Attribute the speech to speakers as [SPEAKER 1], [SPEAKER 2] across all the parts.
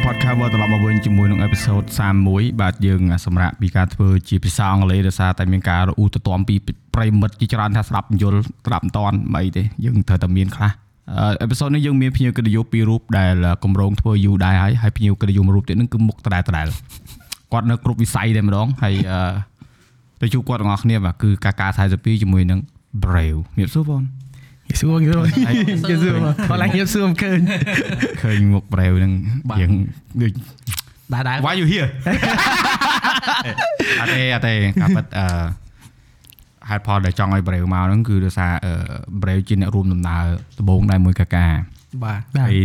[SPEAKER 1] ជាមួយនឹងអេពីសូត31បាទយើងសម្រាប់ពីការធ្វើជាភាសាអង់គ្លេសដោយសារតែមានការរអ៊ូទទាំពីប្រិមិត្តជាច្រើនថាស្ដាប់មិនយល់ស្ដាប់មិនតាន់មិនអីទេយើងត្រូវតែមានខ្លះអេពីសូតនេះយើងមានភ្ញៀវកិត្តិយសពីររូបដែលកម្រងធ្វើយូរដែរហើយហើយភ្ញៀវកិត្តិយសមួយរូបទៀតហ្នឹងគឺមុខដដែលដដែលគាត់នៅគ្រប់វិស័យតែម្ដងហើយអឺទៅជួបគាត់ទាំងអស់គ្នាបាទគឺកាកា42ជាមួយនឹង Brave មៀបសួរបង
[SPEAKER 2] យេស៊ូយេស៊ូ យេស៊ូគាត់ឡើងយេស៊ូមិនឃើញ
[SPEAKER 1] ឃើញមុខ Brave ហ្នឹងយើងដូច
[SPEAKER 2] ដែរដែរ
[SPEAKER 1] Why you here អត់ទេអត់ទេការពិតអឺហេតុផលដែលចង់ឲ្យ Brave មកហ្នឹងគឺដោយសារអឺ Brave ជាអ្នករួមដំណើរដំបូងដែរមួយកកា
[SPEAKER 2] បាទ
[SPEAKER 1] ហើយអឺ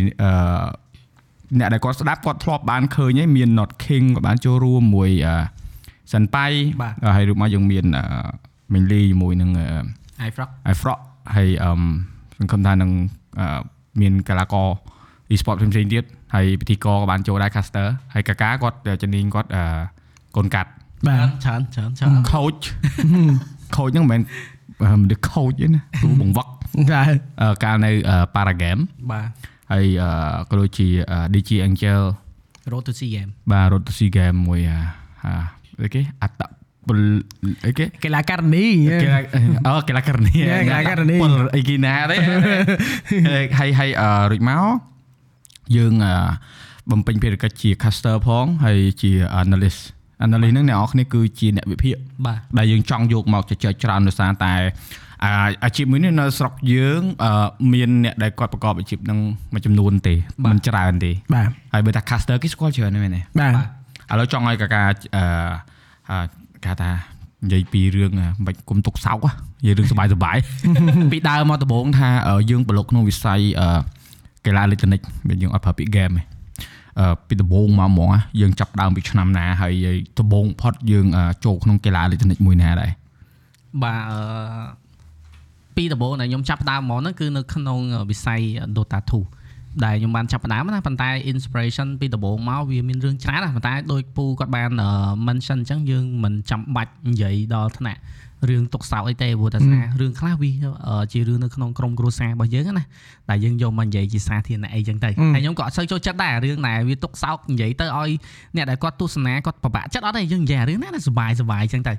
[SPEAKER 1] អ្នកដែលគាត់ស្ដាប់គាត់ធ្លាប់បានឃើញហើយមាន Not King ក៏បានចូលរួមមួយអឺសិនប៉ៃហើយរួមមកយើងមានអឺមីងលីជាមួយនឹងអឺ
[SPEAKER 2] អាយហ្វ្រក
[SPEAKER 1] iFrog ហើយអឺមសង្ឃឹមថានឹងអឺមានកីឡាករ e-sport ផ្សេងៗទៀតហើយពិធីករក៏បានចូលដែរ caster ហើយកាកាគាត់ជំនាញគាត់អឺកូនកាត់
[SPEAKER 2] បាទច្រើនច្រើនច្រើន
[SPEAKER 1] coach coach ហ្នឹងមិនមែនមនុស្ស coach ទេណាគ្រូបង្វឹក
[SPEAKER 2] ដែរ
[SPEAKER 1] អឺកាលនៅ para game
[SPEAKER 2] បាទ
[SPEAKER 1] ហើយអឺក៏ដូចជា DG Angel
[SPEAKER 2] Road to CM
[SPEAKER 1] បាទ Road to Sea Game មួយអាហាអីគេអត្តពលអីគេ
[SPEAKER 2] កីឡាករនី
[SPEAKER 1] កីឡាអូកីឡាករនី
[SPEAKER 2] កីឡាករនី
[SPEAKER 1] ពលអីគីណាទេហើយហើយអឺរួចមកយើងអឺបំពេញភារកិច្ចជា caster ផងហើយជា analyst analyst ហ្នឹងអ្នកនរគ្នាគឺជាអ្នកវិភាគ
[SPEAKER 2] បាទ
[SPEAKER 1] ដែលយើងចង់យកមកចែកច្រើនដោយសារតែអាអាជីពមួយនេះនៅស្រុកយើងអឺមានអ្នកដែលគាត់ប្រកបអាជីពហ្នឹងមួយចំនួនទេมันច្រើនទេ
[SPEAKER 2] បាទ
[SPEAKER 1] ហើយបើថា caster គេស្គាល់ច្រើនណាស់មែនទេ
[SPEAKER 2] បាទ
[SPEAKER 1] ឥឡូវចង់ឲ្យកកាអឺអឺគេថានិយាយពីរឿងអ่ะមិនគុំទុកសោកហ៎និយាយរឿងសុបាយសុ បាយ ពីដើមមកដំបូងថាអឺយើងប្រឡូកក្នុងវិស័យអឺកីឡាអេឡិចត្រូនិកមានយើងអត់ប្រើពាក្យ game ទេអឺពីដំបូងមកហ្មងហ៎យើងចាប់ដើមពីឆ្នាំណាហើយហើយដំបូងផុតយើងអ่าចូលក្នុងកីឡាអេឡិចត្រូនិកមួយណា ដែរ
[SPEAKER 3] បាទអឺពីដំបូងដែលខ្ញុំចាប់ផ្ដើមមកហ្នឹងគឺនៅក្នុងវិស័យ Dota 2ដែលខ្ញុំបានចាប់ផ្ដើមណាប៉ុន្តែ inspiration ពីដំបូងមកវាមានរឿងច្រើនណាស់ប៉ុន្តែដោយពូគាត់បានអឺ mention អញ្ចឹងយើងមិនចាំបាច់និយាយដល់ថ្នាក់រឿងទុកសោកអីទេព្រោះតែសាររឿងខ្លះវាអឺជារឿងនៅក្នុងក្រុមគ្រួសាររបស់យើងណាដែលយើងយកមកនិយាយជាសាធារណៈអីចឹងទៅហើយខ្ញុំក៏អត់សូវចូលចិត្តដែររឿងដែលវាទុកសោកនិយាយទៅឲ្យអ្នកដែលគាត់ទស្សនាគាត់ពិបាកចិត្តអត់ទេយើងនិយាយរឿងណាដែលសប្បាយសប្បាយចឹងទៅ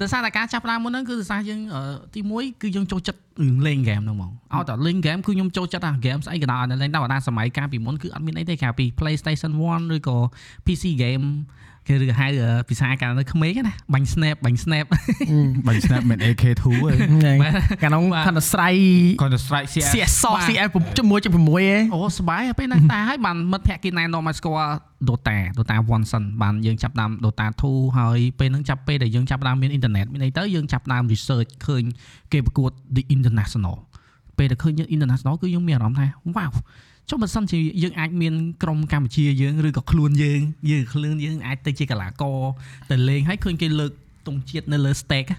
[SPEAKER 3] ដោយសារតែការចាប់ផ្ដើមមុនហ្នឹងគឺដោយសារយើងអឺទី1គឺយើងចូលចិត្តរឿងលេងហ្គេមហ្នឹងហ្មងអត់តែលេងហ្គេមគឺខ្ញុំចូលចិត្តអាហ្គេមស្អីក៏ដោយលេងដល់អាសម័យកាលពីមុនគឺអត់មានអីទេក្រៅពី PlayStation 1ឬក៏ PC game គេឬហៅអឺភាសាកាលនៅក្មេងហ្នឹងណាបាញ់ snap បាញ់ snap
[SPEAKER 1] បាញ់ snap មាន AK2 ឯង
[SPEAKER 2] ហ្នឹងកាលនោះផាន់ស្រ័យ
[SPEAKER 1] Counter Strike CS
[SPEAKER 2] CS CS 6.6ឯង
[SPEAKER 3] អូសប្បាយទៅពេលណាស់តែហើយបានមិត្តភក្តិគេណែនាំមកស្គាល់ Dota Dota 1សិនបានយើងចាប់ដើម Dota 2ហើយពេលហ្នឹងចាប់ពេលដែលយើងចាប់ដើមមានអ៊ីនធឺណិតមានអីទៅយើងចាប់ដើម research ឃើញគេប្រកួត The International ពេលដែលឃើញយើង International គឺយើងមានអារម្មណ៍ថា wow ចុះបើសិនជាយើងអាចមានក្រុមកម្ពុជាយើងឬក៏ខ្លួនយើងយើងខ្លួនយើងអាចទៅជាកីឡាករទៅលេងហើយឃើញគេលើកទង់ជាតិនៅលើ stake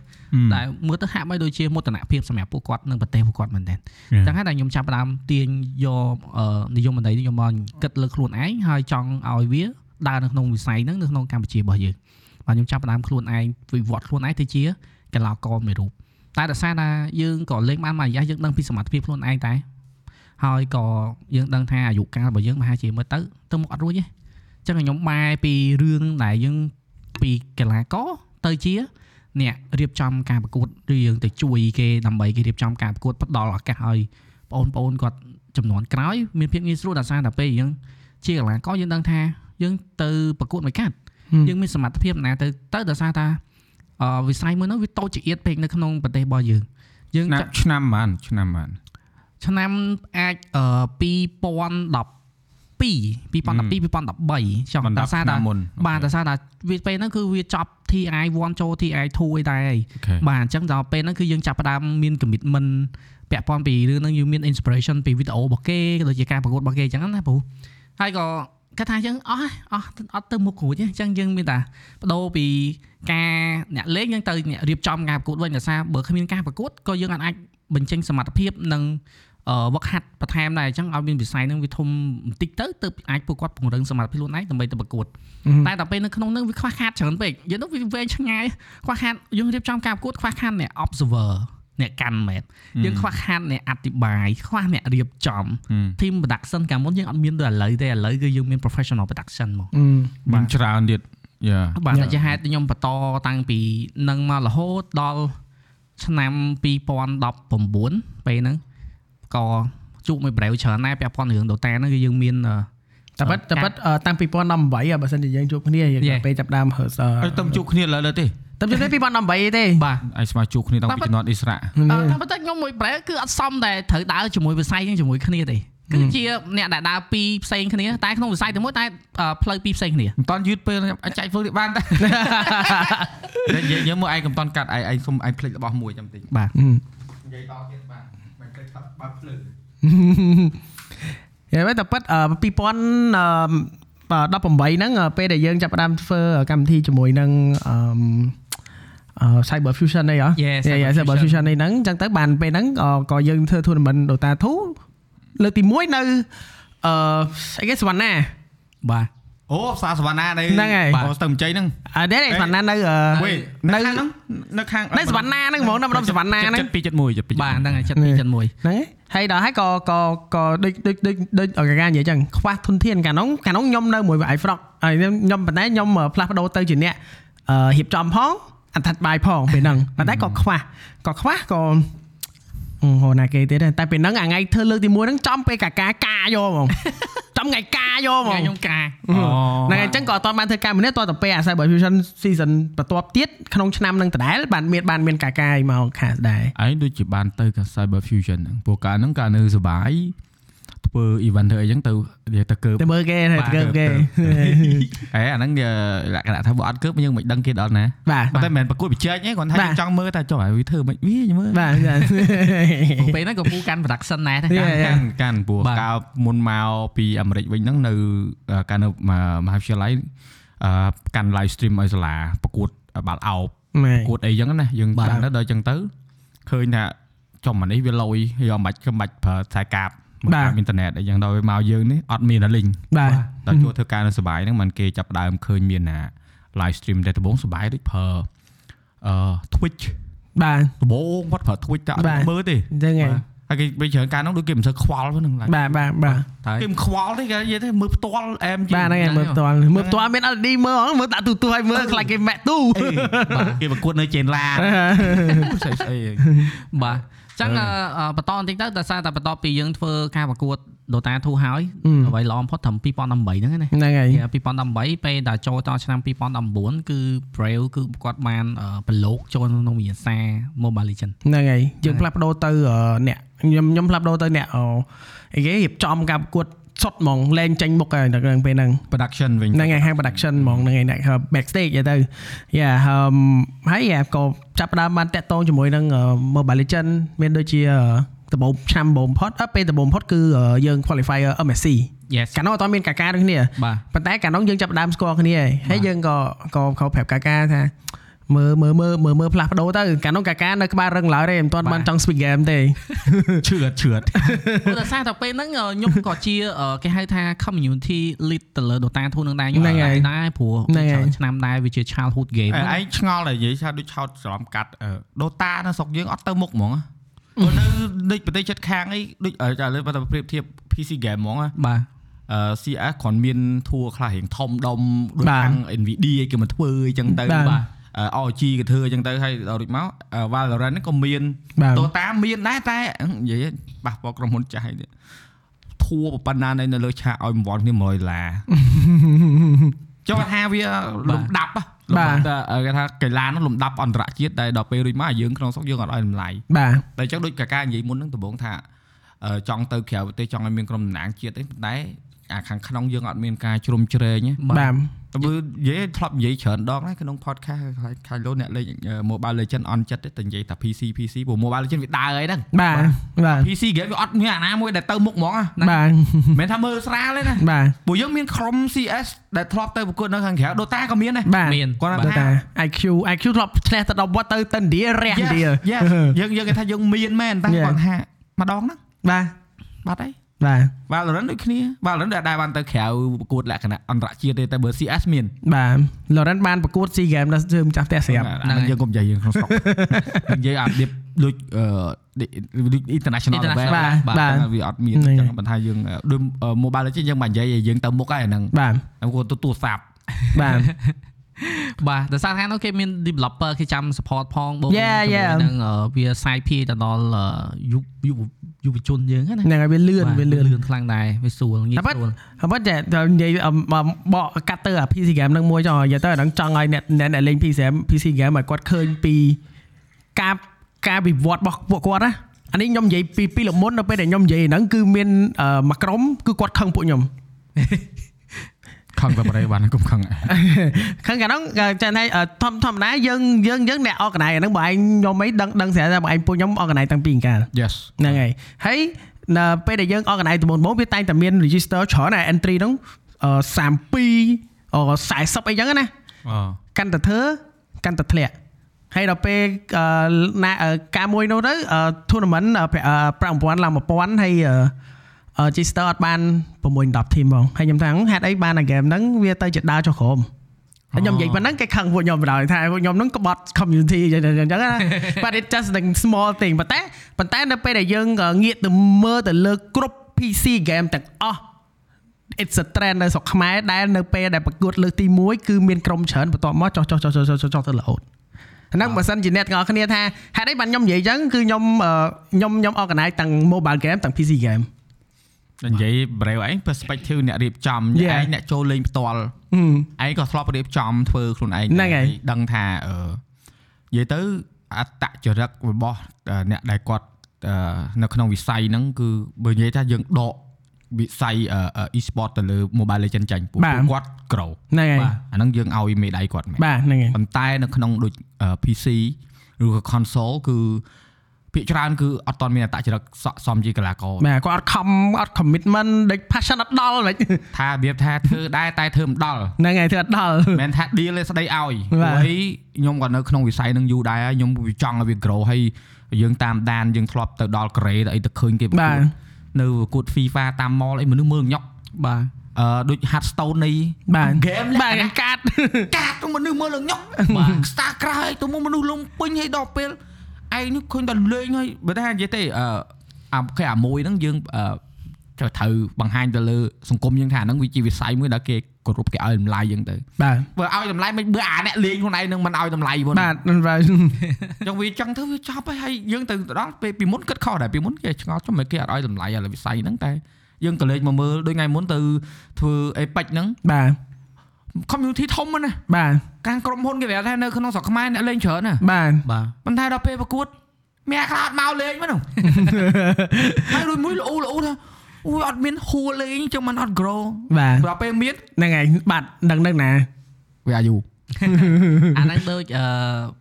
[SPEAKER 3] ដែលមើលទៅហាក់បីដូចជាមោទនភាពសម្រាប់ពួកគាត់និងប្រទេសពួកគាត់មែនទែន ចឹងហើយតែខ្ញុំចាប់ផ្ដើមទាញយកអឺនិយមន័យនេះខ្ញុំមកគិតលើខ្លួនឯងហើយចង់ឲ្យវាដើរនៅក្នុងវិស័យហ្នឹងនៅក្នុងកម្ពុជារបស់យើងបាទខ្ញុំចាប់ផ្ដើមខ្លួនឯងវិវត្តខ្លួនឯងទៅជាកីឡាករមួយរូបតែដោយសារថាយើងក៏លេងបានមួយរយៈយើងដឹងពីសមត្ថភាពខ្លួនឯងដែរហើយក៏យើងដឹងថាអាយុកាលរបស់យើងមហាជាមើលទៅទៅមុខអត់រួចទេចឹងខ្ញុំបែរពីរឿងដែលយើងពីកីឡាករទៅជាអ្នករៀបចំការប្រកួតឬយើងទៅជួយគេដើម្បីគេរៀបចំការប្រកួតផ្ដល់ឱកាសឲ្យ បងប្អូនគាត់ចំនួនក្រោយមានភាពងាយស្រួលដល់សារតែពេលយើងជាកីឡាករយើងដឹងថាយើងទៅប្រកួតមួយកាត់
[SPEAKER 2] ហឹម
[SPEAKER 3] យើងមានសមត្ថភាពណាទៅទៅដល់សារថាអឺវិស័យមួយហ្នឹងវាតូចចង្អៀតពេកនៅក្នុងប្រទេសរបស់យើងយើង
[SPEAKER 1] ឆ្នាំ
[SPEAKER 3] ចាក់
[SPEAKER 1] ឆ្នាំបានឆ្នាំបាន
[SPEAKER 3] ឆ្នាំអាចអឺ2012
[SPEAKER 1] ប
[SPEAKER 3] 2012 2013ចង់
[SPEAKER 1] ណ្ដា
[SPEAKER 3] ដល់សារ
[SPEAKER 1] ឆ្នាំ
[SPEAKER 3] ថា
[SPEAKER 1] មុន
[SPEAKER 3] បាទដល់សារថាវាពេលហ្នឹងគឺវាចប់ TI 1ចូល TI 2អីដែរហើយ
[SPEAKER 1] Okay.
[SPEAKER 3] បាទអញ្ចឹងដល់ពេលហ្នឹងគឺយើងចាប់ផ្ដើមមាន commitment ពាក់ព័ន្ធពីរឿងហ្នឹងយើងមាន inspiration ពីវីដេអូរបស់គេក៏ដូចជាការប្រកួតរបស់គេអញ្ចឹងណាព្រោះហើយក៏គាត់ថាយើងអស់ហើយអស់អត់ទៅមុខគ្រួចទេអញ្ចឹងយើងមានតែបដូរពីការអ្នកលេងយើងទៅអ្នករៀបចំការប្រកួតវិញដោយសារបើគ្មានការប្រកួតក៏យើងអាចបញ្ចេញសមត្ថភាពនិងអឺវឹកហាត់បន្ថែមដែរអញ្ចឹងឲ្យមានវិស័យហ្នឹងវាធំបន្តិចទៅទើបអាចពួកគាត់ពង្រឹងសមត្ថភាពខ្លួនឯងដើម្បីទៅប្រកួត តែដល់ពេលនៅក្នុងហ្នឹងវាខ្វះខាតច្រើនពេកយើងនោះវាវែងឆ្ងាយខ្វះខាតយើងរៀបចំការប្រកួតខ្វះខាតអ្នក observer អ្នកកាន់មែនយើងខ្វះខាតអ្នកអធិប្បាយខ្វះអ្នករៀបចំ team production កាលមុនយើងអត់មានដូចឥឡូវទេឥឡូវគឺយើងមាន professional production មក
[SPEAKER 1] បានច្រើនទៀតយ៉ា
[SPEAKER 3] បាទ
[SPEAKER 2] យ៉ា
[SPEAKER 3] តែជាហេតុខ្ញុំបន្តតាំងពីនឹងមករហូតដល់ឆ្នាំ2019ពេលហ្នឹងក៏ជួបមួយប្រែវច្រើនដែរពាក់ព័ន្ធរឿង Dota ហ្នឹងគឺយើងមានអឺ
[SPEAKER 2] តែប៉ិតតែប៉ិតអឺតាំងពី2018អ่ะបើសិនជាយើងជួបគ្នាយើង
[SPEAKER 3] Yeah.
[SPEAKER 2] ទៅចាប់ដើមហឺស
[SPEAKER 1] អត់ទៅជួបគ្នាឡើយឡើយទេ
[SPEAKER 2] តែជួបតែ2018ទេ
[SPEAKER 3] បាទ
[SPEAKER 1] ឯងស្មើជួបគ្នាតាំងពីជំនាន់អ៊ីស្រាអែល
[SPEAKER 3] អឺតាមពិតទៅខ្ញុំមួយប្រែគឺអត់សមតែត្រូវដើរជាមួយវិស័យហ្នឹងជាមួយគ្នាទេគឺជាអ្នកដែលដើរពីរផ្សេងគ្នាតែក្នុងវិស័យតែមួយតែអឺផ្លូវពីរផ្សេងគ្នា
[SPEAKER 1] មិនតាន់យឺតពេលខ្ញុំអាចចែកធ្វើទៀតបានតែ តែនិយាយយើងមើលឯងកំតាន់កាត់ឯងឯងសុំឯងភ្លេចរបស់មួយចាំតិច
[SPEAKER 3] បាទ
[SPEAKER 2] ហឹម
[SPEAKER 1] និយាយតទៀតបានមិនភ្លេចថាបើភ្លឺ
[SPEAKER 2] យ៉ាងម៉េចតែប៉ិតអឺ2018ហ្នឹងអឺពេលដែលយើងចាប់ផ្ដើមធ្វើកម្មវិធីជាមួយនឹងអឺអឺ Cyber Fusion នេះហ៎
[SPEAKER 3] Yeah,
[SPEAKER 2] Yeah, yeah,
[SPEAKER 3] Cyber
[SPEAKER 2] Cyber Fusion នេះហ្នឹងអញ្ចឹងទៅបានពេលហ្នឹងអឺក៏យើងធ្វើ tournament Dota 2លើកទី1នៅអឺអីគេសវណ្ណា
[SPEAKER 3] បាទ
[SPEAKER 1] អូផ្សារសវណ្ណានៃ
[SPEAKER 2] ហ្នឹងហើយ
[SPEAKER 1] អូស្ទឹងជ័យហ្នឹង
[SPEAKER 2] អត់ទេ
[SPEAKER 1] អេ
[SPEAKER 2] សវណ្ណានៅអឺ
[SPEAKER 1] វេ
[SPEAKER 2] នៅ
[SPEAKER 1] នៅខាងហ្នឹងនៅខាង
[SPEAKER 2] នៅសវណ្ណាហ្នឹងហ្មងនៅម្ដុំសវណ្ណាហ្នឹង
[SPEAKER 1] 72 71 72
[SPEAKER 3] បាទហ្នឹងហើយ
[SPEAKER 2] នេះ
[SPEAKER 3] 72 71
[SPEAKER 2] ហ្នឹងឯងហើយដល់ហើយក៏ក៏ក៏ដូចដូចដូចដូចអកាការនិយាយចឹងខ្វះធនធានកាលនោះកាលនោះខ្ញុំនៅមួយវាយហ្វ្រកហើយខ្ញុំខ្ញុំប៉ុន្តែខ្ញុំផ្លាស់ប្ដូរទៅជាអ្នកអឺរៀបចំផងអត្ថាធិប្បាយផងពេលហ្នឹងប៉ុន្តែក៏ខ្វះក៏ខ្វះក៏អឺហូរណាគេទៀតដែរតែពេលហ្នឹងអាថ្ងៃធ្វើលើកទី1ហ្នឹងចំពេលកាកាកាយកហ្មង ចំថ្ងៃកាយកហ្ម
[SPEAKER 3] ថ្ងៃ
[SPEAKER 2] ង
[SPEAKER 3] ខ្ញុំការ
[SPEAKER 1] អូ
[SPEAKER 2] ហ្នឹងហើយចឹងក៏អត់ទាន់បានធ្វើការមួយនេះតរតែពេលអា Cyber Fusion Season បន្ទាប់ទៀតក្នុងឆ្នាំហ្នឹងដដែលបានមានបានមានកាកាឲ្យមកខាសដែរ
[SPEAKER 1] ឯងដូចជាបានទៅកា Cyber Fusion ហ្នឹងព្រោះកាលហ្នឹងកាលនៅសបាយធ្វើ event ធ្វើអីចឹងទៅនិយាយទៅកើប
[SPEAKER 2] តែមើលគេតែ
[SPEAKER 1] បាទ
[SPEAKER 2] មើលគេ
[SPEAKER 1] ឯអាហ្នឹងវាលក្ខណៈថាបើអត់កើបយើងមិនដឹងគេដល់ណា
[SPEAKER 2] បាទ
[SPEAKER 1] ប៉ុន្តែមិនមែនប្រកួតប្រជែងទេគ្រាន់តែ
[SPEAKER 2] បាទ
[SPEAKER 1] យើងចង់មើលថាចុះឲ្យវាធ្វើមិនវាមើល
[SPEAKER 2] បាទ
[SPEAKER 3] ពេលហ្នឹងក៏ពូកាន់ production ដែរ តែ
[SPEAKER 2] Yeah.
[SPEAKER 1] កាន់កាន់ព្រោះ
[SPEAKER 3] បាទ
[SPEAKER 1] កាលមុនមកពីអាមេរិកវិញហ្នឹងនៅអឺកាលនៅមហាមហាវិទ្យាល័យអឺកាន់ live stream ឲ្យសាលាប្រកួតបាល់អោប
[SPEAKER 2] ម៉ែ
[SPEAKER 1] ប្រកួតអីចឹងណាយើង
[SPEAKER 3] បាទ
[SPEAKER 1] បានទៅដល់ចឹងទៅឃើញថាចំអានេះវាលយយកមិនបាច់ខ្ញុំមិនបាច់ប្រើខ្សែកាបមកតាមអ៊ីនធឺណិតអីចឹងដល់វាមកយើងនេះអត់មានណាលីង
[SPEAKER 2] បាទ
[SPEAKER 1] ដល់ចូលធ្វើការនៅសុបាយហ្នឹងມັນគេចាប់ផ្ដើមឃើញមានណា live stream តែដំបូងសុបាយដូចប្រើអឺ Twitch
[SPEAKER 2] បាទ
[SPEAKER 1] ដំបូងគាត់ប្រើ Twitch តែអ
[SPEAKER 2] បាទ
[SPEAKER 1] ត់មើលទេ
[SPEAKER 2] អញ្ចឹងហ៎
[SPEAKER 1] ហើយគេវិញច្រើនការហ្នឹងដូចគេមិនសូវខ្វល់ហ្នឹងឡើយ
[SPEAKER 2] បាទបាទបាទ
[SPEAKER 1] តែគេមិនខ្វល់ទេគេនិយាយថាមើលផ្ទាល់អែមជាង
[SPEAKER 2] បាទហ្នឹងឯងមើលផ្ទាល់មើលផ្ទាល់មាន LED មើលហ៎មើលដាក់ទូទូឲ្យមើលខ្លាចគេមាក់ទូ
[SPEAKER 1] បាទគេប្រកួតនៅចេនឡាស្អីស្អី
[SPEAKER 3] បាទអញ្ចឹងអឺអឺបន្តបន្តិចទៅដោយសារតែបន្តពីយើងធ្វើការប្រកួត Dota 2ហើយ
[SPEAKER 2] អឺ
[SPEAKER 3] អ្វីល្អបំផុតត្រឹម2018ហ្នឹងឯណា
[SPEAKER 2] ហ្នឹងហើយ
[SPEAKER 3] ពី2018ពេលដល់ចូលដល់ឆ្នាំ2019គឺ Brave គឺគាត់បានអឺប្រឡូកចូលក្នុងវិញ្ញាសា Mobile Legend
[SPEAKER 2] ហ្នឹងហើយយើងផ្លាស់ប្ដូរទៅអឺអ្នកខ្ញុំខ្ញុំផ្លាស់ប្ដូរទៅអ្នកអអីគេរៀបចំការប្រកួតសុតហ្មងលែងចាញ់មុខហើយដល់ហ្នឹងពេលហ្នឹង
[SPEAKER 1] production វិញ
[SPEAKER 2] ហ្នឹងឯងហាង production ហ្មងហ្នឹងឯងអ្នក backstage យទៅយ៉ាហឹមហើយយ៉ាក៏ចាប់ផ្ដើមបានតាក់ទងជាមួយនឹង uh, Mobile Legend មានដូចជាដំបូងឆ្នាំដំបូងបំផុតអឺពេលដំបូងបំផុតគឺ uh, យើង qualifier MSC
[SPEAKER 3] Yes
[SPEAKER 2] កាលនោះអត់ទាន់មានកាកាដូចគ្នា
[SPEAKER 3] បាទ
[SPEAKER 2] ប៉ុន្តែកាលនោះយើងចាប់ផ្ដើមស្គាល់គ្នាហើយហើយយើងក៏ក៏ក៏ប្រាប់កាកាថាមើលមើលមើលមើលមើលផ្លាស់ប្ដូរទៅកាលនោះកាកានៅក្បាលរឹងឡើយទេមិនទាន់បាន
[SPEAKER 3] បាទ
[SPEAKER 2] ចង់ speed game ទេ
[SPEAKER 1] ឈឿតឈឿត
[SPEAKER 3] ព្រោះដោយសារតែពេលហ្នឹងអឺខ្ញុំក៏ជាអឺគេហៅថា community lead ទៅលើ Dota 2ហ្នឹងដែរខ្ញុំ
[SPEAKER 2] ហ្នឹង
[SPEAKER 3] អត់
[SPEAKER 2] ហើយ
[SPEAKER 3] ដឹងដែរព្រោះ
[SPEAKER 2] ហ្នឹងហើយ
[SPEAKER 3] ច្រើនឆ្នាំដែរវាជា childhood game ហ្នឹង
[SPEAKER 1] ឯងឆ្ងល់តែនិយាយថាដូចឆោតច្រឡំកាត់អឺ Dota នៅស្រុកយើងអត់ទៅមុខហ្មងព្រោះនៅដូចប្រទេសជិតខាងអីដូចអឺចាលើបើតែប្រៀបធៀប PC game ហ្មងណា
[SPEAKER 3] បាទ
[SPEAKER 1] អឺ CS គ្រាន់មានធួខ្លះរៀងធំដុំដូច
[SPEAKER 2] បាទ
[SPEAKER 1] ខាង NVIDIA គេមកធ្វើអីចឹងទៅ
[SPEAKER 2] បាទ
[SPEAKER 1] អឺ ROG គេធ្វើអញ្ចឹងទៅហើយដល់រួចមកអឺ Valorant ហ្នឹងក៏មាន
[SPEAKER 2] បាទ
[SPEAKER 1] តូតាមានដែរតែនិយាយប៉ះពណ៌ក្រុមហ៊ុនចាស់ឯនេះធួរប៉ុណ្ណានៅនៅលើឆាកឲ្យរង្វាន់គ្នា100ដុល្លារចុះគាត់ថាវាលំដាប់ហ៎លំដាប់តែគេថាកីឡានោះលំដាប់អន្តរជាតិតែដល់ពេលរួចមកយើងក្នុងស្រុកយើងអត់ឲ្យតម្លៃ
[SPEAKER 2] បាទ
[SPEAKER 1] តែអញ្ចឹងដូចកាកានិយាយមុនហ្នឹងដំបូងថាអឺចង់ទៅក្រៅប្រទេសចង់ឲ្យមានក្រុមតំណាងជាតិឯងប៉ុន្តែអាខាងក្នុងយើងអត់មានការជ្រុំជ្រែងទេ
[SPEAKER 2] បាទ
[SPEAKER 1] តើមើលនិយាយធ្លាប់និយាយច្រើនដងដែរក្នុង podcast ខ្លាចខាយលោអ្នកលេងអឺ Mobile Legend អន់ចិត្តទេតែនិយាយថា PC PC ព្រោះ Mobile Legend វាដើរអីហ្នឹង
[SPEAKER 2] បាទបាទ
[SPEAKER 1] PC game វាអត់មានអាណាមួយដែលទៅមុខហ្មងហ៎
[SPEAKER 2] បាទ
[SPEAKER 1] មិនមែនថាមើលស្រាលទេណា
[SPEAKER 2] បាទ
[SPEAKER 1] ព្រោះយើងមានក្រុម CS ដែលធ្លាប់ទៅប្រកួតនៅខាងក្រៅ Dota ក៏មានដែរ
[SPEAKER 2] បាទ
[SPEAKER 3] មាន
[SPEAKER 1] គាត់
[SPEAKER 2] បាទ
[SPEAKER 1] ថា
[SPEAKER 2] តា IQ IQ ធ្លាប់ឆ្នះទៅ10វត្តទៅទៅឥណ្ឌារះឥណ្ឌា
[SPEAKER 1] Yes, yes. យើងយើងគេថាយើងមានមែនតែ
[SPEAKER 2] Yeah.
[SPEAKER 1] គាត់ថាម្ដងហ្នឹង
[SPEAKER 2] បាទ
[SPEAKER 1] បាត់ហើយ
[SPEAKER 2] បាទ
[SPEAKER 1] Valorant ដូចគ្នា Valorant ដែលដែរបានទៅក្រៅប្រកួតលក្ខណៈអន្តរជាតិទេតែបើ CS មាន
[SPEAKER 2] បាទ Lawrence បានប្រកួត SEA Games ដល់ធ្វើម្ចាស់ផ្ទះស្រាប់
[SPEAKER 1] អាហ្នឹងយើងកុំនិយាយយើងក្នុងស្រុកនិយាយអា deep ដូចអឺដូច international
[SPEAKER 3] បាទ
[SPEAKER 1] level ដែរ
[SPEAKER 2] បាទ
[SPEAKER 1] តែវាអត់មាន
[SPEAKER 2] ហ្នឹង
[SPEAKER 1] ចឹងបន្តែយើងអឺដូចអឺ mobile legend យើងមិននិយាយឲ្យយើងទៅមុខហើយអាហ្នឹង
[SPEAKER 2] បាទ
[SPEAKER 1] តែគាត់ទៅទូរស័ព្ទ
[SPEAKER 2] បាទ
[SPEAKER 3] បាទដោយសារថានោះគេមាន developer គេចាំ support ផងបង
[SPEAKER 2] Yeah,
[SPEAKER 3] ជាមួយ
[SPEAKER 2] yeah.
[SPEAKER 3] នឹងអឺវាសាយភាយទៅដល់អឺយុវយុវយុវជនយើងហ្នឹងណា
[SPEAKER 2] ហ្នឹងហើយវាលឿន
[SPEAKER 3] បាទ
[SPEAKER 2] វាលឿន
[SPEAKER 3] លឿនខ្លាំងដែរវាស្រួលងាយ
[SPEAKER 2] តែប៉ិត
[SPEAKER 3] ស្រួល
[SPEAKER 2] អបិតតែតែនិយាយអំអំបកកាត់ទៅអា PC game ហ្នឹងមួយចុះនិយាយទៅអាហ្នឹងចង់ឲ្យអ្នកអ្នកដែលលេង PC game PC game ឲ្យគាត់ឃើញពីការការវិវត្តរបស់ពួកគាត់ណាអានេះខ្ញុំនិយាយពីពីលមុនដល់ពេលដែលខ្ញុំនិយាយហ្នឹងគឺមានអឺមួយក្រុមគឺគាត់ខឹងពួកខ្ញុំ
[SPEAKER 1] ខឹងតែប្រេបានគុំខឹង
[SPEAKER 2] ខឹងកាលហ្នឹង អឺចាំថាអឺធម្មធម្មតាយើងយើងយើងអ្នក organize អាហ្នឹងបើឯងខ្ញុំអីដឹងដឹងស្រាប់តែបើឯងពួកខ្ញុំ organize តាំងពីអង្កាល
[SPEAKER 1] Yes
[SPEAKER 2] ហ្នឹងហើយហើយនៅពេលដែលយើង organize ដំបូងដំបូងវាតែងតែមាន register ច្រើនណា entry ហ្នឹងអឺ32អឺ40អីចឹងណា
[SPEAKER 1] អឺ
[SPEAKER 2] កាន់តែធ្វើកាន់តែធ្លាក់ហើយដល់ពេលអឺណាអឺការមួយនោះទៅអឺ tournament អឺប្រាក់អឺ5000ឡើង1000ហើយអឺអឺ register អត់បាន6 10 team ផងហើយខ្ញុំថាហេតុអីបានអា game ហ្នឹងវាទៅជាដើរចុះក្រោមហើយខ្ញុំនិយាយប៉ុណ្ណឹងគេខឹងពួកខ្ញុំបណ្ដោយថាពួកខ្ញុំហ្នឹងក្បត់ community អញ្ចឹងអញ្ចឹងណា but it just a small thing ប៉ុន្តែប៉ុន្តែនៅពេលដែលយើងអឺងាកទៅមើលទៅលើគ្រប់ PC game ទាំងអស់ it's a trend នៅស្រុកខ្មែរដែលនៅពេលដែលប្រកួតលើកទី1គឺមានក្រុមច្រើនបន្ទាប់មកចុះចុះចុះចុះចុះចុះចុះទៅរហូតអាហ្នឹងបើសិនជាអ្នកទាំងអស់គ្នាថាហេតុអីបានខ្ញុំនិយាយអញ្ចឹងគឺខ្ញុំអឺខ្ញុំខ្ញុំ organize ទាំង mobile game ទាំង PC game
[SPEAKER 1] និយាយ brave ឯង perspective អ្នករៀបចំ
[SPEAKER 2] Yeah.
[SPEAKER 1] ឯងអ្នកចូលលេងផ្ទាល់
[SPEAKER 2] ហឹម
[SPEAKER 1] ឯងក៏ធ្លាប់រៀបចំធ្វើខ្លួនឯង
[SPEAKER 2] ហ្នឹងហើយ
[SPEAKER 1] ដឹងថាអឺនិយាយទៅអត្តចរិតរបស់អឺអ្នកដែលគាត់អឺនៅក្នុងវិស័យហ្នឹងគឺបើនិយាយថាយើងដកវិស័យអឺ e-sport ទៅលើ mobile legend ចាញ់ពួក
[SPEAKER 2] បាទ
[SPEAKER 1] ពួកគាត់ក្រោ
[SPEAKER 2] ហ្នឹងហើយ
[SPEAKER 1] បាទអាហ្នឹងយើងឲ្យមេដៃគាត់មែន
[SPEAKER 2] បាទហ្នឹងហើយ
[SPEAKER 1] ប៉ុន្តែនៅក្នុងដូច PC ឬក៏ console គឺភាគច្រើនគឺអត់តមានអត្តចរិតស័ក្តិសមជាកីឡាករ
[SPEAKER 2] បាទគាត់អត់ខំអត់ commitment ដូច passion អត់ដល់ហ្មង
[SPEAKER 1] ថារបៀបថាធ្វើដែរតែធ្វើមិនដល់
[SPEAKER 2] ហ្នឹងហើយធ្វើអត់ដល់
[SPEAKER 1] មិនថា deal ទេស្ដីឲ្យ
[SPEAKER 2] បាទ
[SPEAKER 1] ព្រោះអីខ្ញុំក៏នៅក្នុងវិស័យនឹងយូរដែរហើយខ្ញុំវាចង់ឲ្យវា grow ហើយយើងតាមដានយើងធ្លាប់ទៅដល់កូរ៉េទៅអីទៅឃើញគេប្រកួ
[SPEAKER 2] បាទ
[SPEAKER 1] តនៅប្រកួត FIFA តាម mall អីមនុស្សមើលញ៉ុក
[SPEAKER 3] បាទ
[SPEAKER 1] អឺដូច Hearthstone នេះ
[SPEAKER 2] បាទ
[SPEAKER 1] game
[SPEAKER 2] បា
[SPEAKER 1] បាទ
[SPEAKER 2] ទកាត់
[SPEAKER 1] កាតមនុស្សមើលលញ៉ុក
[SPEAKER 3] បាទ
[SPEAKER 1] ស្តារក្រៅហើយទៅមើលមនុស្សលំពេញហើយដល់ពេលឯងនេះឃើញតែលេងហើយបើថានិយាយទេអឺអាគេអាមួយហ្នឹងយើងអឺត្រូវត្រូវបង្ហាញទៅលើសង្គមយើងថាហ្នឹងវាជាវិស័យមួយដែលគេគោរពគេឲ្យតម្លៃយើងទៅ
[SPEAKER 2] បាទ
[SPEAKER 1] បើឲ្យតម្លៃមិនបើអាអ្នកលេងខ្លួនឯងនឹងមិនឲ្យតម្លៃប៉ុន
[SPEAKER 2] បាទហ្នឹងហើយ
[SPEAKER 1] អញ្ចឹងវាចង់ធ្វើវាចប់ហើយហើយយើងទៅដល់ពេលពីមុនគិតខុសដែរពីមុនគេឆ្ងល់ចុះមិនគេអត់ឲ្យតម្លៃឥឡូវវិស័យហ្នឹងតែយើងក៏លេចមកមើលដូចថ្ងៃមុនទៅធ្វើអេប៉ិចហ្នឹង
[SPEAKER 2] បាទ
[SPEAKER 1] community ធំហ្នឹងណា
[SPEAKER 2] បាទ
[SPEAKER 1] ការក្រុមហ៊ុនគេប្រាប់ថានៅក្នុងស្រុកខ្មែរអ្នកលេងច្រើនណា
[SPEAKER 2] បាទ
[SPEAKER 3] បាទ
[SPEAKER 1] ប៉ុន្តែដល់ពេលប្រកួតមានអ្នកខ្លះអត់មកលេងហ្មង ហើយរួចមួយល្អល្អថាអូយអត់មានហួរលេងអញ្ចឹងมันអត់ grow
[SPEAKER 2] បាទ
[SPEAKER 1] ដល់ពេលមាន
[SPEAKER 2] ហ្នឹងហើយបាត់ដឹងនឹងណា
[SPEAKER 1] វាអាយុ
[SPEAKER 3] អាហ្នឹងដូចអឺ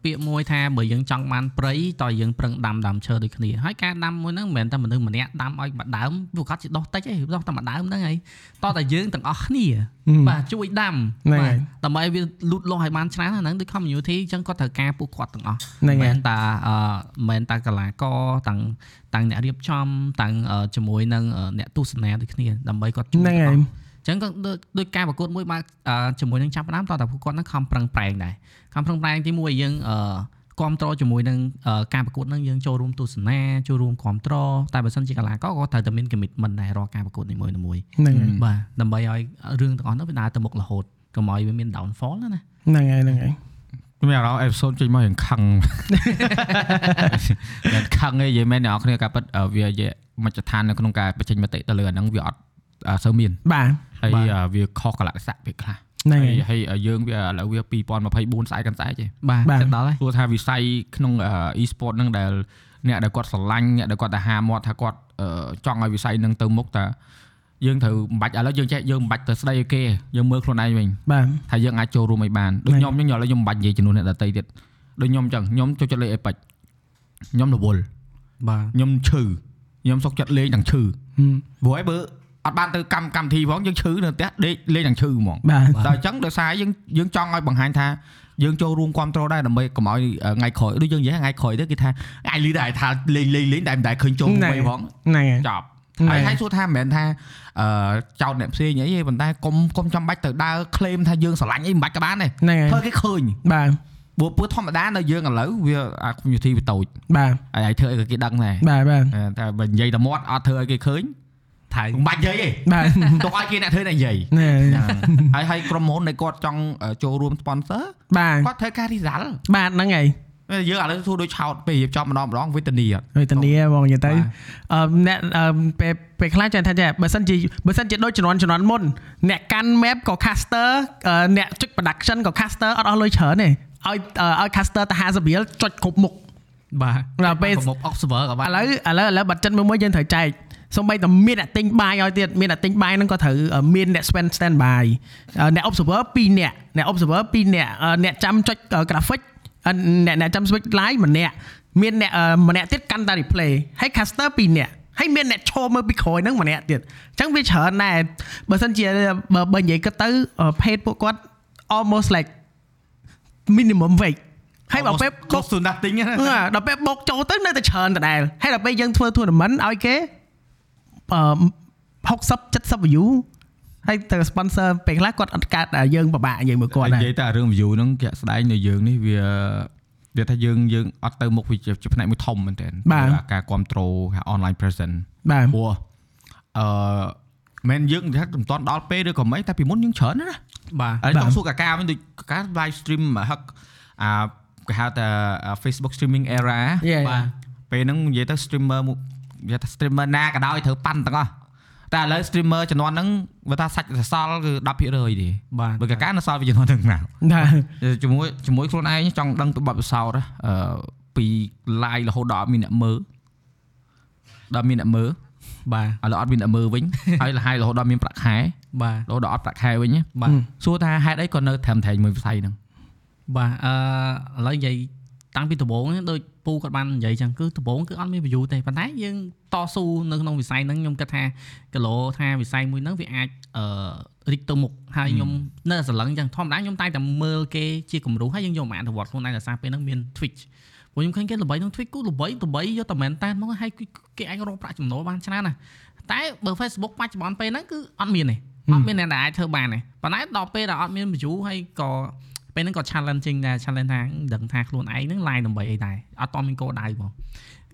[SPEAKER 3] ពាក្យមួយថាបើយើងចង់បានព្រៃតើយើងប្រឹងដាំដើមឈើដូចគ្នាហើយការដាំមួយហ្នឹងមិនមែនតែមនុស្សម្នាក់ដាំឲ្យមួយដើមពួកគាត់ជិះដោះតិចឯងដោះតែមួយដើមហ្នឹងឯងតោះតែយើងទាំងអស់គ្នា បាទជួយដាំ
[SPEAKER 2] ហ្នឹង
[SPEAKER 3] បា
[SPEAKER 2] ហើយ
[SPEAKER 3] ទដើម្បីវាលូតលាស់ឲ្យបានច្រើនអាហ្នឹងដូច community អញ្ចឹងគាត់ត្រូវការពួកគាត់ទាំងអស់
[SPEAKER 2] ហ្នឹងហើយ
[SPEAKER 3] មិនតាអឺមិនមែនតាកលាករទាំងទាំងអ្នករៀបចំទាំងអឺជាមួយនឹងអឺអ្នកទស្សនាដូចគ្នាដើម្បីគាត់ជួយ
[SPEAKER 2] ហ្នឹង
[SPEAKER 3] ទាំងអ
[SPEAKER 2] ហើយ
[SPEAKER 3] ស់ អញ្ចឹងក៏ដូចដូចការប្រកួតមួយបើកអឺជាមួយនឹងចាប់ផ្ដើមតោះតាពួកគាត់ហ្នឹងខំប្រឹងប្រែងដែរខំប្រឹងប្រែងទីមួយយើងអឺគ្រប់គ្រងជាមួយនឹងអឺការប្រកួតហ្នឹងយើងចូលរួមទស្សនាចូលរួមគ្រប់គ្រងតែបើសិនជាកីឡាករក៏ត្រូវតែមាន commitment ដែររាល់ការប្រកួតនីមួយៗ
[SPEAKER 2] ហ្នឹងហើយ
[SPEAKER 3] បាទដើម្បីឲ្យរឿងទាំងអស់ហ្នឹងវាដើរទៅមុខរហូតកុំឲ្យវាមាន downfall ណាណា
[SPEAKER 2] ហ្នឹងហើយហ្នឹងហើយ
[SPEAKER 1] មានអារម្មណ៍អេផ isode ចេញមកយ៉ាងខឹ ង មិនខឹងទេនិយាយមែនអ្នកនរគ្នាការប៉ັດអឺវាជាមជ្ឈដ្ឋាននៅក្នុងការបញ្ចេញមតិទៅលើអាហ្នឹងវាអត់អឺសូវមាន
[SPEAKER 2] បាទ
[SPEAKER 1] ហើយអឺវាខុសកលៈទេសៈពេលខ្លះ
[SPEAKER 2] ហ្នឹង
[SPEAKER 1] ហើយហើ
[SPEAKER 2] ហើយ
[SPEAKER 1] យអឺយើងវាឥឡូវវា2024ស្អែកកាន់ស្អែកទេ
[SPEAKER 3] បាទ
[SPEAKER 2] បាទ
[SPEAKER 3] ចិត្តដល់ហើយ
[SPEAKER 1] ព្រោះថាវិស័យក្នុងអឺ e-sport ហ្នឹងដែលអ្នកដែលគាត់ស្រឡាញ់អ្នកដែលគាត់ទៅហាមាត់ថាគាត់អឺចង់ឲ្យវិស័យហ្នឹងទៅមុខតាយើងត្រូវមិនបាច់ឥឡូវយើងចេះយើងមិនបាច់ទៅស្ដីឲ្យគេយើងមើលខ្លួនឯងវិញ
[SPEAKER 2] បាទ
[SPEAKER 1] ថាយើងអាចចូលរួមឲ្យបានដូច
[SPEAKER 2] ហ្នឹង
[SPEAKER 1] ខ្ញុំខ្ញុំឥឡូវខ្ញុំមិនបាច់និយាយជំនួសអ្នកដតីទៀតដូចខ្ញុំអញ្ចឹងខ្ញុំចូលចិត្តលេងអេប៉ិចខ្ញុំរវល់
[SPEAKER 3] បាទ
[SPEAKER 1] ខ្ញុំឈឺខ្ញុំសុកចិត្តលេងទាំងឈឺ
[SPEAKER 2] ហឹម
[SPEAKER 1] ព្រោះឯងបើអត់បានទៅកម្មកម្មវិធីផងយើងឈឺនៅផ្ទះដេកលេងទាំងឈឺហ្មង
[SPEAKER 2] បាទ
[SPEAKER 1] តែអញ្ចឹងដោយសារយើងយើងចង់ឲ្យបង្ហាញថាយើងចូលរួមគ្រប់គ្រងដែរដើម្បីកុំឲ្យអឺថ្ងៃក្រោយដូចយើងនិយាយថ្ងៃក្រោយទៅគេថាអាយលីដែរថាលេងលេងលេងតែមិនដែរឃើញចូលមកវិញផង
[SPEAKER 2] ហ្នឹងហើយ
[SPEAKER 1] ចប់
[SPEAKER 2] ហ្នឹង
[SPEAKER 1] ហើយ
[SPEAKER 2] ហើ
[SPEAKER 1] យហើយសួរថាមិនមែនថាអឺចោតអ្នកផ្សេងអីទេប៉ុន្តែកុំកុំចាំបាច់ទៅដើរ claim ថាយើងស្រឡាញ់អីមិនបាច់ក៏បានដែរ
[SPEAKER 2] ហ្នឹងហើយ
[SPEAKER 1] ធ្វើគេឃើញ
[SPEAKER 2] បាទ
[SPEAKER 1] ព្រោះព្រោះធម្មតានៅយើងឥឡូវវាអា community វាតូច
[SPEAKER 2] បាទ
[SPEAKER 1] ហើយឲ្យធ្វើអីក៏គេដឹងដែរ
[SPEAKER 2] បាទបាទ
[SPEAKER 1] អឺតែបើនិយាយតែមាត់អត់ធ្វើឲ្យគេឃើញ
[SPEAKER 3] ថៃ
[SPEAKER 1] មិនបាច់និយាយទេ
[SPEAKER 2] បាទ
[SPEAKER 1] ទុកឲ្យគេអ្នកធ្វើអ្នកនិយាយ
[SPEAKER 2] ណ
[SPEAKER 1] ហ
[SPEAKER 2] ែ
[SPEAKER 1] ើយហើយក្រុមហ៊ុននៃគាត់ចង់អឺចូលរួម sponsor
[SPEAKER 2] បាទ
[SPEAKER 1] គាត់ធ្វើការ result
[SPEAKER 2] បាទហ្នឹងហើយ
[SPEAKER 1] យើងឥឡូវធ្វើដូចឆោតពេលរៀបចំម្ដងម្ដងវេទនីអត់
[SPEAKER 2] វេទនាហ្មងនិយាយទៅ
[SPEAKER 1] បាទ
[SPEAKER 2] អឺអ្នកអឺពេលពេលខ្លះចង់ថាចេះបើសិនជាបើសិនជាដូចជំនាន់ជំនាន់មុនអ្នកកាន់ map ក៏ caster អឺអ្នកចុច production ក៏ caster អត់អស់លុយច្រើនទេឲ្យអឺឲ្យ caster ទៅ50រៀលចុចគ្រប់មុខ
[SPEAKER 3] បាទ
[SPEAKER 2] ដល់ពេល
[SPEAKER 3] ប្រមុខ observer ក៏បា
[SPEAKER 2] ឥ
[SPEAKER 3] ន
[SPEAKER 2] ឡូវឥឡូវឥឡូវបើចិត្តមួយមួយយើងត្រូវចែកសូម្បីតែមានអ្នកទិញបាយឲ្យទៀតមានអ្នកទិញបាយហ្នឹងក៏ត្រូវអឺមានអ្នក spend stand by អឺអ្នក observer 2នាក់អ្នក observer 2នាក់អឺអ្នកចាំចុចអឺ graphic អឺអ្នកអ្នកចាំ switch live ម្នាក់មានអ្នកអឺម្នាក់ទៀតកាន់តែ replay ហើយ caster 2នាក់ហើយមានអ្នកឈរមើលពីក្រោយហ្នឹងម្នាក់ទៀតអញ្ចឹងវាច្រើនដែរបើសិនជាបើបើនិយាយគិតទៅអឺ page ពួកគាត់ almost like minimum wage ហើយបើពេល
[SPEAKER 1] កុសសុណាស់ទិញណា
[SPEAKER 2] អឺដល់ពេលបុកចូលទៅនៅតែច្រើនដដែលហើយដល់ពេលយើងធ្វើ tournament ឲ្យគេអឺ60 70 view ហើយទៅ sponsor ពេលខ្លះគាត់អត់កើតដល់យើងពិបាកនិយាយមួយគាត់
[SPEAKER 1] និ
[SPEAKER 2] ដែរ
[SPEAKER 1] យាយតែរឿង view ហ្នឹងជាក់ស្ដែងនៅយើងនេះវាវាថាយើងយើងអត់ទៅមុខវាជាជាផ្នែកមួយធំមែនទែនអាការគ្រប់គ្រងហៅ online presence
[SPEAKER 2] បាទ
[SPEAKER 1] ព្រោះអឺមិនយើងថាមិនតាន់ដល់ពេលឬក៏មិនតែពីមុនយើងច្រើនណាស់
[SPEAKER 3] បាទ
[SPEAKER 1] ហើយចង់សួរកាកាវិញដូចកាកា live stream ហឹកអាគេហៅថា Facebook streaming era
[SPEAKER 2] យេ
[SPEAKER 3] បាទ
[SPEAKER 1] ពេលហ្នឹងនិយាយទៅ streamer មួយនិយាយថា streamer ណាក៏ដោយត្រូវប៉ាន់ទាំងអស់តែឥឡូវ streamer ចំនួនហ្នឹងវាថាសាច់សសល់គឺ10%ទេ
[SPEAKER 3] បាទ
[SPEAKER 1] បើកាកានៅសល់វាចំនួនទាំងណា
[SPEAKER 2] បាទ
[SPEAKER 1] ជាមួយជាមួយខ្លួនឯងចង់ដឹងពីបទពិសោធន៍ហ៎អឺពី live រហូតដល់អត់មានអ្នកមើលដល់មានអ្នកមើល
[SPEAKER 3] បាទ
[SPEAKER 1] ឥឡូវអត់មានអ្នកមើលវិញ ហើយលហើយរហូតដល់មានប្រាក់ខែ
[SPEAKER 3] បាទ
[SPEAKER 1] រហូតដល់អត់ប្រាក់ខែវិញហ៎
[SPEAKER 3] បាទ
[SPEAKER 1] សួរថាហេតុអីក៏នៅត្រឹមត្រែងមួយវិស័យហ្នឹង
[SPEAKER 3] បាទអឺឥឡូវនិយាយតាំងពីដំបូងហ្នឹងដូចពូគាត់បាននិយាយចឹងគឺដំបូងគឺអត់មាន view ទេប៉ុន្តែយើងតស៊ូនៅក្នុងវិស័យហ្នឹងខ្ញុំគិតថាគីឡូថាវិស័យមួយហ្នឹងវាអាចអឺរីកទៅមុខហើយខ្ញុំនៅតែសន្លឹងចឹងធម្មតាខ្ញុំតែងតែមើលគេជាគំរូហើយយើងយកមកអនុវត្តខ្លួនឯងដោយសារពេលហ្នឹងមាន Twitch ព្រោះខ្ញុំឃើញគេល្បីក្នុង Twitch គូល្បីល្បីយកតែមែនតើមកហើយគឺគេអាចរកប្រាក់ចំណូលបានច្រើនណាស់តែបើ Facebook បច្ចុប្បន្នពេលហ្នឹងគឺអត់មានទេអត់មានអ្នកដែលអាចធ្វើបានទេប៉ុន្តែដល់ពេលដែលអត់មាន view ហើយក៏ ពេលហ្នឹងក៏ challenging ដែរ challenge ថាដឹងថាខ្លួនឯងហ្នឹង line ដើម្បីអីដែរអត់តមានគោលដៅបង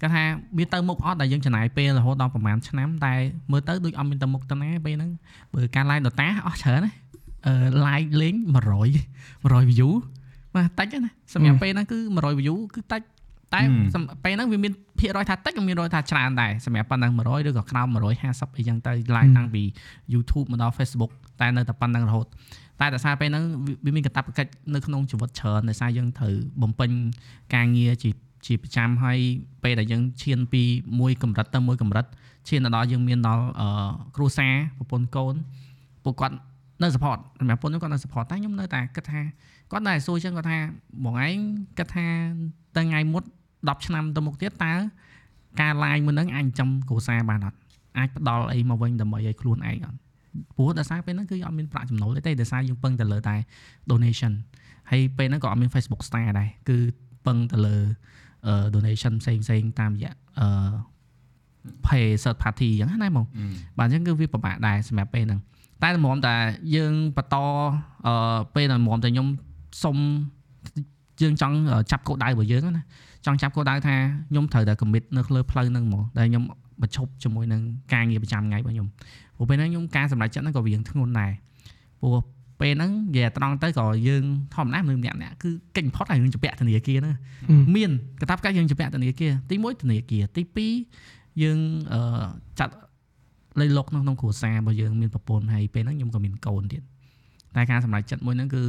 [SPEAKER 3] គាត់ថាវាទៅមុខអត់ដែលយើងចំណាយពេលរហូតដល់ប្រហែលឆ្នាំតែមើលទៅដូចអត់មានទៅមុខទៅណាពេលហ្នឹងបើការ line ដតាអស់ច្រើនណាអឺ line លេង100 100 view បាទតិចណាសម្រាប់ពេលហ្នឹងគឺ100 view គឺតិចតែសម្រាប់ពេលហ្នឹងវាមានភាគរយថាតិចក៏មានរយថាច្រើនដែរសម្រាប់ប៉ុណ្ណឹង100ឬក៏ក្រោម150អីចឹងទៅ line តាំងពី YouTube មកដល់ Facebook តែនៅតែប៉ុណ្ណឹងរហូត តែដោយសារពេលហ្នឹងវាវាមានកាតព្វកិច្ចនៅក្នុងជីវិតច្រើនដោយសារយើងត្រូវបំពេញការងារជាជាប្រចាំហើយពេលដែលយើងឈានពីមួយកម្រិតទៅមួយកម្រិតឈានទៅដល់យើងមានដល់អឺគ្រួសារប្រពន្ធកូនពួកគាត់នៅ support សម្រាប់ប្រពន្ធខ្ញុំគាត់នៅ support តែខ្ញុំនៅតែគិតថាគាត់នៅតែសួរចឹងគាត់ថាបងឯងគិតថាទៅថ្ងៃមុត10ឆ្នាំទៅមុខទៀតតើការ line មួយហ្នឹងអាចចិញ្ចឹមគ្រួសារបានអត់អាចផ្ដល់អីមកវិញដើម្បីឲ្យខ្លួនឯងអត់ ព្រោះដោយសារពេលហ្នឹងគឺអត់មានប្រាក់ចំណូលអីទេដោយសារយើងពឹងតែលើតែ donation ហើយពេលហ្នឹងក៏អត់មាន Facebook Star ដែរគឺពឹងតែលើ អឺ donation ផ្សេងផ្សេងៗតាមរយៈអឺ pay third party អញ្ចឹងណាហ្មង បាទអញ្ចឹងគឺវាពិបាកដែរសម្រាប់ពេលហ្នឹងតែតម្រាំតែយើងបន្តអឺពេលតម្រាំតែខ្ញុំសុំយើងចង់អឺចាប់គោលដៅរបស់យើងណាចង់ចាប់គោលដៅថាខ្ញុំត្រូវតែ commit នៅលើផ្លូវហ្នឹងហ្មងដែលខ្ញុំបញ្ឈប់ជាមួយនឹងការងារប្រចាំថ្ងៃរបស់ខ្ញុំព្រោះពេលហ្នឹងខ្ញុំការសម្រេចចិត្តហ្នឹងក៏វារៀងធ្ងន់ដែរព្រោះពេលហ្នឹងនិយាយត្រង់ទៅក៏យើងធម្មតាមនុស្សម្នាក់ៗគឺកិច្ចបំផុតហើយយើងជាពាក់ធនាគារហ្នឹង មានកតាបកិច្ចយើងជាពាក់ធនាគារទី1ធនាគារទី2យើងអឺចាត់លៃលុកនៅក្នុងគ្រួសាររបស់យើងមានប្រពន្ធហើយពេលហ្នឹងខ្ញុំក៏មានកូនទៀតតែការសម្រេចចិត្តមួយហ្នឹងគឺ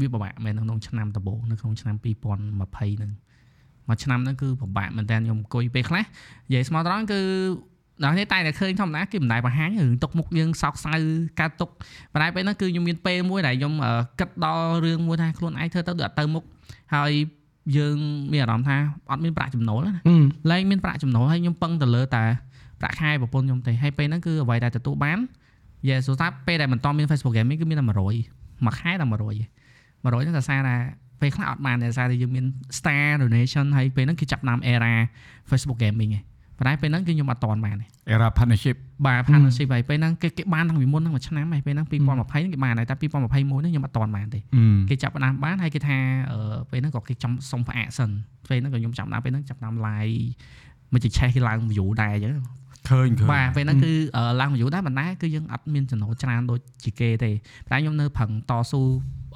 [SPEAKER 3] វាពិបាកមែននៅក្នុងឆ្នាំដំបូងនៅក្នុងឆ្នាំ2020ហ្នឹងមួយឆ្នាំហ្នឹងគឺពិបាកមែនតើខ្ញុំអង្គុយពេលខ្លះនិយាយស្មោះត្រង់គឺដល់នេះតែតែឃើញធម្មតាគេមិនដែលបង្ហាញរឿងຕົកមុខយើងសោកសៅការຕົកប៉ុន្តែពេលហ្នឹងគឺខ្ញុំមានពេលមួយដែលខ្ញុំអឺគិតដល់រឿងមួយថាខ្លួនឯងធ្វើទៅដូចអត់ទៅមុខហើយ យើងមានអារម្មណ៍ថាអត់មានប្រាក់ចំណូលណាឡើងមានប្រាក់ចំណូលហើយខ្ញុំពឹងទៅលើតែប្រាក់ខែប្រពន្ធខ្ញុំទេហើយពេលហ្នឹងគឺអ្វីដែលទទួលបានយេសូថាពេលដែលមិនតមាន Facebook Gaming គឺមានតែ100មួយខែតែ100ឯង100ហ្នឹងតែសារថាពេលខ្លះអត់បានតែសារថាយើងមាន star donation ហើយពេលហ្នឹងគឺចាប់ផ្ដើម era Facebook Gaming ឯង ប៉ុន្តែពេលហ្នឹងគឺខ្ញុំអត់តន់បានទេ
[SPEAKER 1] era partnership
[SPEAKER 3] បាទ partnership ហើយពេលហ្នឹងគេគេបានតាំងពីមុនហ្នឹងមួយឆ្នាំហើយពេលហ្នឹង2020ហ្នឹងគេបានហើយតែ2021ហ្នឹងខ្ញុំអត់តន់បានទេ
[SPEAKER 1] អឺ
[SPEAKER 3] គេចាប់ផ្ដើមបានហើយគេថាអឺពេលហ្នឹងក៏គេចាំសុំផ្អាកសិនពេលហ្នឹងក៏ខ្ញុំចាប់ផ្ដើមពេលហ្នឹងចាប់ផ្ដើម live មួយជិឆេះគេឡើង view ដែរអញ្ចឹង
[SPEAKER 1] ឃើញឃើញ
[SPEAKER 3] បាទពេលហ្នឹងគឺអឺឡើង view ដែរប៉ុន្តែគឺយើងអត់មានចំណូលច្រើនដូចជាគេទេប៉ុន្តែខ្ញុំនៅប្រឹងតស៊ូ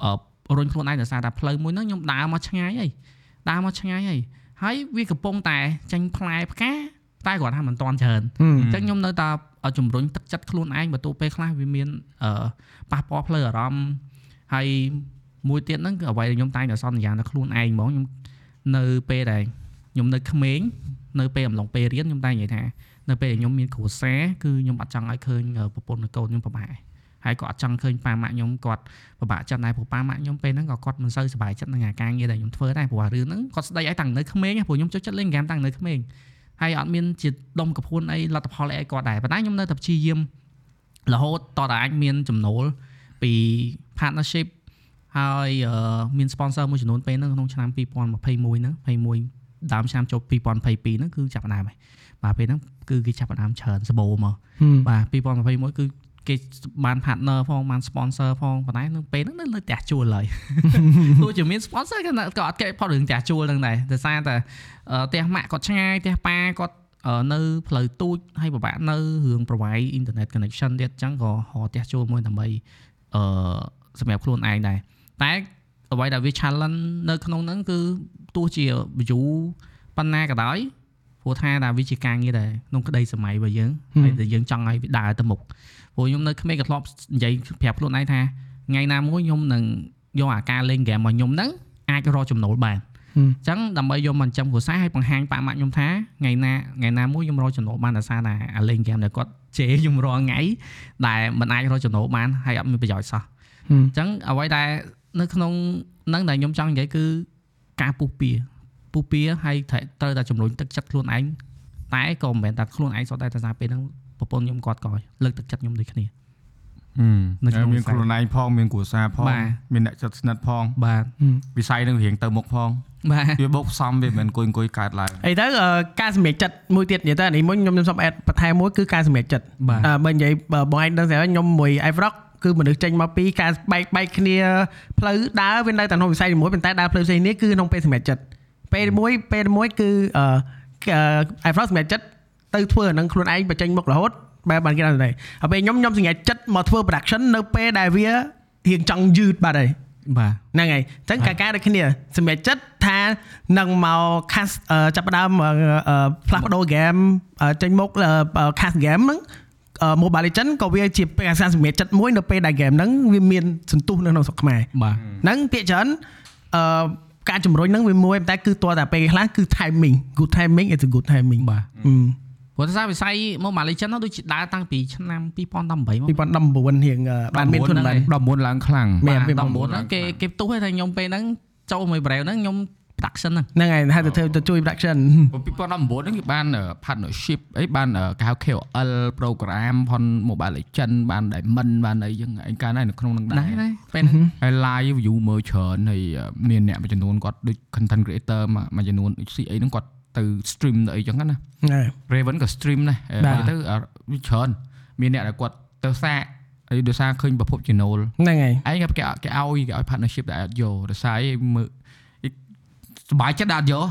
[SPEAKER 3] អឺរុញខ្លួនឯងដោយសារតែផ្លូវមួយហ្នឹងខ្ញុំដើរមកឆ្ងាយហើយដើរមកឆ្ងាយហើយហើយវាកំពុងតែចាញ់ផ្លែផ្កាតែគាត់ថាមិនតន់ច្រើន អញ្ចឹងខ្ញុំនៅតែជំរុញទឹកចិត្តខ្លួនឯងបើទោះពេលខ្លះវាមានអឺប៉ះពាល់ផ្លូវអារម្មណ៍ហើយមួយទៀតហ្នឹងគឺអ្វីដែលខ្ញុំតែងតែសន្យានៅខ្លួនឯងហ្មងខ្ញុំនៅពេលដែលខ្ញុំនៅក្មេងនៅពេលអំឡុងពេលរៀនខ្ញុំតែនិយាយថានៅពេលដែលខ្ញុំមានគ្រួសារគឺខ្ញុំអត់ចង់ឲ្យឃើញអឺប្រពន្ធនិងកូនខ្ញុំពិបាកហើយក៏អត់ចង់ឃើញប៉ាម៉ាក់ខ្ញុំគាត់ពិបាកចិត្តដែរព្រោះប៉ាម៉ាក់ខ្ញុំពេលហ្នឹងក៏គាត់មិនសូវសប្បាយចិត្តនឹងអាការងារដែលខ្ញុំធ្វើដែរព្រោះរឿងហ្នឹងគាត់ស្ដីឲ្យតាំងនៅក្មេងឯងព្រោះខ្ញុំចូលចិត្តលេងហ្គេមតាំងនៅក្មេង ហើយអត់មានជាដុំកពួនអីលទ្ធផលអីឲ្យគាត់ដែរប៉ុន្តែខ្ញុំនៅតែព្យាយាមរហូតតរតែអាចមានចំណូលពី partnership ហើយអឺមាន sponsor មួយចំនួនពេលហ្នឹងក្នុងឆ្នាំ2021ហ្នឹង21ដើមឆ្នាំចូល2022ហ្នឹងគឺចាប់ផ្ដើមហើយបាទពេលហ្នឹងគឺគេចាប់ផ្ដើមច្រើនសបោមកបាទ2021គឺគេបាន partner ផងបាន sponsor ផងប៉ុន្តែនៅពេលហ្នឹងនៅលើផ្ទះជួលហើយ ទោះជាមាន sponsor ក៏នៅក៏អត់គេផុតរឿងផ្ទះជួលហ្នឹងដែរដោយសារតែ អឺផ្ទះម៉ាក់គាត់ឆ្ងាយផ្ទះប៉ាគាត់អឺនៅផ្លូវទូចហើយពិបាកនៅរឿង provide internet connection ទៀតអញ្ចឹងក៏ហៅផ្ទះជួលមួយដើម្បីអឺសម្រាប់ខ្លួនឯងដែរតែអ្វីដែលវា challenge នៅក្នុងហ្នឹងគឺទោះជា view ប៉ុណ្ណាក៏ដោយព្រោះថាដល់វាជាការងារដែរក្នុងក្តីសម័យរបស់យើងហើយដែលយើងចង់ឲ្យវាដើរទៅមុខព្រោះខ្ញុំនៅក្មេងក៏ធ្លាប់និយាយប្រាប់ខ្លួនឯងថាថ្ងៃណាមួយខ្ញុំនឹងយកអាការលេងហ្គេមរបស់ខ្ញុំហ្នឹងអាចរកចំណូលបាន អញ្ចឹងដើម្បីយកមកចិញ្ចឹមគ្រួសារហើយបង្ហាញប៉ាម៉ាក់ខ្ញុំថាថ្ងៃណាថ្ងៃណាមួយខ្ញុំរកចំណូលបានដោយសារតែអាលេងហ្គេមដែលគាត់ជេរខ្ញុំរាល់ថ្ងៃដែលមិនអាចរកចំណូលបានហើយអត់មានប្រយោជន៍សោះ
[SPEAKER 2] ហឹម
[SPEAKER 3] អញ្ចឹងអ្វីដែលនៅក្នុងហ្នឹងដែលខ្ញុំចង់និយាយគឺការពុះពៀពុះពៀហើយត្រូវត្រូវតែជំរុញទឹកចិត្តខ្លួនឯងតែក៏មិនមែនតែខ្លួនឯងសុទ្ធតែតែសារពេលហ្នឹងប្រពន្ធខ្ញុំគាត់ក៏លើកទឹកចិត្តខ្ញុំដូចគ្នា នៅក្នុង
[SPEAKER 1] មានខ្លួនឯងផងមានគ្រួសារផង
[SPEAKER 3] បាទ
[SPEAKER 1] មានអ្នកចិត្តស្និទ្ធផង
[SPEAKER 3] បាទ
[SPEAKER 1] វិស័យនឹងរៀងទៅមុខផង
[SPEAKER 3] បាទ
[SPEAKER 1] វាបូកផ្សំវាមិនមែនអង្គុយអង្គុយកើតឡើង
[SPEAKER 2] អីទៅអឺការសម្រេចចិត្តមួយទៀតនិយាយទៅអានេះមួយខ្ញុំខ្ញុំសុំអេតបន្ថែមមួយគឺការសម្រេចចិត្ត
[SPEAKER 3] បាទ
[SPEAKER 2] អឺបើនិយាយបើបងឯងដឹងស្រាប់ហើយខ្ញុំមួយ iFrog គឺមនុស្សចេញមកពីការបែកបែកគ្នាផ្លូវដើរវានៅតែក្នុងវិស័យនីមួយប៉ុន្តែដើរផ្លូវផ្សេងនេះគឺក្នុងពេលសម្រេចចិត្តពេលមួយពេលមួយគឺអឺអឺ iFrog សម្រេចចិត្តទៅធ្វើអានឹងខ្លួនឯងបញ្ចេញមករហូតបែបបានគេដល់នេះហើយពេលខ្ញុំខ្ញុំសម្រេចចិត្តមកធ្វើ production នៅពេលដែលវារៀងចង់យឺតបាត់ហើយ
[SPEAKER 3] បាទ
[SPEAKER 2] ហ្នឹងហើយអញ្ចឹងកាកាដូចគ្នាសម្រាប់ចិត្តថានឹងមក cast អឺចាប់ផ្ដើមអឺអឺផ្លាស់ប្ដូរ game អឺចេញមកអឺអឺ cast game ហ្នឹងអឺ Mobile Legend ក៏វាជាពេលអាសាសម្រាប់ចិត្តមួយនៅពេលដែល game ហ្នឹងវាមានសន្ទុះនៅក្នុងស្រុកខ្មែរ
[SPEAKER 3] បាទ
[SPEAKER 2] ហ្នឹងពាក្យច្រើនអឺការជំរុញហ្នឹងវាមួយតែគឺតរតែពេលខ្លះគឺ timing good timing is a good timing
[SPEAKER 3] បាទ
[SPEAKER 2] អឺ
[SPEAKER 3] ព្រោះថាវិស័យ Mobile Legends ហ្នឹងដូចជាដើរតាំងពីឆ្នាំ2018មក
[SPEAKER 2] 2019រៀងអឺបានមានទុនឡើង
[SPEAKER 1] 19ឡើងខ្លាំង
[SPEAKER 2] មែ
[SPEAKER 3] បាទ
[SPEAKER 2] នវា19
[SPEAKER 3] 19ហ្នឹងគេគេផ្ទុះឲ្យថាខ្ញុំពេលហ្នឹងចូលមួយ brand ហ្នឹងខ្ញុំ production ហ្នឹង
[SPEAKER 2] ហ្នឹងហើយថាទៅធ្វើទៅជួយ production
[SPEAKER 1] 2019ហ្នឹងគឺបានអឺ partnership អីបានអឺគេហៅ KOL program ផន Mobile Legend បាន Diamond បានអីចឹងឯងកាលណានៅក្នុងហ្នឹង
[SPEAKER 3] ដែរ
[SPEAKER 1] ដែរ
[SPEAKER 3] ដែរពេលហ្នឹង
[SPEAKER 1] ហើយ live view មើលច្រើនហើយអឺមានអ្នកមួយចំនួនគាត់ដូច content creator មួយមួយចំនួនដូចស៊ីអីហ្នឹងគាត់ទៅ stream ទៅអីចឹងណា
[SPEAKER 2] ហ្នឹងហើយ
[SPEAKER 1] Raven ក៏ stream ដែរ
[SPEAKER 2] បា
[SPEAKER 1] ហើយ
[SPEAKER 2] ទ
[SPEAKER 1] ទៅអឺវាច្រើនមានអ្នកដែលគាត់ទៅសាកហើយដោយសារឃើញប្រភព channel
[SPEAKER 2] ហ្នឹងហើយ
[SPEAKER 1] ឯងក៏គេគេឲ្យគេឲ្យ partnership ដែលអត់យករសាយមើលសบายចិត្តដែលអត់យក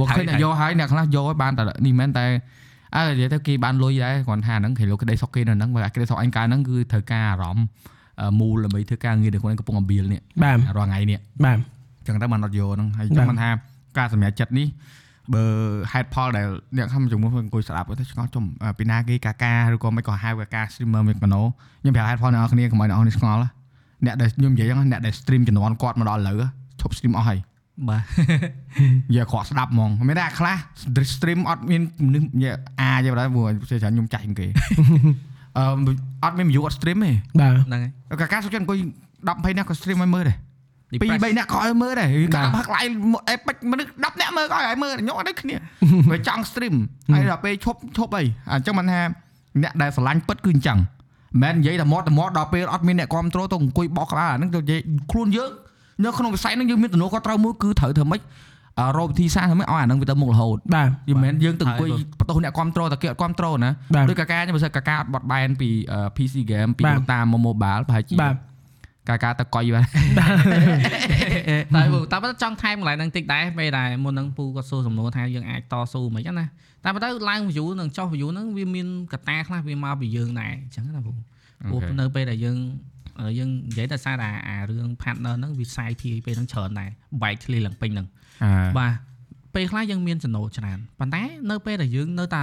[SPEAKER 1] ពួកឃើញអ្នកយកហើយអ្នកខ្លះយកហើយបានតែនេះមិនមែនតែអើនិយាយទៅគេបានលុយដែរគ្រាន់ថាហ្នឹងគេលោកក្តីសុខគេនៅហ្នឹងបើអាក្តីសុខអញកាលហ្នឹងគឺត្រូវការអារម្មណ៍អឺមូលដើម្បីធ្វើការងារដែលខ្លួនឯងកំពុងអំបៀលនេះ
[SPEAKER 2] បាទ
[SPEAKER 1] រាល់ថ្ងៃនេះ
[SPEAKER 2] បាទ
[SPEAKER 1] ចឹងទៅបានអត់យកហ្នឹងហើយចឹង
[SPEAKER 2] បាទ
[SPEAKER 1] មិនថាការសម្រេចចិត្តនេះបើហេតុផលដែលអ្នកខ្ញុំជំនួសអង្គុយស្ដាប់ទៅឆ្ងល់ចំអ่าពីណាគេកាកាឬក៏មិនក៏ហៅកាកា streamer មានកណោខ្ញុំប្រាប់ហេតុផលអ្នកនរគ្នាកុំឲ្យអ្នកនរគ្នាឆ្ងល់អ្នកដែលខ្ញុំនិយាយហ្នឹងអ្នកដែល stream ចំនួនគាត់មកដល់ឥឡូវឈប់ stream អស់ហើយ
[SPEAKER 3] បាទ
[SPEAKER 1] និយាយអក្រក់ស្ដាប់ហ្មងមិនថាខ្លះ stream អត់មានមនុស្សនិយាយអាយទេបើព្រោះច្រើនខ្ញុំចាស់ជា ងគេ អឺអត់មានមនុស្សអត់ stream ទេ
[SPEAKER 2] បាទ
[SPEAKER 3] ហ្នឹងហើយ
[SPEAKER 1] កាកាសុខចិត្តអង្គុយ10 20នាក់ក៏ stream ឲ្យមើលដែរ ពីរ
[SPEAKER 3] Depress
[SPEAKER 1] បីនាក់ក៏ឲ្យមើលដែរ
[SPEAKER 2] បា
[SPEAKER 1] កា
[SPEAKER 2] ទ
[SPEAKER 1] ផឹកឡៃអេពេចមនុស្ស10នាក់មើលក៏ឲ្យឲ្យមើលញ៉ុកអត់ដូចគ្នា វាចង់ stream ហើយដល់ពេលឈប់ឈប់អីអញ្ចឹងមិនថាអ្នកដែលស្រឡាញ់ពិតគឺអញ្ចឹងមិនមែននិយាយតែមាត់តែមាត់ដល់ពេលអត់មានអ្នកគ្រប់គ្រងទៅអង្គុយបោកក្បាលអាហ្នឹងទៅនិយាយខ្លួនយើងនៅក្នុងវិស័យហ្នឹងយើងមានទំនួលខុសត្រូវមួយគឺត្រូវធ្វើម៉េច អឺរោបវិធីសាស្ត្រហ្នឹងឲ្យអាហ្នឹងវាទៅមុខរហូត
[SPEAKER 2] បាទ
[SPEAKER 1] យើងមិនមែនយើងទៅ
[SPEAKER 3] ហើ
[SPEAKER 1] អង្គុ
[SPEAKER 3] យ
[SPEAKER 1] យ
[SPEAKER 3] បើ
[SPEAKER 1] បន្ទោសអ្នកគ្រប់គ្រងតែគេអត់គ្រប់គ្រងណា
[SPEAKER 2] បាទ
[SPEAKER 1] ដូចកាកាខ្ញុំបើសិនកាកាអត់បត់បែនពីអឺ PC game ពី
[SPEAKER 2] បាទ
[SPEAKER 1] ដូតាមក mobile ប្រហែលជា
[SPEAKER 2] បាទ
[SPEAKER 1] កាកាទៅកុ យបាទ
[SPEAKER 3] តែបើតែបើចង់ថែមកន្លែងហ្នឹងតិចដែរពេលដែរមុនហ្នឹងពូគាត់សួរសំណួរថាយើងអាចតស៊ូមិនហ្នឹងណាតែបើទៅឡើង view និងចុះ view ហ្នឹងវាមានកត្តាខ្លះវាមកពីយើងដែរអញ្ចឹងណាពូ
[SPEAKER 1] អូ
[SPEAKER 3] ពូ
[SPEAKER 1] ខេ
[SPEAKER 3] នៅពេលដែលយើងយើងនិយាយតែសារតែអារឿង partner ហ្នឹងវាសាយភាយពេលហ្នឹងច្រើនដែរបែកធ្លីឡើងពេញហ្នឹង បាទពេលខ្លះយើងមានចំណូលច្រើនប៉ុន្តែនៅពេលដែលយើងនៅតែ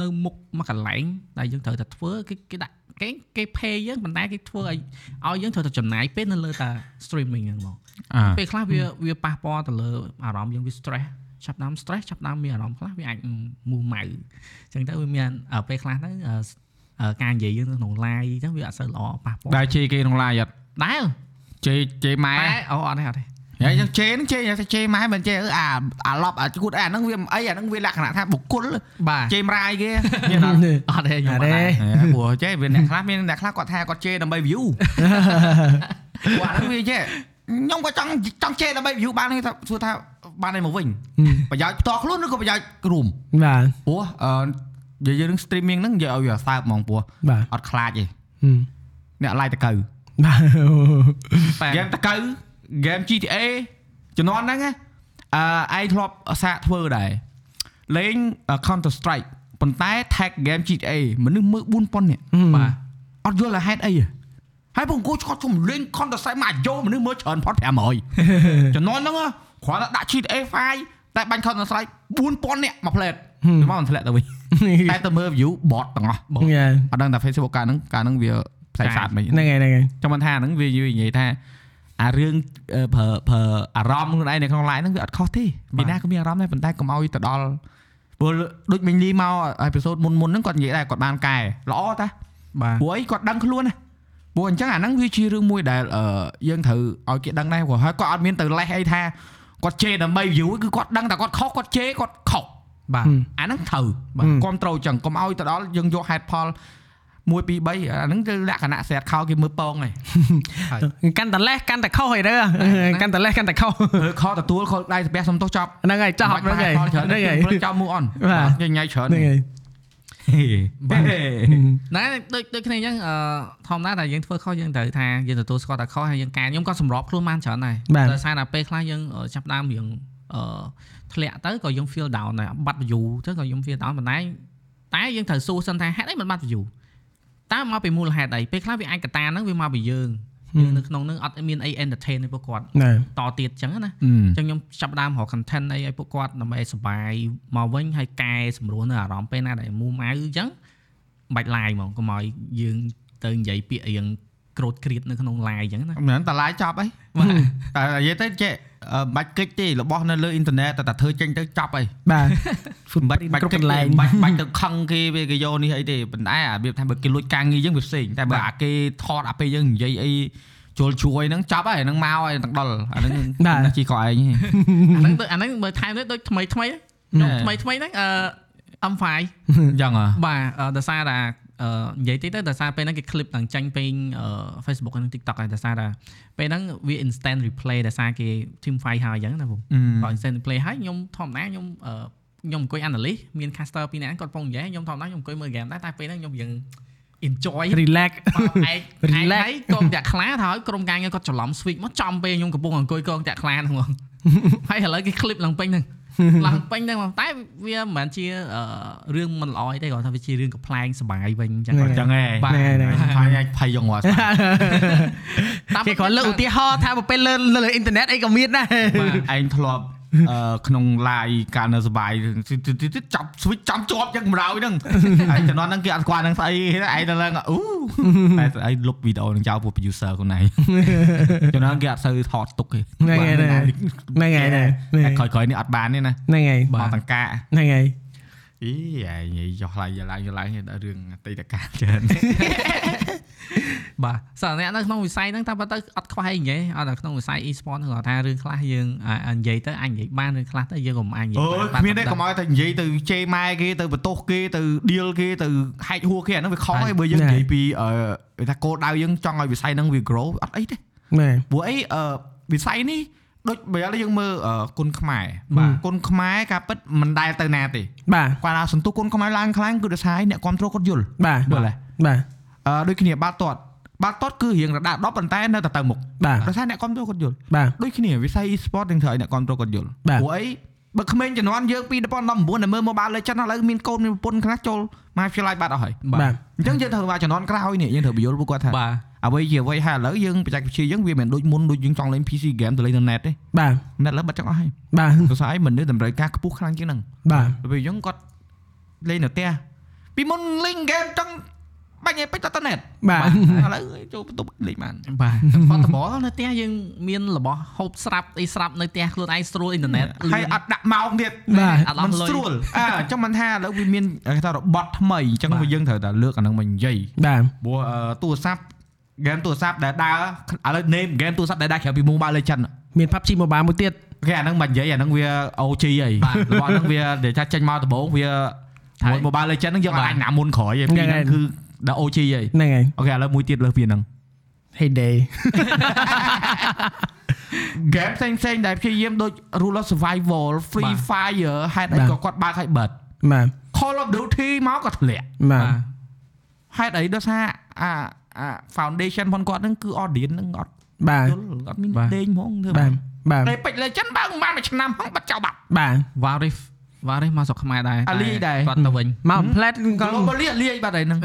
[SPEAKER 3] នៅមុខមួយកន្លែងដែលយើងត្រូវតែធ្វើគេគេដាក់គេគេ pay យើងប៉ុន្តែគេធ្វើឲ្យឲ្យយើងត្រូវតែចំណាយពេលនៅលើតែ streaming ហ្នឹងហ្មង
[SPEAKER 1] អា
[SPEAKER 3] ពេលខ្លះវាវាប៉ះពាល់ទៅលើអារម្មណ៍យើងវា stress ចាប់ផ្ដើម stress ចាប់ផ្ដើមមានអារម្មណ៍ខ្លះវាអាចមូម៉ៅអញ្ចឹងទៅវាមានអ่าពេលខ្លះហ្នឹងអ่าអ่าការនិយាយយើងនៅក្នុង live អញ្ចឹងវាអត់សូវល្អប៉ះពាល់
[SPEAKER 1] ដែរជេរគេក្នុងឡាយអត់
[SPEAKER 3] ដែរ
[SPEAKER 1] ជេរជេរម៉ែ
[SPEAKER 3] តែអូអត់ទេអត់ទេ
[SPEAKER 1] ហើយយើងជេរហ្នឹងជេរជេរម៉ែមិនជេរអឺអាអាឡប់អាជូតអាហ្នឹងវាមិនអីអាហ្នឹងវាលក្ខណៈថាបុគ្គល
[SPEAKER 3] បាទ
[SPEAKER 1] ជេរម្រាយគេ
[SPEAKER 2] អត់ ទេ
[SPEAKER 3] អត់ទេខ្ញុំអត់ដែរ
[SPEAKER 1] ព្រោះជេរវាអ្នកខ្លះមានអ្នកខ្លះគាត់ថាគាត់ជេរដើម្បី view ព្រោះអាហ្នឹងវាជេរខ្ញុំក៏ចង់ចង់ជេរដើម្បី view បានគេថាសួរថាបានអីមកវិញប្រយោជន៍ផ្ទាល់ខ្លួនឬក៏ប្រយោជន៍រួម
[SPEAKER 2] បាទ
[SPEAKER 1] ព្រោះអឺនិយាយយើងនឹង streaming ហ្នឹងនិយាយឲ្យវាសើបហ្មងព្រោះ
[SPEAKER 2] បាទ
[SPEAKER 1] អត់ខ្លាចទេ
[SPEAKER 2] ហឹម
[SPEAKER 1] អ្នកឡាយតកៅ
[SPEAKER 2] បាទអូ
[SPEAKER 3] បាទ
[SPEAKER 1] ហ្គេមតកៅហ្គេម GTA ជំនាន់ហ្នឹងណាអឺឯងធ្លាប់សាកធ្វើដែរលេង Counter Strike ប៉ុន្តែ tag game GTA មនុស្សមើល4000នាក់
[SPEAKER 2] បាទ
[SPEAKER 1] អត់យល់ថាហេតុអីហ៎ហើយពួកគូឆ្កត់ជុំលេង Counter Strike មួយអាយោមនុស្សមើលច្រើនផុត500ជំនាន់ហ្នឹងហ៎គ្រាន់តែដាក់ GTA 5តែបាញ់ Counter Strike 4000នាក់មួយផ្លែតមកមិនធ្លាក់ទៅ វិញតែទៅមើល view bot ទាំងអស់
[SPEAKER 2] បងយ៉ា
[SPEAKER 1] អត់ដឹងថា Facebook កាលហ្នឹងកាលហ្នឹងវាផ្សាយសាទមិន
[SPEAKER 2] ហ្នឹងហើយហ្នឹងហើយ
[SPEAKER 1] ចាំមិនថាហ្នឹងវានិយាយថាអារឿងអឺប្រើប្រើអារម្មណ៍ខ្លួនឯងនៅក្នុង line ហ្នឹងវាអត់ខុសទេ
[SPEAKER 3] បា
[SPEAKER 1] វា
[SPEAKER 3] ទ
[SPEAKER 1] ណាក៏មានអារម្មណ៍ដែរប៉ុន្តែកុំឲ្យទៅដល់ព្រោះដូចមិញលីមកអេពីសូតមុនមុនហ្នឹងគាត់និយាយដែរគាត់បានកែល្អតា
[SPEAKER 2] បាទ
[SPEAKER 1] ព្រោះអីគាត់ដឹងខ្លួនណាព្រោះអញ្ចឹងអាហ្នឹងវាជារឿងមួយដែលអឺយើងត្រូវឲ្យគេដឹងដែរព្រោះហើយគាត់អត់មានទៅលេះអីថាគាត់ជេរដើម្បី view គឺគាត់ដឹងតែគាត់ខុសគាត់ជេរគាត់ខុស
[SPEAKER 3] បាទ
[SPEAKER 1] អាហ្នឹងត្រូវបាទ
[SPEAKER 2] ហ៊ឹម
[SPEAKER 1] គ្រប់ត្រូលចឹងកុំឲ្យទៅដល់យើងយកហេតុផល1 2 3អាហ្នឹងគឺលក្ខណៈស្រាតខោគេមើលពងហ្នឹង
[SPEAKER 2] កាន់តែលេះកាន់តែខុសហើយរើកាន់តែលេះកាន់តែ ខុស
[SPEAKER 1] ធ្វើខទទួលខដៃស្ពះសុំទោសចប់
[SPEAKER 2] ហ្នឹងហើយចោះហ្នឹងហើយ
[SPEAKER 1] ច្រើ
[SPEAKER 2] ហ្នឹងហើយ
[SPEAKER 1] ព្រឹកចោលមូអន
[SPEAKER 2] បាទ
[SPEAKER 1] ញញ៉ៃច្រើន
[SPEAKER 2] ហ្នឹងហើយ
[SPEAKER 1] បាទ
[SPEAKER 2] Ừ.
[SPEAKER 3] ណែដូចដូចគ្នាអញ្ចឹងអឺធម្មតាតែយើងធ្វើខុសយើងត្រូវថាយើងទទួលស្គាល់តែខុសហើយយើងកែខ្ញុំក៏សម្របខ្លួនបានច្រើនដែរ
[SPEAKER 2] បាទ
[SPEAKER 3] ដោយសារតែពេលខ្លះយើងអឺចាប់ផ្ដើមរឿងអឺធ្លាក់ទៅក៏យើង feel down ដែរបាត់ view ទៅក៏យើង feel down ប៉ុន្តែតែយើងត្រូវសួរសិនថាហេតុអីមិនបាត់ view តើមកពីមូលហេតុអីពេលខ្លះវាអាចកត្តាហ្នឹងវាមកពីយើងយើង
[SPEAKER 2] Ừ.
[SPEAKER 3] នៅក្នុងហ្នឹងអត់មានអី entertain ទេពួកគាត់
[SPEAKER 2] ណែ
[SPEAKER 3] តទៀតអញ្ចឹងណា អញ្ចឹងខ្ញុំចាប់ផ្ដើមរក content អីឲ្យពួកគាត់ដើម្បីសុបាយមកវិញហើយកែសម្រួលនៅអារម្មណ៍ពេលណាដែលមូម៉ៅអញ្ចឹងបាច់ live ហ្មងកុំឲ្យយើងទៅនិយាយពាក្យរៀងក្រោតគ្រៀតនៅក្នុង live អញ្ចឹង ណា
[SPEAKER 1] មិនតឡាយចប់អីតែនិយាយទៅចេះអឺបាច់គិចទេរបស់នៅលើអ៊ីនធឺណិតតែតែធ្វើចេញទៅចប់អី
[SPEAKER 2] បាទ
[SPEAKER 1] បាច់បាច់
[SPEAKER 2] គ្រប់កន្លែង
[SPEAKER 1] បាច់បាច់ទៅខឹងគេវាគេយកនេះអីទេប៉ុន្តែអារបៀបថាបើគេលួចការងារយើងវាផ្សេងតែបើអាគេថតអាពេលយើងនិយាយអីជលជួយហ្នឹងចប់ហើយហ្នឹងមកហើយទាំងដល់អាហ្នឹង
[SPEAKER 2] បាទ
[SPEAKER 1] អ្នកជីកអឯង
[SPEAKER 3] អាហ្នឹងដូចអាហ្នឹងមើលថែមនេះដូចថ្មីថ្មី
[SPEAKER 1] ណែ
[SPEAKER 3] ខ្ញុំថ្មីថ្មីហ្នឹងអឺ M5
[SPEAKER 1] អញ្ចឹងហ៎
[SPEAKER 3] បាទអឺដោយសារតែអឺនិយាយតិចទៅដោយសារពេលហ្នឹងគេ clip ទាំងចាញ់ពេញអឺ Facebook ហើយនិង TikTok ហើយដោយសារតែពេលហ្នឹងវា instant replay ដោយសារគេ team fight ហើយអញ្ចឹងណាបង បើ instant play ហើយខ្ញុំធម្មតាខ្ញុំអឺខ្ញុំអង្គុយ analyst មាន caster ពីរនាក់គាត់ពងនិយាយខ្ញុំធម្មតាខ្ញុំអង្គុយមើល game ដែរតែពេលហ្នឹងខ្ញុំយើង enjoy
[SPEAKER 2] relax
[SPEAKER 3] បងឯង
[SPEAKER 2] Relax
[SPEAKER 3] ឯងកងតាក់ខ្លាថាឲ្យក្រុមការងារគាត់ច្រឡំ switch មកចំពេលខ្ញុំកំពុងអង្គុយកងតាក់ខ្លាហ្នឹងហ្មង ហើយឥឡូវគេ clip ឡើងពេញហ្នឹង ឡើងពេញហ្នឹងហ្មងតែវាមិនមែនជាអឺរឿងមិនល្អអីទេគ្រាន់តែវាជារឿងកំ pl ែងសបាយវិញអញ្ចឹង
[SPEAKER 2] ហ្នឹង
[SPEAKER 1] អញ្ចឹងហ៎
[SPEAKER 3] បាទ
[SPEAKER 2] ហ្នឹងហើ
[SPEAKER 1] ហើ
[SPEAKER 2] យហ្នឹង
[SPEAKER 1] យញ៉ៃភ័យយងហ៎
[SPEAKER 3] តាម
[SPEAKER 2] គេគ្រាន់លើកឧទាហរណ៍ថាបើពេលលើលើអ៊ីនធឺណិតអីក៏មានដែរ
[SPEAKER 1] ឯងធ្លាប់អឺក្នុង live កាលនៅសបាយចាប់ switch ចាំជាប់យ៉ាងម្ដងហ្នឹងឯងចំនួនហ្នឹងគេអត់ស្គាល់ហ្នឹងស្អីឯងទៅឡើងអូតែស្អីលុបវីដេអូហ្នឹងចោលពួក producer ខ្លួនឯងចំនួនគេអត់សូវថតទុកទេ
[SPEAKER 2] ហ្នឹងហើយហ្នឹងហើយហ្នឹងហើយហ្នឹង
[SPEAKER 1] តែ
[SPEAKER 2] ហើយ
[SPEAKER 1] ក្រោយក្រោយៗនេះអត់បានទេណា
[SPEAKER 2] ហ្នឹងហើយ
[SPEAKER 1] មកតង្កា
[SPEAKER 2] ហ្នឹងហើយ
[SPEAKER 1] អីឯងនិយាយចុះឡើងយឡើងយឡើងដល់រឿងអតីតកាលច្រើន
[SPEAKER 3] បាទសារអ្នកនៅក្នុងវិស័យហ្នឹងតាមពិតទៅអត់ខ្វះអីញ៉េអត់តែក្នុងវិស័យ e-sport ហ្នឹងគាត់ថារឿងខ្លះយើងអាអានិយាយទៅអាចនិយាយបានរឿងខ្លះទៅយើងក៏មិនអាចនិយា
[SPEAKER 1] អូ
[SPEAKER 3] យបាន
[SPEAKER 1] គ្មានទេ
[SPEAKER 3] បា
[SPEAKER 1] កុំឲ្យតែនិយាយទៅជេរម៉ែគេទៅបន្ទោសគេទៅឌីលគេទៅហែកហួរគេអាហ្នឹងវាខុសហើយបើយើងនិ
[SPEAKER 2] ណែ
[SPEAKER 1] យាយពីអឺថាគោលដៅយើងចង់ឲ្យវិស័យហ្នឹងវា grow អត់អីទេ
[SPEAKER 2] ណែ
[SPEAKER 1] ព្រោះអីអឺវិស័យនេះ ដូចបើឥឡូវយើងមើលអឺគុណខ្មែរ
[SPEAKER 2] បាទ
[SPEAKER 1] គុណខ្មែរការពិតមិនដែលទៅណាទេ
[SPEAKER 2] បាទ
[SPEAKER 1] គាត់ថាសន្ទុះគុណខ្មែរឡើងខ្លាំងគឺដោយសារឯអ្នកគ្រប់គ្រងគាត់យល់
[SPEAKER 2] បាទ
[SPEAKER 1] យល់ហើយ
[SPEAKER 2] បាទ
[SPEAKER 1] អឺដូចគ្នាបាល់ទាត់បាល់ទាត់គឺរៀងរដាប់10ប៉ុន្តែនៅតែទៅមុខ
[SPEAKER 2] បាទ
[SPEAKER 1] ដោយសារអ្នកគ្រប់គ្រងគាត់យល់
[SPEAKER 2] បាទ
[SPEAKER 1] ដូចគ្នាវិស័យ e-sport ទាំងត្រូវឲ្យអ្នកគ្រប់គ្រងគាត់យល់
[SPEAKER 2] បាទ
[SPEAKER 1] ព្រោះអីបើក្មេងជំនាន់យើងពី2019ដែលមើល Mobile Legends ឥឡូវមានកូនមានប្រពន្ធខ្លះចូលមហាវិទ្យាល័យបាត់អស់ហើយ
[SPEAKER 2] បាទ
[SPEAKER 1] អញ្ចឹងយើងត្រូវថាជំនាន់ក្រោយនេះយើងត្រូវបញ្យល់ពួកគាត់ថា
[SPEAKER 3] បាទ
[SPEAKER 1] អ្វីជាអ្វីហើយឥឡូវយើងបច្ចេកវិទ្យាយើងវាមិនដូចមុនដូចយើងចង់លេង PC game ទៅលេងនៅ net ទេ
[SPEAKER 2] បាទ
[SPEAKER 1] net ឥឡូវបាត់ចង់អស់ហើយ
[SPEAKER 2] បាទ
[SPEAKER 1] សរសៃមនុស្សតម្រូវការខ្ពស់ខ្លាំងជាងហ្នឹង
[SPEAKER 2] បាទ
[SPEAKER 1] ដល់ពេលយើងគាត់លេងនៅផ្ទះពីមុនលេង game ចង់បាញ់ឯងពេចទៅទៅ net
[SPEAKER 2] បាទ
[SPEAKER 1] ឥឡូវចូលបន្ទប់លេងបាន
[SPEAKER 3] បាទគាត់តបនៅផ្ទះយើងមានរបស់ហូបស្រាប់អីស្រាប់នៅផ្ទះខ្លួនឯងស្រួលអ៊ីនធឺណិត
[SPEAKER 1] ហើយអត់ដាក់ម៉ោងទៀត
[SPEAKER 2] បាទ
[SPEAKER 3] អត់អ
[SPEAKER 1] មិន
[SPEAKER 3] ស់លុយ
[SPEAKER 1] ស្រួលអើអញ្ចឹងមិនថាឥឡូវវាមានគេថារបត់ថ្មីអញ្ចឹង
[SPEAKER 3] បាទ
[SPEAKER 1] វាយើងត្រូវតែលើកអាហ្នឹងមកនិយាយ
[SPEAKER 2] បាទ
[SPEAKER 1] ព្រោះអឺទូរស័ព្ទ ờ, game ទូរស័ព្ទដែលដើរឥឡូវ À, name game ទូរស័ព្ទដែលដើរក្រៅពី Mobile Legends
[SPEAKER 2] មាន PUBG Mobile មួយទៀត
[SPEAKER 1] គេអាហ្នឹងមិននិយាយអាហ្នឹងវា OG អី
[SPEAKER 3] បាទ
[SPEAKER 1] របស់ហ្នឹងវានិយាយថាចេញមកដំបូងវា
[SPEAKER 3] ហើយ
[SPEAKER 1] មួយ Mobile Legends ហ្នឹងយក
[SPEAKER 3] បាទ
[SPEAKER 1] អាចណាមុនក្រោយឯងពីរហ្នឹង
[SPEAKER 2] ហ្នឹងហើយ
[SPEAKER 1] គឺដល់ OG ឯង
[SPEAKER 2] ហ្នឹងហើយ
[SPEAKER 1] អូខេឥឡូវមួយទៀតលើសពីហ្នឹង
[SPEAKER 2] Heyday
[SPEAKER 1] game ផ្សេងផ្សេងៗដែលព្យាយាមដូច Rule of Survival Free
[SPEAKER 3] បាទ
[SPEAKER 1] Fire ហេតុអី
[SPEAKER 2] បាទ
[SPEAKER 1] ក៏គាត់បើកឲ្យបិទ
[SPEAKER 2] បាទ
[SPEAKER 1] Call of Duty មកក៏ធ្លាក់
[SPEAKER 2] បាទ
[SPEAKER 1] ហេតុអីដោយសារអាអា foundation ផងគាត់ហ្នឹងគឺ audience ហ្នឹងអត់
[SPEAKER 2] បាទ
[SPEAKER 1] យល់អត់មាន
[SPEAKER 3] បាទ
[SPEAKER 1] ដេញហ្មងធ្វើ
[SPEAKER 2] បាទបាទ
[SPEAKER 1] តែពេច Legend បើកមិនបានមួយឆ្នាំហ្នឹងបាត់ចោលបាត់
[SPEAKER 2] បាទ
[SPEAKER 3] Varif Varif មកស្រុកខ្មែរដែរ
[SPEAKER 1] អាលីដែរ
[SPEAKER 3] គាត់ទៅ វិញ
[SPEAKER 2] មក plat ក៏
[SPEAKER 1] globally លាយបាត់ហើយហ្នឹង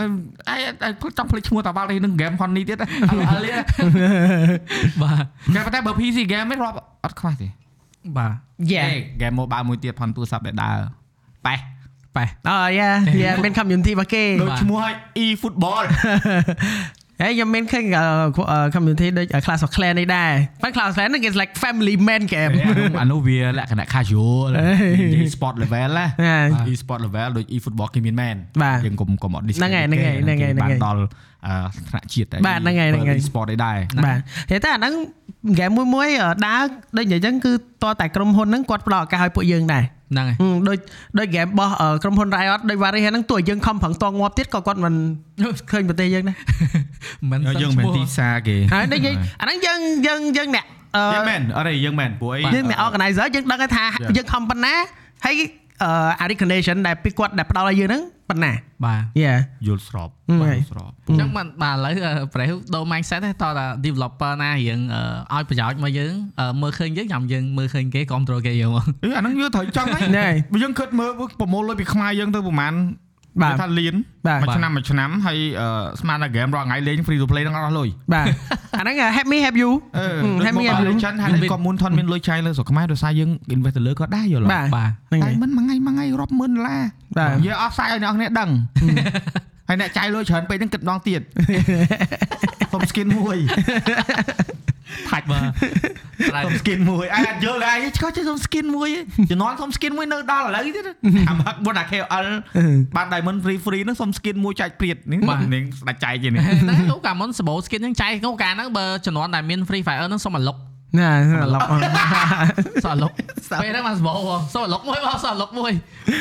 [SPEAKER 1] អឺឯងចង់ភ្លេចឈ្មោះតាវ៉ាល់នេះនឹង game honey ទៀតអាលី
[SPEAKER 3] បាទ
[SPEAKER 1] តែប៉ុន្តែបើ PC game មិនរាប់អត់ខ្វះទេ
[SPEAKER 3] បាទ
[SPEAKER 2] yeah
[SPEAKER 1] game mobile មួយទៀតផនទូរស័ព្ទដែលដើរប៉េះ
[SPEAKER 3] ប៉េះ
[SPEAKER 2] អូ yeah yeah មាន community របស់គេ
[SPEAKER 1] ដូច
[SPEAKER 3] បាទ
[SPEAKER 1] ឈ្មោះឲ្យ e football
[SPEAKER 2] ហើយខ្ញុំមានឃើញអឺអឺ community ដូចអឺ Clash of Clans នេះដែរប៉ុន្តែ Clash of Clans ហ្នឹងគេ like family man game
[SPEAKER 1] អានោះវាលក្ខណៈ casual និយាយ sport level ណា
[SPEAKER 2] ហ่า
[SPEAKER 1] e sport level ដូច e football គេមានមែន
[SPEAKER 2] បាទ
[SPEAKER 1] យើងកុំកុំអត់ discount
[SPEAKER 2] ហ្នឹងហើយហ្នឹងហើយ
[SPEAKER 1] គេគេ
[SPEAKER 2] ហ្នឹងហើយហ្នឹងហើយ
[SPEAKER 1] បានដល់អឺថ្នាក់ជាតិ
[SPEAKER 2] បាទហ្នឹងហើយហ្នឹងហើយ
[SPEAKER 1] e sport ឯដែរ
[SPEAKER 2] បាទតែតែអាហ្នឹង game មួយមួយៗអឺដើរដូចនិយាយអញ្ចឹងគឺតតែក្រុមហ៊ុនហ្នឹងគាត់ផ្ដល់ឱកាសឲ្យពួកយើងដែរ
[SPEAKER 3] ហ្នឹង ហើយ
[SPEAKER 2] ហឹមដូចដូច game របស់អឺក្រុមហ៊ុន Riot ដូច Warrior ហ្នឹងទោះយើងខំប្រឹងតងាប់ទៀតក៏គាត់មិនឃើញប្រទេសយើងដែរ
[SPEAKER 3] មិនសឹង
[SPEAKER 1] យើង
[SPEAKER 3] ឈ្មោះ
[SPEAKER 1] មិនទីសាគេ
[SPEAKER 2] ហើយដូចនិយាយអាហ្នឹងយើងយើងយើងអ្នកអឺ
[SPEAKER 1] យើងមែនអរិយយើងមែនព្រោះអី
[SPEAKER 2] យើងអ្នក organizer យើងដឹងហើយថា
[SPEAKER 1] Yeah.
[SPEAKER 2] យើងខំប៉ុណ្ណាហើយអឺ recognition ដែលពីគាត់ដែលផ្ដល់ឲ្យយើងហ្នឹងប៉ុណ្ណា
[SPEAKER 3] បាទ
[SPEAKER 2] Yeah
[SPEAKER 1] យល់ស្រប
[SPEAKER 2] ហ្នឹង
[SPEAKER 1] បាទ
[SPEAKER 2] ហើយ
[SPEAKER 1] យល់ស្រប
[SPEAKER 3] អញ្ចឹងមិនបាទឥឡូវអឺប្រេះដូរ mindset ទេតោះតា developer ណារៀងអឺឲ្យប្រយោជន៍មកយើងអឺមើលឃើញយើងញ៉ាំយើងមើលឃើញគេ control គេយកមក
[SPEAKER 1] អឺអាហ្នឹងយើងត្រូវចង់
[SPEAKER 2] ហ្នឹងហើ
[SPEAKER 1] ហើយ យបើយើងគិតមើលប្រមូលលុយពីខ្មែរយើងទៅប្រហែល
[SPEAKER 2] បាទ
[SPEAKER 1] គេថាលៀន
[SPEAKER 2] បាទ
[SPEAKER 1] មួយឆ្នាំមួយឆ្នាំហើយអឺស្មានតែ game រាល់ថ្ងៃលេង free to play ហ្នឹងអត់លុយ
[SPEAKER 2] បាទអាហ្នឹង help me help ờ, you
[SPEAKER 1] អឺ
[SPEAKER 2] help me help you
[SPEAKER 1] Mobile Legends ហើយ
[SPEAKER 3] Invest
[SPEAKER 1] គាត់មុនថនមានលុយចាយលើស្រុកខ្មែរដោយសារយើង invest ទៅលើគាត់ដែរយល់អត់
[SPEAKER 2] បាទ
[SPEAKER 3] បាទ
[SPEAKER 2] ហ្នឹង
[SPEAKER 1] តែ
[SPEAKER 2] ហើយ
[SPEAKER 1] មិនមួយថ្ងៃមួយថ្ងៃរាប់ម៉ឺនដុល្លារ
[SPEAKER 2] បាទ
[SPEAKER 1] យើងអស់សាយឲ្យអ្នកនរគ្នាដឹង ហើយអ្នកចាយលុយច្រើនពេកហ្នឹងគិតម្ដងទៀតខ្ញុំ skin មួយ
[SPEAKER 3] ថាច់បើត្រ
[SPEAKER 1] ខ្ញុំ skin មួយអាយអត់យល់ដែរឆ្កោះចេះខ្ញុំ skin មួយជំនាន់ខ្ញុំ skin មួយនៅដល់ឥឡូវទៀតអាមកមុនអា KL
[SPEAKER 2] Ừ.
[SPEAKER 1] បាន Diamond Free Free ហ្នឹងសុំ skin មួយចែកព្រាតនេះ
[SPEAKER 3] បាទ
[SPEAKER 1] នេះស្ដាច់ចែកជានេះ
[SPEAKER 3] ៅហ្នឹងលោកកាលមុនសបោ skin ហ្នឹងចែកនោះកាលហ្នឹងបើជំនាន់ដែលមាន free fire ហ្នឹងសុំអាលុក
[SPEAKER 2] ណាឡប់
[SPEAKER 3] សុំអាលុកពេលហ្នឹងមកសបោសុំអាលុកមួយបងសុំអាលុកមួយ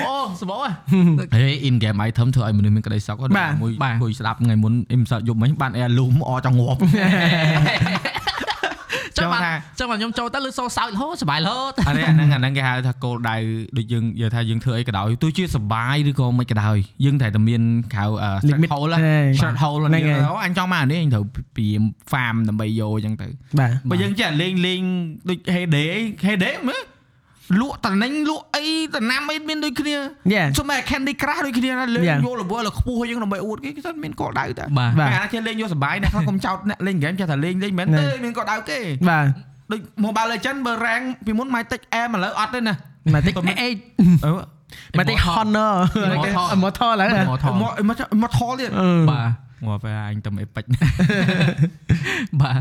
[SPEAKER 3] អូសបោហ៎
[SPEAKER 1] ហេ in game item ធ្វើឲ្យមនុស្សមានក្តីសោកគាត់
[SPEAKER 2] បាទ
[SPEAKER 1] មួយ
[SPEAKER 3] បាទ
[SPEAKER 1] គួយស្ដាប់ថ្ងៃមុនអ៊ីមសតយប់មិញបាន air loom អចង្ងប់
[SPEAKER 3] ចាំបា
[SPEAKER 1] ចង់
[SPEAKER 3] ន
[SPEAKER 1] ថា
[SPEAKER 3] ចាំបានខ្ញុំចូលទៅលើសូសោចហូសบายលោត
[SPEAKER 1] អានេះអាហ្នឹងអាហ្នឹងគេហៅថាគោលដៅដូចយើងយល់ថាយើងធ្វើអីក៏ដោយទោះជាសបាយឬក៏មិនក៏ដោយយើងតែតែមានខៅ
[SPEAKER 2] Limit
[SPEAKER 1] short hole
[SPEAKER 2] ហេ
[SPEAKER 1] short hole
[SPEAKER 2] ហ្នឹង
[SPEAKER 1] ហ្នឹង
[SPEAKER 2] ហើយ
[SPEAKER 1] អូអញចង់បានអានេះអញត្រូវពី farm ដើម្បីយកអញ្ចឹងទៅ
[SPEAKER 2] បាទ
[SPEAKER 1] បើយើងចេះលេងលេងដូច heyday អី heyday មើលលក់តំណែងលក់អីតំណាំអីមានដូចគ្នា
[SPEAKER 2] Yeah
[SPEAKER 1] សុំតែ Candy Crush ដូចគ្នាណាលេងយ
[SPEAKER 2] Yeah.
[SPEAKER 1] កលវលឲ្យខ្ពស់យើងដើម្បីអួតគេគឺថាមានគោលដៅតែ
[SPEAKER 3] បាទ
[SPEAKER 2] បាទ
[SPEAKER 1] តែអានេះចេះលេងយកសបាយអ្នកខ្លះកុំចោតអ្នកលេងហ្គេមចេះតែលេងលេងមែនទេមានគោលដៅគេ
[SPEAKER 2] បាទ
[SPEAKER 1] ដូច Mobile Legend បើ rank ពីមុន Mytic M ឥឡូវអត់ទេណា
[SPEAKER 2] មកតិច
[SPEAKER 1] Immortal អឺ
[SPEAKER 2] អេមកតិច
[SPEAKER 3] Immortal
[SPEAKER 2] honor
[SPEAKER 3] Immortal
[SPEAKER 2] មកថតឡើយ
[SPEAKER 3] មកថត
[SPEAKER 1] មកមកមកថលទៀត
[SPEAKER 2] Ừ.
[SPEAKER 1] ងា
[SPEAKER 3] បាទ
[SPEAKER 1] ប់ពេលអញទៅអេ ពេច
[SPEAKER 3] បាទ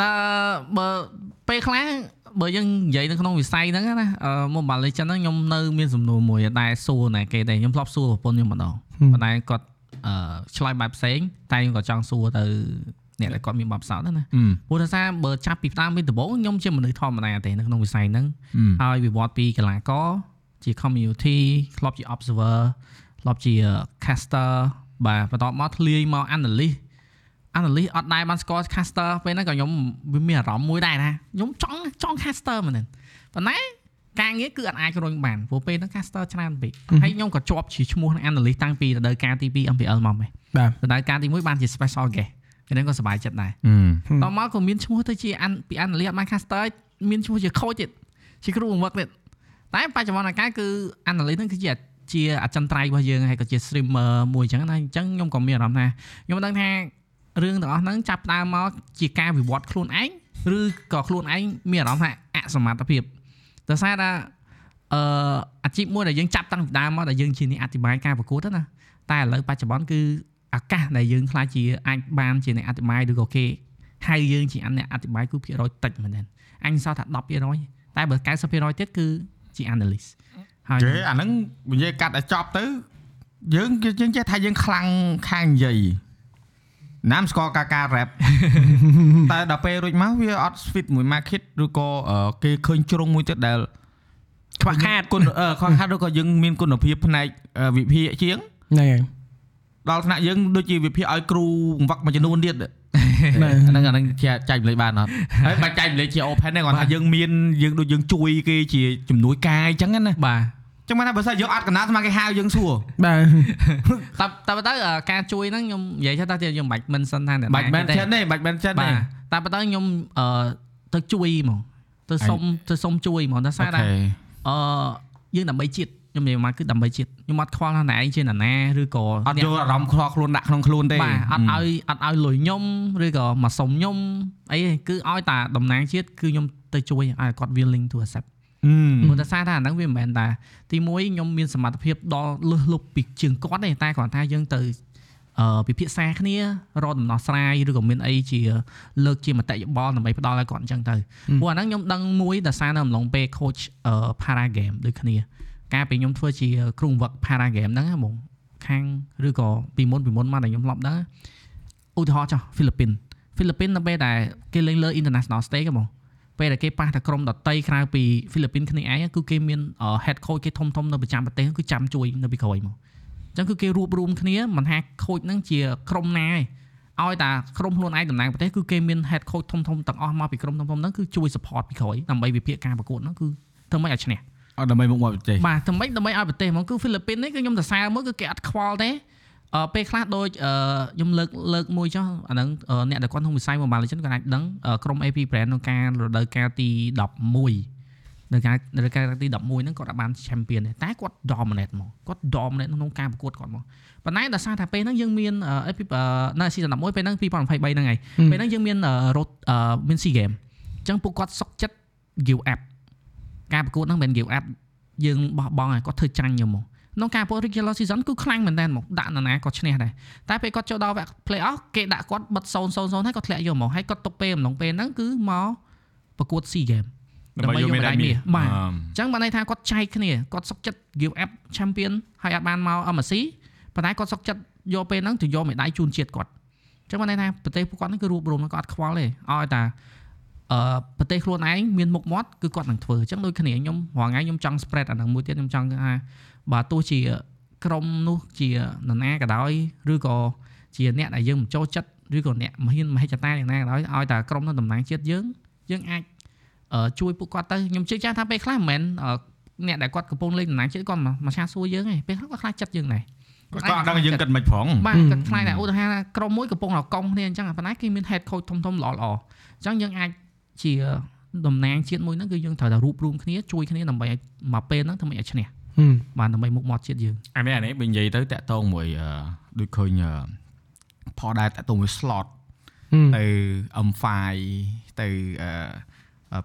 [SPEAKER 3] ដល់បើពេលខ្លះបើយើងនិយាយនៅក្នុងវិស័យហ្នឹងណាអឺ Mobile Legends ហ្នឹងខ្ញុំនៅមានសំណួរមួយដែរសួរណែគេដែរខ្ញុំធ្លាប់សួរប្រពន្ធខ្ញុំម្ដងប៉ុន្តែគាត់អឺឆ្លើយបែបផ្សេង តែខ្ញុំក៏ចង់សួរទៅអ្នកដែលគាត់មានបទពិសោធន៍ហ្នឹងណាព្រោះថារបើចាប់ពីផ្ដើមពីដំបូងខ្ញុំជាមនុស្សធម្មតាទេនៅក្នុងវិស័យហ្នឹងហើយវិវត្តពីកីឡាករជា community ធ្លាប់ជា observer ធ្លាប់ជា caster បាទបន្ទាប់មកធ្លាយមក analyst analyst អត់ដែរបានស្គាល់ caster ពេលហ្នឹងក៏ខ្ញុំវាមានអារម្មណ៍មួយដែរណាខ្ញុំចង់ចង់ caster មែនទេប៉ុន្តែការងារគឺអត់អាចរុញបានព្រោះពេលហ្នឹង caster ច្រើនពេកហើយខ្ញុំក៏ជាប់ជាឈ្មោះនឹង analyst តាំងពីរដូវកាលទី2 MPL មកម៉េះ
[SPEAKER 2] បាទ
[SPEAKER 3] រដូវកាលទី1បានជា special guest ពេលហ្នឹងក៏សប្បាយចិត្តដែរ តមកក៏មានឈ្មោះទៅជាអានពីអានលីអត់បាន caster មានឈ្មោះជា coach ទៀតជាគ្រូបង្វឹកទៀតតែបច្ចុប្បន្នកាលគឺអានលីហ្នឹងគឺជាជាអចិន្ត្រៃយ៍របស់យើងហើយក៏ជា streamer មួយអញ្ចឹងណាអញ្ចឹងខ្ញុំក៏មានអារម្មណ៍ថាខ្ញុំដឹងថារឿងទាំងអស់ហ្នឹងចាប់ផ្ដើមមកជាការវិវត្តខ្លួនឯងឬក៏ខ្លួនឯងមានអារម្មណ៍ថាអសមត្ថភាពដោយសារថាអឺអាជីពមួយដែលយើងចាប់តាំងពីដើមមកដែលយើងជាអ្នកអធិប្បាយការប្រកួតហ្នឹងណាតែឥឡូវបច្ចុប្បន្នគឺឱកាសដែលយើងខ្លាចជាអាចបានជាអ្នកអធិប្បាយឬក៏គេ ហៅយើងជាអ្នកអធិប្បាយគឺភាគរយតិចមែនទែនអញសល់ថា10%តែបើ90%ទៀតគឺជា analyst ហើយ
[SPEAKER 1] គេអាហ្នឹងនិយាយកាត់ឲ្យចប់ទៅយើងគេយើងចេះថាយើងខ្លាំងខាងនិយាយណាមស្គាល់ការការ rap តែដល់ពេលរួចមកវាអត់ fit មួយ market ឬក៏អឺគេឃើញជ្រុងមួយទៀតដែល
[SPEAKER 2] ខ្វះខាត
[SPEAKER 1] គុណអឺខ្វះខាតឬក៏យើងមានគុណភាពផ្នែកអឺវិភាគជាង
[SPEAKER 2] ហ្នឹងហើយ
[SPEAKER 1] ដល់ថ្នាក់យើងដូចជាវិភាគឲ្យគ្រូកង្វឹកមួយចំនួន ទៀត
[SPEAKER 2] បាទ
[SPEAKER 1] អាហ្នឹងអាហ្នឹងជាចែកម្លេចបានអត់ហើយបាច់ចែកម្លេចជា open ទេគាត់ថាយើងមានយើងដូចយើងជួយគេជាជំនួយកាយអញ្ចឹងណា
[SPEAKER 3] បាទ
[SPEAKER 1] ចឹងមិនថាបើសិនយើងអត់កណ្ដាលស្មើគេហៅយើងសួរ
[SPEAKER 2] បាទ
[SPEAKER 3] តែតែបើទៅអ่าការជួយហ្នឹងខ្ញុំនិយាយថាតែខ្ញុំមិនបាច់មិនសិនថាអ្នកណា
[SPEAKER 1] បាច់មែន
[SPEAKER 3] ទេ
[SPEAKER 1] ចិត្តទេបាច់មែនចិត្ត
[SPEAKER 3] បា
[SPEAKER 1] ទេ
[SPEAKER 3] ទតែបើទៅខ្ញុំអឺទៅជួយហ្មងទៅសុំទៅសុំជួយហ្មងដល់សារថា អឺយើងដើម្បីជាតិខ្ញុំនិយាយមកគឺដើម្បីជាតិខ្ញុំអត់ខ្វល់ថាណែឯងជានរណាឬក៏
[SPEAKER 1] អត់យកអារម្មណ៍ខកខ្លួនដាក់ក្នុងខ្លួនទេ
[SPEAKER 3] បាទអត់ឲ្យអត់ឲ្យលុយខ្ញុំឬក៏មកសុំខ្ញុំអីទេគឺឲ្យតែតំណាងជាតិគឺខ្ញុំទៅជួយឲ្យគាត់ willing to accept
[SPEAKER 1] អឺ
[SPEAKER 3] ព្រោះតែសារថាអាហ្នឹងវាមិនមែនតាទីមួយខ្ញុំមានសមត្ថភាពដល់លឹះលុបពីជើងគាត់ទេតែគ្រាន់តែយើងទៅអឺពិភាក្សាគ្នារកដំណោះស្រាយឬក៏មានអីជាលើកជាមតិយោបល់ដើម្បីផ្ដល់ឲ្យគាត់អញ្ចឹងទៅព្រោះអាហ្នឹងខ្ញុំដឹងមួយដោយសារនៅអំឡុងពេល coach អឺ para game ដូចគ្នា កាលពេលខ្ញុំធ្វើជាគ្រូបង្វឹក para game ហ្នឹងណាបងខាងឬក៏ពីមុនពីមុនមកដែលខ្ញុំធ្លាប់ដឹងឧទាហរណ៍ចោះហ្វីលីពីនហ្វីលីពីននៅពេលដែលគេលេងលើ international stage ហ៎បង ពេលដែលគេប៉ះតែក្រុមដតីក្រៅពីហ្វីលីពីនគ្នាឯងគឺគេមាន head coach គេធំធំនៅប្រចាំប្រទេសគឺចាំជួយនៅពីក្រោយមកអញ្ចឹងគឺគេរួបរวมគ្នាមិនថា coach ហ្នឹងជាក្រុមណាឯងឲ្យតែក្រុមខ្លួនឯងតំណាងប្រទេសគឺគេមាន head coach ធំធំទាំងអស់មកពីក្រុមធំធំហ្នឹងគឺជួយ support ពីក្រោយដើម្បីវិភាគការប្រកួតហ្នឹងគឺធ្វើម៉េចឲ្យឈ្នះ
[SPEAKER 1] អត់ដើម្បីមុខមកប្រទេស
[SPEAKER 3] បាទដើម្បីដើម្បីឲ្យប្រទេសហ្មងគឺហ្វីលីពីននេះគឺខ្ញុំសរសើរមកគឺគេអត់ខ្វល់ទេអឺពេលខ្លះដូចអឺខ្ញុំលើកលើកមួយចុះអាហ្នឹងអឺអ្នកដែលគាត់ក្នុងវិស័យ Mobile Legends គាត់អាចដឹងអឺក្រុម AP Brand ក្នុងការរដូវកាលទី11នៅការរដូវកាលទី11ហ្នឹងគាត់អាចបាន champion ទេតែគាត់ dominate ហ្មងគាត់ dominate ក្នុងការប្រកួតគាត់ហ្មងប៉ុន្តែដោយសារតែពេលហ្នឹងយើងមានអឺ AP អឺនៅ season 11ពេលហ្នឹង2023ហ្នឹងឯងពេលហ្នឹងយើងមានអឺ road អឺមាន SEA game អញ្ចឹងពួកគាត់សុកចិត្ត give up ការប្រកួតហ្នឹងមិនមែន give up យើងបោះបង់ហើយគាត់ធ្វើចាញ់យើងមកក្នុងការប្រកួត regular season គឺខ្លាំងមែនតើមកដាក់នរណាគាត់ឈ្នះដែរតែពេលគាត់ចូលដល់វគ្គ play off គេដាក់គាត់បិទ0 0 0ហើយគាត់ធ្លាក់យកមកហើយគាត់ទុកពេលអំឡុងពេលហ្នឹងគឺមកប្រកួត SEA game បាទ អញ្ចឹងបានន័យថាគាត់ចែកគ្នាគាត់សុកចិត្ត give up champion ហើយអត់បានមក MSC ប៉ុន្តែគាត់សុកចិត្តយកពេលហ្នឹងទៅយកមេដាយជូនជាតិគាត់អញ្ចឹងបានន័យថាប្រទេសពួកគាត់ហ្នឹងគឺរួបរวมគាត់អត់ខ្វល់ទេឲ្យតែអឺប្រទេសខ្លួនឯងមានមុខមាត់គឺគាត់នឹងធ្វើអញ្ចឹងដូចគ្នាខ្ញុំរាល់ថ្ងៃខ្ញុំចង់ spread អាហ្នឹងមួយទៀតខ្ញុំចង់ថាបើទោះជាក្រុមនោះជានរណាក៏ដោយឬក៏ជាអ្នកដែលយើងមិនចូលចិត្តឬក៏អ្នកមហានមហិច្ឆតាយ៉ាងណាក៏ដោយឲ្យតែក្រុមនោះតំណាងជាតិយើងយើងអាច អឺជួយពួកគាត់ទៅខ្ញុំជឿចាស់ថាពេលខ្លះមិនមែនអឺអ្នកដែលគាត់កំពុងលេងដំណាងជាតិគាត់មកមកឆាសួរយើងឯងពេលខ្លះគាត់ខ្លាចចិត្តយើងដែរ
[SPEAKER 1] គាត់ក៏អត់ដឹងយើងគិតមិនផង
[SPEAKER 3] បាទគាត់ខ្លាចដែរឧទាហរណ៍ថាក្រុមមួយកំពុងរកង់គ្នាអញ្ចឹងប៉ុន្តែគេមាន head coach ធំៗល្អៗអញ្ចឹងយើងអាចជាតំណាងជាតិមួយហ្នឹងគឺយើងត្រូវតែរួបរวมគ្នាជួយគ្នាដើម្បីឲ្យមកពេលហ្នឹងធ្វើម៉េចឲ្យឈ្នះ
[SPEAKER 2] Ừ.
[SPEAKER 3] បាទដើម្បីមុខមាត់ជាតិយើង
[SPEAKER 1] អានេះអានេះបើនិយាយទៅតាក់តងមួយអឺដូចឃើញអឺផលដែរតាក់តងមួយ slot
[SPEAKER 2] Ừ.
[SPEAKER 1] ទៅ M5 ទៅអឺ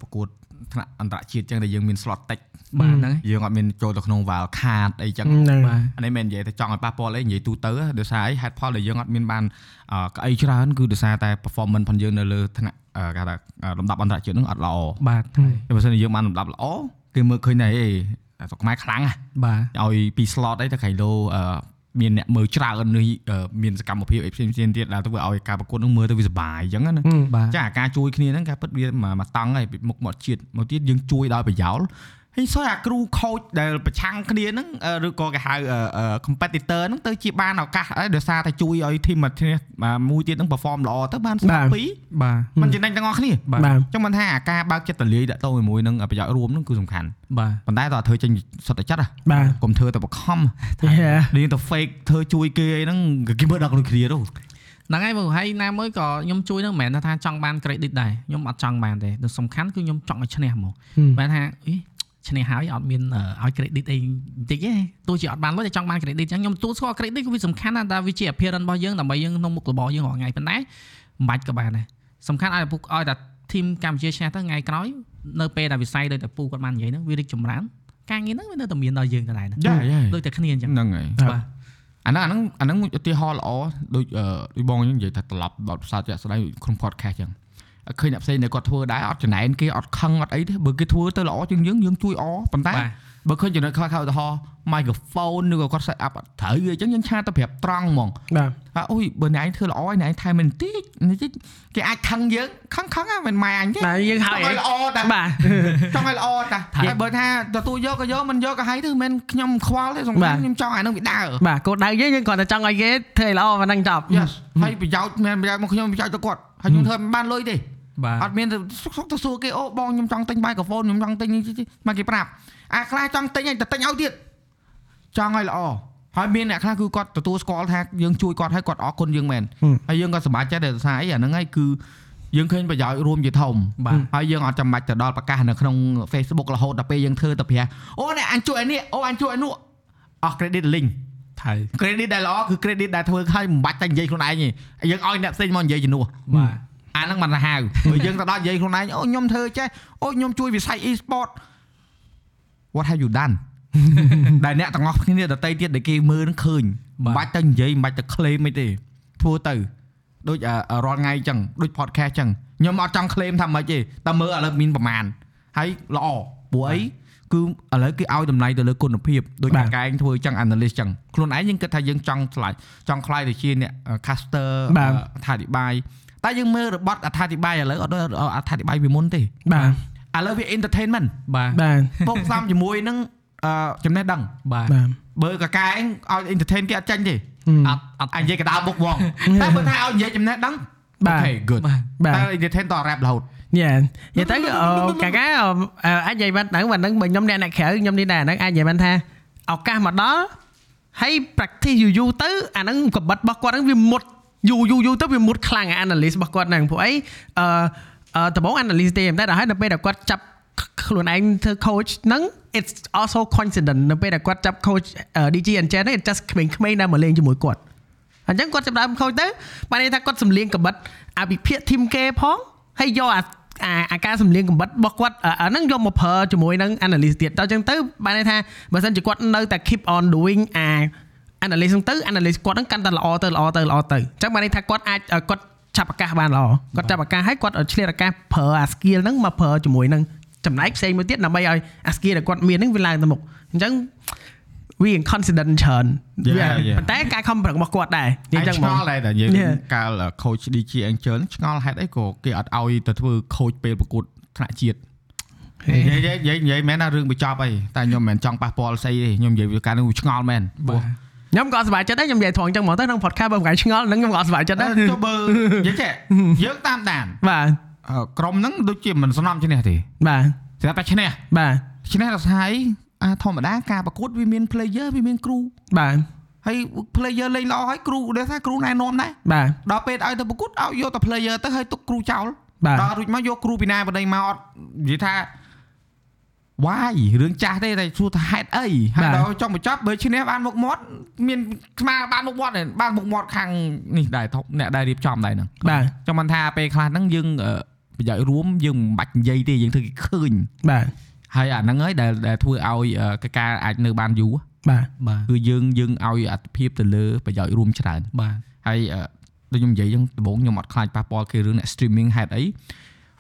[SPEAKER 1] ប្រកួតថ្នាក់អន្តរជាតិអញ្ចឹងដែលយើងមាន slot តិច
[SPEAKER 3] បាទហ្នឹងហើយ
[SPEAKER 1] យើងអត់មានចូលទៅក្នុង wild card អីចឹង
[SPEAKER 2] ហ្នឹង
[SPEAKER 3] បាទ
[SPEAKER 1] អានេះមិននិយាយតែចង់ឲ្យប៉ះពាល់អីនិយាយទូទៅហ៎ដោយសារអីហេតុផលដែលយើងអត់មានបានអឺក្អីច្រើនគឺដោយសារតែ performance របស់យើងនៅលើថ្នាក់អឺគេថាអឺលំដាប់អន្តរជាតិហ្នឹងអត់ល្អ
[SPEAKER 3] បាទ
[SPEAKER 2] Ừ.
[SPEAKER 3] ហើយ
[SPEAKER 1] តែបើសិនជាយើងបានលំដាប់ល្អគេមើលឃើញថាអេអាស្រុកខ្មែរខ្លាំងណាស់
[SPEAKER 3] បាទ
[SPEAKER 1] ឲ្យពី slot អីទៅក្រៃលោអឺមានអ្នកមើលច្រើននេះអឺមានសកម្មភាពអីផ្សេងៗទៀតដែលធ្វើឲ្យការប្រកួតហ្នឹងមើលទៅវាសប្បាយអញ្ចឹងណា
[SPEAKER 3] បាទ
[SPEAKER 1] ចាអាការជួយគ្នាហ្នឹងការពិតវាមកមកតង់ហើយពីមុខមាត់ជាតិមកទៀតយើងជួយដោយប្រយោល ហើយសោះអាគ្រូខូចដែលប្រឆាំងគ្នាហ្នឹងអឺឬក៏គេហៅអឺអឺ competitor ហ្នឹងទៅជាបានឱកាសហើយដោយសារតែជួយឲ្យ team មួយទៀតមួយទៀតហ្នឹង perform ល្អទៅបានស្មើ
[SPEAKER 2] បាទ
[SPEAKER 1] ពីរ
[SPEAKER 3] បាទ
[SPEAKER 2] Ừ.
[SPEAKER 1] มันចំណេញទាំងអស់គ្នា
[SPEAKER 3] បាទ
[SPEAKER 2] បាទ
[SPEAKER 1] ចឹងមិនថាអាការបើកចិត្តតលាយដាក់តោជាមួយនឹងប្រយោជន៍រួមហ្នឹងគឺសំខាន់
[SPEAKER 3] បាទ
[SPEAKER 1] ប៉ុន្តែតើធ្វើចេញសុទ្ធតែចិត្តហ៎
[SPEAKER 2] បាទ
[SPEAKER 1] កុំធ្វើតែបង្ខំ
[SPEAKER 2] Yeah.
[SPEAKER 1] និយាយទៅ fake ធ្វើជួយគេអីហ្នឹងគេមើលដល់ដូចគ្នាទៅ
[SPEAKER 3] ហ្នឹងហើយបងហើយណាមួយក៏ខ្ញុំជួយនឹងមិនមែនថាចង់បាន credit ដែរខ្ញុំអត់ចង់បានទេតែសំខាន់គឺខ្ញុំចង់ឲ្យឈ្នះហ្មងបែរថាអីឈ្នះហើយអត់មានអឺឲ្យ credit អីបន្តិចទេទោះជាអត់បានលុយតែចង់បាន credit ចឹងខ្ញុំទទួលស្គាល់ credit គឺវាសំខាន់ណាស់តែវាជា appearance របស់យើងដើម្បីយើងក្នុងមុខរបរយើងរាល់ថ្ងៃប៉ុន្តែមិនបាច់ក៏បានដែរសំខាន់ឲ្យពួកឲ្យតែ team កម្ពុជាឈ្នះទៅថ្ងៃក្រោយនៅពេលដែលវិស័យដូចតែពូគាត់បាននិយាយហ្នឹងវារីកចម្រើនការងារហ្នឹងវានៅតែមានដល់យើងដដែលណា
[SPEAKER 1] Yeah, yeah.
[SPEAKER 3] ដូចតែគ្នាអញ្ចឹង
[SPEAKER 1] ហ្នឹងហើយ
[SPEAKER 3] បាទ
[SPEAKER 1] អាហ្នឹងអាហ្នឹងអាហ្នឹងមួយឧទាហរណ៍ល្អដូចអឺដូចបងខ្ញុំនិយាយថាត្រឡប់បទពិសោធន៍ជាក់ស្ដែងដូចក្នុង podcast ចឹងឃើញអ្នកផ្សេងដែលគាត់ធ្វើដែរអត់ចំណែនគេអត់ខឹងអត់អីទេបើគេធ្វើទៅល្អជាងយើងយើងជួយអប៉ុន្តែ
[SPEAKER 3] បាទ
[SPEAKER 1] បើឃើញចំណុចខ្វះខាតឧទាហរណ៍ microphone ឬក៏គាត់ set up អត់ត្រូវអីចឹងយើងឆាតទៅប្រាប់ត្រង់ហ្មង
[SPEAKER 2] បាទ
[SPEAKER 1] ថាអូយបើអ្នកឯងធ្វើល្អឯងអ្នកឯងថែមបន្តិចបន្តិចគេអាចខឹងយើងខឹងខឹងហ្នឹងមិនម៉ែអញទេ
[SPEAKER 2] តែយើង
[SPEAKER 1] ច
[SPEAKER 2] ហើ
[SPEAKER 1] ង់
[SPEAKER 2] យ
[SPEAKER 1] ឲ្យល្អតែ
[SPEAKER 2] បាទ
[SPEAKER 1] ចង់ឲ្យល្អតា
[SPEAKER 3] ថា
[SPEAKER 1] តែបើថាទទួលយកក៏យកមិនយកក៏ហើយទៅមិនមែនខ្ញុំខ្វល់ទេសំ
[SPEAKER 2] បា
[SPEAKER 1] ខាន់
[SPEAKER 2] ទ
[SPEAKER 1] ខ្ញុំចង់ឲ្យហ្នឹងវាដើរ
[SPEAKER 2] បាទគោលដៅយើងយើងគ្រាន់តែចង់ឲ្យគេធ្វើឲ្យល្អប៉ុណ្ណឹងចប់
[SPEAKER 1] Yes ហើយប្រយោជន៍មានប្រយោជន៍មកខ្ញុំប្រយោជន៍ទៅគាត់ហើយខ្ញុំធ្វើមិនបានលុយទេ
[SPEAKER 3] បាទ
[SPEAKER 1] អត់មានទៅសុកសុកទៅសួរគេអូបងខ្ញុំចង់ទិញ microphone ខ្ញុំចង់ទិញនេះនេះនេះមកគេប្រាប់អាខ្លះចង់ទិញហើយតែទិញឲ្យទៀតចង់ឲ្យល្អហើយមានអ្នកខ្លះគឺគាត់ទទួលស្គាល់ថាយើងជួយគាត់ហើយគាត់អរគុណយើងមែន
[SPEAKER 2] ហឹម
[SPEAKER 1] ហើយយើងក៏សប្បាយចិត្តដែលថាអីអាហ្នឹងហើយគឺយើងឃើញប្រយោជន៍រួមជាធំ
[SPEAKER 3] បាទ
[SPEAKER 1] ហើយយើងអត់ចាំបាច់ទៅដល់ប្រកាសនៅក្នុង Facebook រហូតដល់ពេលយើងធ្វើទៅប្រាអូអ្នកអញជួយអានេះអូអញជួយអានោះអស់ credit link
[SPEAKER 3] ថៃ
[SPEAKER 1] credit ដែលល្អគឺ credit ដែលធ្វើឲ្យមិនបាច់តែនិយាយខ្លួនឯងទេយើងឲ្យអ្នកផ្សេងមកនិយាយជំនួស
[SPEAKER 3] បាទ
[SPEAKER 1] អាហ្នឹងមិនហៅបើយើងទៅដល់និយាយខ្លួនឯងអូខ្ញុំធ្វើចេះអូខ្ញុំជួយវិស័យ e-sport what have you done ដែលអ្នកទាំងអស់គ្នាដតីទៀតដែលគេមើលហ្នឹងឃើញ
[SPEAKER 3] បា
[SPEAKER 1] មិនបាច់
[SPEAKER 3] ទ
[SPEAKER 1] តែនិយាយមិនបាច់តែ claim អីទេធ្វើទៅដូចអ่าរាល់ថ្ងៃអញ្ចឹងដូច podcast អញ្ចឹងខ្ញុំអត់ចង់ claim ថាម៉េចទេតែមើលឥឡូវមានប្រមាណហើយល្អព្រោះអីគឺឥឡូវគេឲ្យតម្លៃទៅលើគុណភាពដូច
[SPEAKER 2] បាទ
[SPEAKER 1] អ្នកកែងធ្វើអញ្ចឹង analyst អញ្ចឹងខ្លួនឯងយើងគិតថាយើងចង់ឆ្លាយចង់ខ្លាយទៅជាអ្នក caster
[SPEAKER 2] បាទ
[SPEAKER 1] អត្ថាធិប្បាយតែយើងមើលរបត់អត្ថាធិប្បាយឥឡូវអត់ដូចអត្ថាធិប្បាយពីមុនទេ
[SPEAKER 2] បាទ
[SPEAKER 1] ឥឡូវវា entertainment
[SPEAKER 3] បាទ
[SPEAKER 2] បាទ
[SPEAKER 1] ពុកសំជាមួយនឹងអឺចំណេះដឹង
[SPEAKER 3] បាទ
[SPEAKER 2] បាទ
[SPEAKER 1] បើកកែឯងឲ្យ entertain គេអត់ចាញ់ទេ
[SPEAKER 3] អត់អត់
[SPEAKER 1] អញនិយាយកដាលមុខហ្មង តែបើថាឲ្យនិយាយចំណេះដឹង
[SPEAKER 2] បាទ
[SPEAKER 1] អូខេ good
[SPEAKER 3] បាទ
[SPEAKER 2] បា
[SPEAKER 1] តែ
[SPEAKER 2] ទ
[SPEAKER 1] entertain តរ៉ាប់រហូត
[SPEAKER 2] យ៉ានិយាយទៅអឺកាកាអឺអាចនិយាយបានដល់បានហ្នឹងបើខ្ញុំអ្នកអ្នកក្រៅខ្ញុំនេះដែរហ្នឹងអាចនិយាយបានថាឱកាសមកដល់ហើយ practice យូរយូរទៅអាហ្នឹងកម្រិតរបស់គាត់ហ្នឹងវាមុតយូរយូរយូរទៅវាមុតខ្លាំងអា analyst របស់គាត់ហ្នឹងព្រោះអីអឺអឺដំបូង analyst ទេតែដល់ហើយដល់ពេលដែលគាត់ចាប់ ខ្លួនឯងធ្វើ coach ហ្នឹង it's also coincident នៅពេលដែលគាត់ចាប់ coach DG and Chen ហ្នឹង it's just ក្មេងៗដែលមកលេងជាមួយគាត់អញ្ចឹងគាត់ចាប់ដើម coach ទៅបានន័យថាគាត់សំលៀងកម្បិតអាវិភាកធីមគេផងហើយយកអាអាអាការសំលៀងកម្បិតរបស់គាត់អអាហ្នឹងយកមកប្រើជាមួយនឹង analyst ទៀតដល់អញ្ចឹងទៅបានន័យថាបើសិនជាគាត់នៅតែ keep on doing អា analyst ហ្នឹងទៅ analyst គាត់ហ្នឹងកាន់តែល្អទៅល្អទៅល្អទៅអញ្ចឹងបានន័យថាគាត់អាចឲ្យគាត់ចាប់ឱកាសបានល្អគាត់ចាប់ឱកាសហើយគាត់ឲ្យឆ្លៀតឱកាសប្រើអា skill ហ្នឹងមកប្រើជាមួយនឹងចំណែកផ្សេងមួយទៀតដើម្បីឲ្យអា skill ដែលគាត់មានហ្នឹងវាឡើងទៅមុខអញ្ចឹង we in confident ច្រើន
[SPEAKER 1] Yeah,
[SPEAKER 2] Yeah.
[SPEAKER 1] yeah.
[SPEAKER 2] ប៉ុន្តែការខំប្រឹងរបស់គាត់ដែរ
[SPEAKER 1] អ
[SPEAKER 2] និយាយ
[SPEAKER 1] ញ
[SPEAKER 2] អញ្ចឹងហ្ម
[SPEAKER 1] ឆ្ង
[SPEAKER 2] ង
[SPEAKER 1] ល់ដែរតែនិយាយរឿង
[SPEAKER 2] Yeah.
[SPEAKER 1] កាល coach DG Angel ឆ្ងល់ហេតុអីក៏គេអត់ឲ្យទៅធ្វើ coach ពេលប្រកួតថ្នាក់ជាតិ និយាយនិយាយនិយាយមែនណារឿងបញ្ចប់អីតែខ្ញុំមិនមែនចង់ប៉ះពាល់ស្អីទេខ្ញុំនិយាយវាការនឹងឆ្ងល់មែន
[SPEAKER 3] បាទ
[SPEAKER 2] ខ្ញុំក៏អត់សប្បាយចិត្តដែរខ្ញុំនិយាយត្រង់អញ្ចឹងហ្មងទៅក្នុង podcast បើមិនកាយឆ្ងល់ហ្នឹងខ្ញុំក៏អត់សប្បាយចិត្ត
[SPEAKER 1] តែ
[SPEAKER 2] ដែរ
[SPEAKER 1] ចុះបើនិយាយចេះយើងតាមដាន
[SPEAKER 2] បាទ
[SPEAKER 1] អឺក្រុមហ្នឹងដូចជាមិនស្នំឈ្នះទេ
[SPEAKER 2] បាទ
[SPEAKER 1] ស្រាប់តែឈ្នះ
[SPEAKER 2] បាទ
[SPEAKER 1] ឈ្នះដល់ស្ហើយអាធម្មតាការប្រកួតវាមាន player វាមានគ្រូ
[SPEAKER 2] បាទ
[SPEAKER 1] ហើយ player លេងល្អហើយគ្រូដែលថាគ្រូណែនាំដែរ
[SPEAKER 2] បាទ
[SPEAKER 1] ដល់ពេលឲ្យទៅប្រកួតឲ្យយកតែ player ទៅហើយទុកគ្រូចោល
[SPEAKER 2] បាទ
[SPEAKER 1] ដល់រួចមកយកគ្រូពីណាបណ្ដៃមកអត់និយាយថា why រឿងចាស់ទេតែសួរថាហេតុអីហើយដល់ចង់បញ្ចប់បើឈ្នះបានមុខមាត់មានស្មារតីបានមុខមាត់ទេបានមុខមាត់ខាងនេះដែរធប់អ្នកដែលរៀបចំដែរហ្នឹង
[SPEAKER 2] បាទ
[SPEAKER 1] ចង់បានថាពេលខ្លះហ្នឹងយើងអឺប្រយោជន៍រួមយើងមិនបាច់និយាយទេយើងធ្វើគេឃើញ
[SPEAKER 2] បាទ
[SPEAKER 1] ហើយអាហ្នឹងហើយដែលដែលធ្វើឲ្យអឺកិច្ចការអាចនៅបានយូរ
[SPEAKER 2] បាទ
[SPEAKER 3] បាទ
[SPEAKER 1] គឺយើងយើងឲ្យអត្ថភាពទៅលើប្រយោជន៍រួមច្រើន
[SPEAKER 3] បាទ
[SPEAKER 1] ហើយអឺដូចខ្ញុំនិយាយចឹងដំបូងខ្ញុំអត់ខ្លាចប៉ះពាល់គេរឿងអ្នក streaming ហេតុអី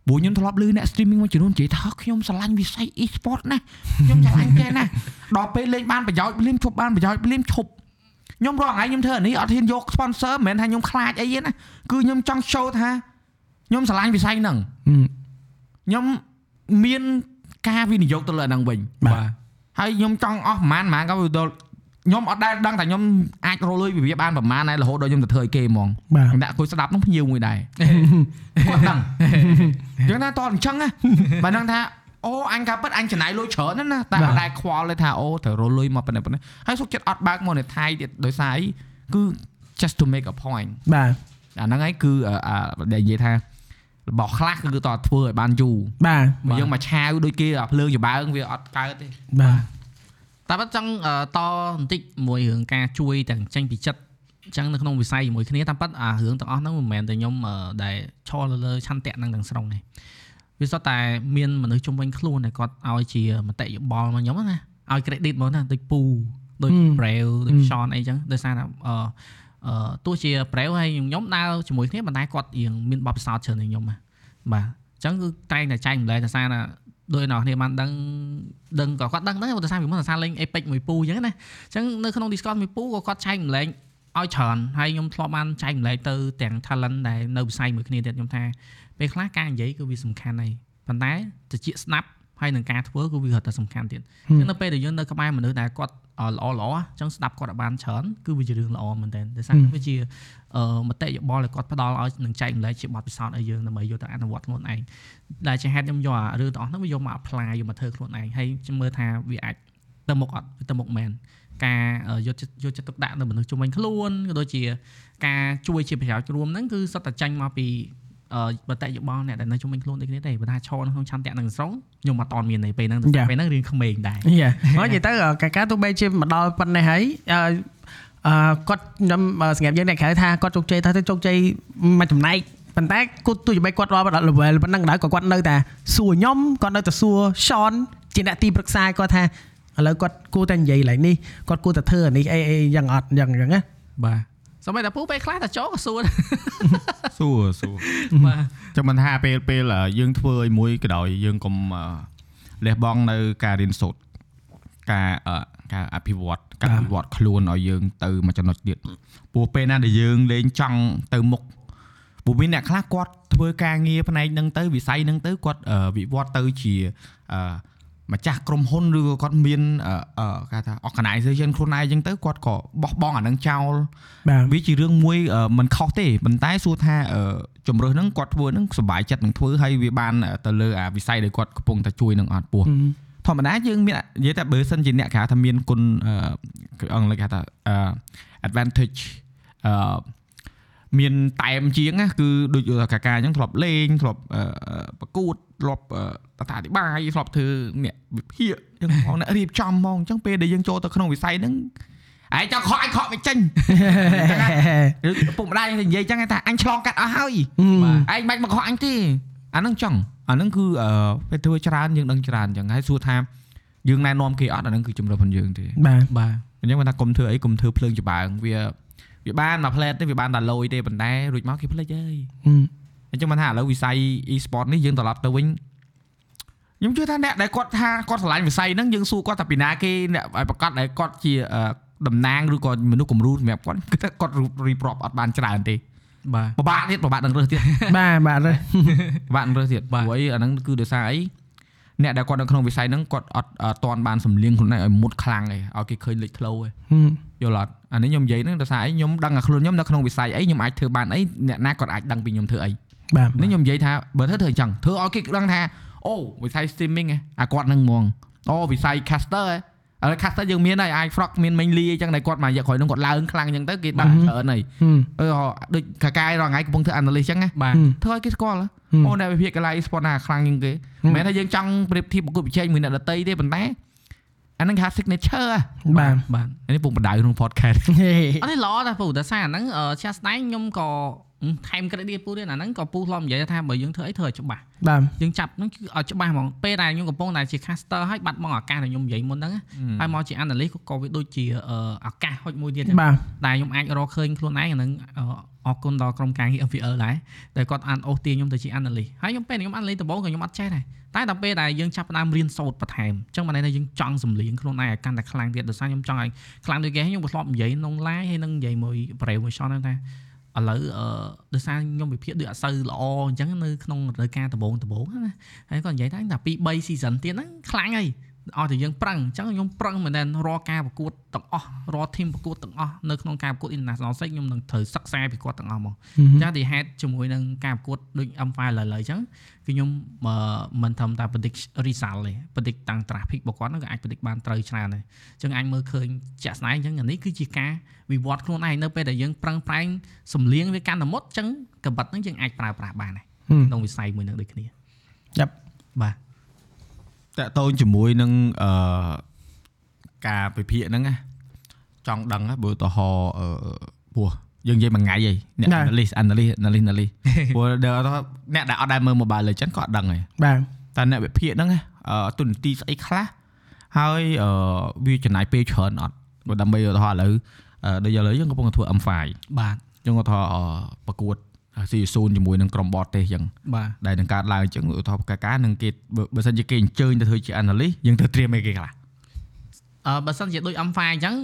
[SPEAKER 1] ព្រោះខ្ញុំធ្លាប់ឮអ្នក streaming មួយចំនួននិយាយថាខ្ញុំស្រឡាញ់វិស័យ e-sport ណាស់ខ្ញុំស្រឡាញ់គេណាស់ដល់ពេលលេងបានប្រយោជន៍ភ្លាមឈប់បានប្រយោជន៍ភ្លាមឈប់ខ្ញុំរងថ្ងៃខ្ញុំធ្វើអានេះអត់ហ៊ានយក sponsor មិនមែនថាខ្ញុំខ្លាចអីទេណាគឺខ្ញុំចង់ show ថាខ្ញុំស្រឡាញ់វិស័យហ្នឹង
[SPEAKER 2] ហឹម
[SPEAKER 1] ខ្ញុំមាន
[SPEAKER 4] ការវិនិយោគទៅលើអាហ្នឹងវិញ
[SPEAKER 2] បាទ
[SPEAKER 4] ហើយខ្ញុំចង់អស់ប្រហែលប្រហែលក៏វាដល់ខ្ញុំអត់ដែលដឹងថាខ្ញុំអាចរកលុយពីវាបានប្រហែលដែររហូតដល់ខ្ញុំទៅធ្វើឲ្យគេហ្មង
[SPEAKER 2] បាទ
[SPEAKER 4] អ្នកគួយស្ដាប់ហ្នឹងភ្ញៀវមួយដែរ គាត់ដឹងយ៉ាងណាតអញ្ចឹងណាបើដឹងថាអូអញការពិតអញចំណាយលុយច្រើនណាស់ណាតែ
[SPEAKER 2] បាទ
[SPEAKER 4] អត់ដែលខ្វល់ទេថាអូត្រូវរកលុយមកប៉ុណ្ណេះប៉ុណ្ណេះហើយសុខចិត្តអត់បើកមកនៅថៃទៀតដោយសារអីគឺ just to make a point
[SPEAKER 2] បាទ
[SPEAKER 4] អាហ្នឹងឯងគឺអឺអាដែលនិយាយថារបស់ខ្លះគឺតើធ្វើឲ្យបានយូរ
[SPEAKER 2] បាទ
[SPEAKER 4] បើយើងមកឆាវដូចគេអាភ្លើងចម្បើងវាអត់កើតទេ
[SPEAKER 2] បាទ
[SPEAKER 3] តែបើចង់អឺតបន្តិចមួយរឿងការជួយទាំងចេញពីចិត្តអញ្ចឹងនៅក្នុងវិស័យជាមួយគ្នាតាមពិតអារឿងទាំងអស់ហ្នឹងមិនមែនតែខ្ញុំអឺដែលឈរលើលើឆន្ទៈហ្នឹងទាំងស្រុងទេវាសុទ្ធតែមានមនុស្សជំនាញខ្លួនដែលគាត់ឲ្យជាមតិយោបល់មកខ្ញុំហ្នឹងណាឲ្យ credit មកណាដូចពូដូច Braille ដូច Sean អីចឹងដោយសារថាអឺអឺទោះជា Braille ហើយខ្ញុំដើរជាមួយគ្នាប៉ុន្តែគាត់រៀងមានបទពិសោធន៍ច្រើនជាងខ្ញុំណាបាទអញ្ចឹងគឺតែងតែចែកម្លែកដោយសារថា ដោយអ្នកនរគ្នាបានដឹងដឹងក៏គាត់ដឹងដែរព្រោះដោយសារពីមុនដោយសារលេង Epic មួយពូអញ្ចឹងណាអញ្ចឹងនៅក្នុង Discord មួយពូក៏គាត់ចែកម្លែងឲ្យច្រើនហើយខ្ញុំធ្លាប់បានចែកម្លែងទៅទាំង talent ដែលនៅវិស័យមួយគ្នាទៀតខ្ញុំថាពេលខ្លះការនិយាយគឺវាសំខាន់ហើយប៉ុន្តែត្រជាស្ដាប់ហើយនឹងការធ្វើគឺវារត់តែសំខាន់ទៀតអញ្ចឹងនៅពេលដែលយើងនៅក្បែរមនុស្សដែលគាត់អ่าល្អល្អអញ្ចឹងស្ដាប់គាត់ឲ្យបានច្រើនគឺវាជារឿងល្អមែនទែនដោយសារវាជាអឺមតិយោបល់ដែលគាត់ផ្ដល់ឲ្យនឹងចែកម្លែងជាបទពិសោធន៍ឲ្យយើងដើម្បីយកទៅអនុវត្តខ្លួនឯង ដែលជាហេតុខ្ញុំយកអារឿងទាំងអស់ហ្នឹងមកយកមក apply យកមកធ្វើខ្លួនឯងហើយខ្ញុំមើលថាវាអាចទៅមុខអត់វាទៅមុខមែនការអឺយកចិត្តយកចិត្តទុកដាក់នៅមនុស្សជុំវិញខ្លួនក៏ដូចជាការជួយជាប្រយោជន៍រួមហ្នឹងគឺសុទ្ធតែចាញ់មកពីអឺបតិយោបល់អ្នកដែលនៅជុំវិញខ្លួនដូចគ្នាទេបើថាឈរនៅក្នុងឆន្ទៈនឹងស្រុងខ្ញុំអត់តមានទេពេលហ្នឹងតែពេលហ្នឹងរៀងក្មេងដែរ
[SPEAKER 2] យ៉ាមកនិយាយទៅកាកាទោះបីជាមកដល់ប៉ុណ្ណេះហើយអឺអឺគាត់ខ្ញុំអឺសង្កេតយើងអ្នកក្រៅថាគាត់ជោគជ័យថាទៅជោគជ័យមួយចំណែកប៉ុន្តែគាត់ទោះបីគាត់ដល់ដល់ level ប៉ុណ្ណឹងដែរក៏គាត់នៅតែសួរខ្ញុំគាត់នៅតែសួរ Sean ជាអ្នកទីប្រឹក្សាគាត់ថាឥឡូវគាត់គួរតែនិយាយឡើងនេះគាត់គួរតែធ្វើអានេះអីអីយ៉ាងអត់យ៉ាងយ៉ាងណា
[SPEAKER 3] បាទសម័យតាពូពេលខ្លះតាចូលក៏សួរ ដែរ
[SPEAKER 1] សួរសួរ
[SPEAKER 3] បាទ
[SPEAKER 1] ចាំមិនថាពេលពេលអ่าយើងធ្វើឲ្យមួយក៏ដោយយើងកុំអ่าលះបង់នៅការរៀនសូត្រការអ่าការអភិវឌ្ឍការអភិវឌ្ឍខ្លួនឲ្យយើងទៅមួយចំណុចទៀតព្រោះពេលណាដែលយើងលេងចង់ទៅមុខព្រោះមានអ្នកខ្លះគាត់ធ្វើការងារផ្នែកហ្នឹងទៅវិស័យហ្នឹងទៅគាត់អ่าវិវត្តទៅជាអ่าម្ចាស់ក្រុមហ៊ុនឬក៏គាត់មានអ่าអ่าគេថា organization ខ្លួនឯងអញ្ចឹងទៅគាត់ក៏បោះបង់អាហ្នឹងចោល
[SPEAKER 2] បាទ
[SPEAKER 1] វាជារឿងមួយអឺមិនខុសទេប៉ុន្តែសួរថាអឺជំរើសហ្នឹងគាត់ធ្វើហ្នឹងសុបាយចិត្តនឹងធ្វើហើយវាបានអឺទៅលើអាវិស័យដែលគាត់កំពុងតែជួយនឹងអត់ពោះធម្មតាយើងមាននិយាយតែបើសិនជាអ្នកគេហៅថាមានគុណអឺអង់គ្លេសគេហៅថាអឺ advantage អឺមានតែមជាងណាគឺដូចកាកាអញ្ចឹងធ្លាប់លេងធ្លាប់អឺប្រកួតធ្លាប់អឺតតាអធិប្បាយធ្លាប់ធ្វើអ្នកវិភាគអញ្ចឹងផងអ្នករៀបចំហ្មងអញ្ចឹងពេលដែលយើងចូលទៅក្នុងវិស័យហ្នឹងឯងចង់ខកឯងខកមិនចេញ ឬឪពុកម្ដាយនិយាយចឹងឯងថាអញឆ្លងកាត់អស់ហើយឯងមិនបាច់មកខកអញទេអាហ្នឹងចង់អាហ្នឹងគឺអឺពេលធ្វើច្រើនយើងដឹងច្រើនចឹងហើយសួរថាយើងណែនាំគេអត់អាហ្នឹងគឺជំរឿនរបស់យើងទេ
[SPEAKER 2] បាទ
[SPEAKER 3] បាទ
[SPEAKER 1] អញ្ចឹងមិនថាកុំធ្វើអីកុំធ្វើភ្លើងច្បើងវាវាបានមកផ្លែតទេវាបានតែលយទេប៉ុន្តែរួចមកគេភ្លេចហើយ អញ្ចឹងមិនថាឥឡូវវិស័យ e-sport នេះយើងត្រឡប់ទៅវិញខ្ញុំជឿថាអ្នកដែលគាត់ថាគាត់ឆ្លាញ់វិស័យហ្នឹងយើងសួរគាត់ថាពីណាគេអ្នកឲ្យប្រកាសដែលគាត់ជាអឺតំណាងឬក៏មនុស្សគំរូសម្រាប់គាត់គឺថាគាត់ រីប្រាប់អត់បានច្រើនទេ
[SPEAKER 3] បាទ
[SPEAKER 1] ពិបាកទៀតពិបាកនឹងរើសទៀត
[SPEAKER 2] បាទបាទរើ
[SPEAKER 1] ព
[SPEAKER 2] ស
[SPEAKER 1] ិបាកនឹងរើសទៀតព្រោះអីអាហ្នឹងគឺដោយសារអីអ្នកដែលគាត់នៅក្នុងវិស័យហ្នឹងគាត់អត់អត់តាន់បានសម្លៀងខ្លួនឯងឲ្យមុតខ្លាំងឯងឲ្យគេឃើញលេចធ្លោឯងយល់អត់អានេះខ្ញុំនិយាយហ្នឹងដោយសារអីខ្ញុំដឹងតែខ្លួនខ្ញុំនៅក្នុងវិស័យអីខ្ញុំអាចធ្វើបានអីអ្នកណាគាត់អាចដឹងពីខ្ញុំធ្វើអី
[SPEAKER 2] បាទ
[SPEAKER 1] នេះខ្ញុំនិយាយថាបើធ្វើធ្វើអញ្ចឹងធ្វើឲ្យគេដឹងថាអូវិស័យ streaming ឯងអាគាត់ហ្នឹងហ្មងអូវិស័យ caster ឯងឥឡូវ caster យើងមានហើយអាច frog មាន mainly អីចឹងតែលគាត់មករយៈក្រោយហ្នឹងគាត់ឡើងខ្លាំងអញ្ចឹងទៅគេដឹងច្រើនហើយ អឺដូចកាកាយរាល់ថ្ងៃកំពុងធ្វើ analyst ចឹងណា
[SPEAKER 3] បាទ
[SPEAKER 1] ធ្វើឲ្យគេស្គាល់ហ៎អូអ្នកវិភាគកន្លែង sport ណាខ្លាំងជាងគេមិនមែនថាយើងចង់ប្រៀបធៀបប្រកួតប្រជែងមួយអ្នកដតីទេប៉ុន្តែអាហ្នឹងគេហៅ signature ហ៎
[SPEAKER 2] បាទ
[SPEAKER 3] បាទ
[SPEAKER 1] អានេះពុកបដៅក្នុង podcast
[SPEAKER 3] អត់ទេល្អតែពូដោយសារអាហ្នឹងអឺជាក់ស្ដែងខ្ញុំក៏អឺថែម credit ទៀតពូទៀតអាហ្នឹងក៏ពូធ្លាប់និយាយថាបើយើងធ្វើអីធ្វើឲ្យច្បាស់
[SPEAKER 2] បាទ
[SPEAKER 3] យើងចាប់ហ្នឹងគឺឲ្យច្បាស់ហ្មងពេលដែលខ្ញុំកំពុងតែជា caster ហើយបាត់បង់ឱកាសដែលខ្ញុំនិយាយមុនហ្នឹងណាហើយមកជា analyst ក៏ក៏វាដូចជាអឺឱកាសហុចមួយទៀតដែរ
[SPEAKER 2] បាទ
[SPEAKER 3] ដែលខ្ញុំអាចរកឃើញខ្លួនឯងអាហ្នឹងអឺអរគុណដល់ក្រុមការងារ FVL ដែរដែលគាត់អានអូសទាញខ្ញុំទៅជា analyst ហើយខ្ញុំពេលដែលខ្ញុំ analyst ដំបូងក៏ខ្ញុំអត់ចេះដែរតែដល់ពេលដែលយើងចាប់ផ្ដើមរៀនសូត្របន្ថែមអញ្ចឹងបានន័យថាយើងចង់សម្លៀងខ្លួនឯងឲ្យកាន់តែខ្លាំងទៀតដោយសារខ្ញុំចង់ឲ្យ ខ្លាំងដូចគេហើយខ្ញុំក៏ធ្លាប់និយាយក្នុង live ហើយនឹងនិយាយមួយ brave មួយ shot ហ្នឹងថា ឥឡូវអឺដោយសារខ្ញុំវិភាគដូចអត់សូវល្អអញ្ចឹងនៅក្នុងរដូវកាលដំបូងដំបូងហ្នឹងណាហើយគាត់និយាយថាថា2 3 season ទៀតហ្នឹងខ្លាំងហើយអស់តែយើងប្រឹងអញ្ចឹងខ្ញុំប្រឹងមែនទែនរាល់ការប្រកួតទាំងអស់រាល់ធីមប្រកួតទាំងអស់នៅក្នុងការប្រកួត International Six ខ្ញុំនឹងត្រូវសិក្សាពីគាត់ទាំងអស់ហ្មង ចាស់ទីហេតុជាមួយនឹងការប្រកួតដូច M5 ឡើយឡើយអញ្ចឹងគឺខ្ញុំអឺមិនធ្វើតែ predict result ទេ predict តាំង traffic របស់គាត់ហ្នឹងក៏អាច predict បានត្រូវច្រើនដែរអញ្ចឹងអាចមើលឃើញជាក់ស្ដែងអញ្ចឹងអានេះគឺជាការវិវត្តខ្លួនឯងនៅពេលដែលយើងប្រឹងប្រែងសំលៀងវាកាន់តែមុតអញ្ចឹងកបិតហ្នឹងយើងអាចប្រើប្រាស់បានដែរក្នុងវិស័យមួយហ្នឹងដូចគ្នា
[SPEAKER 2] ចាប់
[SPEAKER 3] បាទ
[SPEAKER 4] តាក់ទងជាមួយនឹងអឺការពិភាក្សាហ្នឹងណាចង់ដឹងណាបើឧទៅហរអឺពោះយើងនិយាយមួយថ្ងៃហីអ្នក
[SPEAKER 2] ណា
[SPEAKER 4] analyst analyst analyst analyst ព្រោះដល់ថាអ្នកដែលអត់ដែលមើល Mobile Legends ក៏អត់ដឹងហី
[SPEAKER 2] បាទ
[SPEAKER 4] តែអ្នកវិភាគហ្នឹងណាអឺទុននីតិស្អីខ្លះហើយអឺវាចំណាយពេលច្រើនអត់បើដើម្បីឧទៅហរឥឡូវអឺដូចឥឡូវយើងកំពុងតែធ្វើ M5
[SPEAKER 3] បាទ
[SPEAKER 4] យើងក៏ថាអឺប្រកួត season ជាមួយនឹងក្រុមបតទេសអញ្ចឹង
[SPEAKER 3] បាទ
[SPEAKER 4] ដែលនឹងកើតឡើងអញ្ចឹងឧទាហរណ៍កាកានឹងគេបើបើសិនជាគេអញ្ជើញទៅធ្វើជា analyst យើងត្រូវត្រៀមអីគេខ្លះ
[SPEAKER 3] អឺបើសិនជាដូច M5 អញ្ចឹង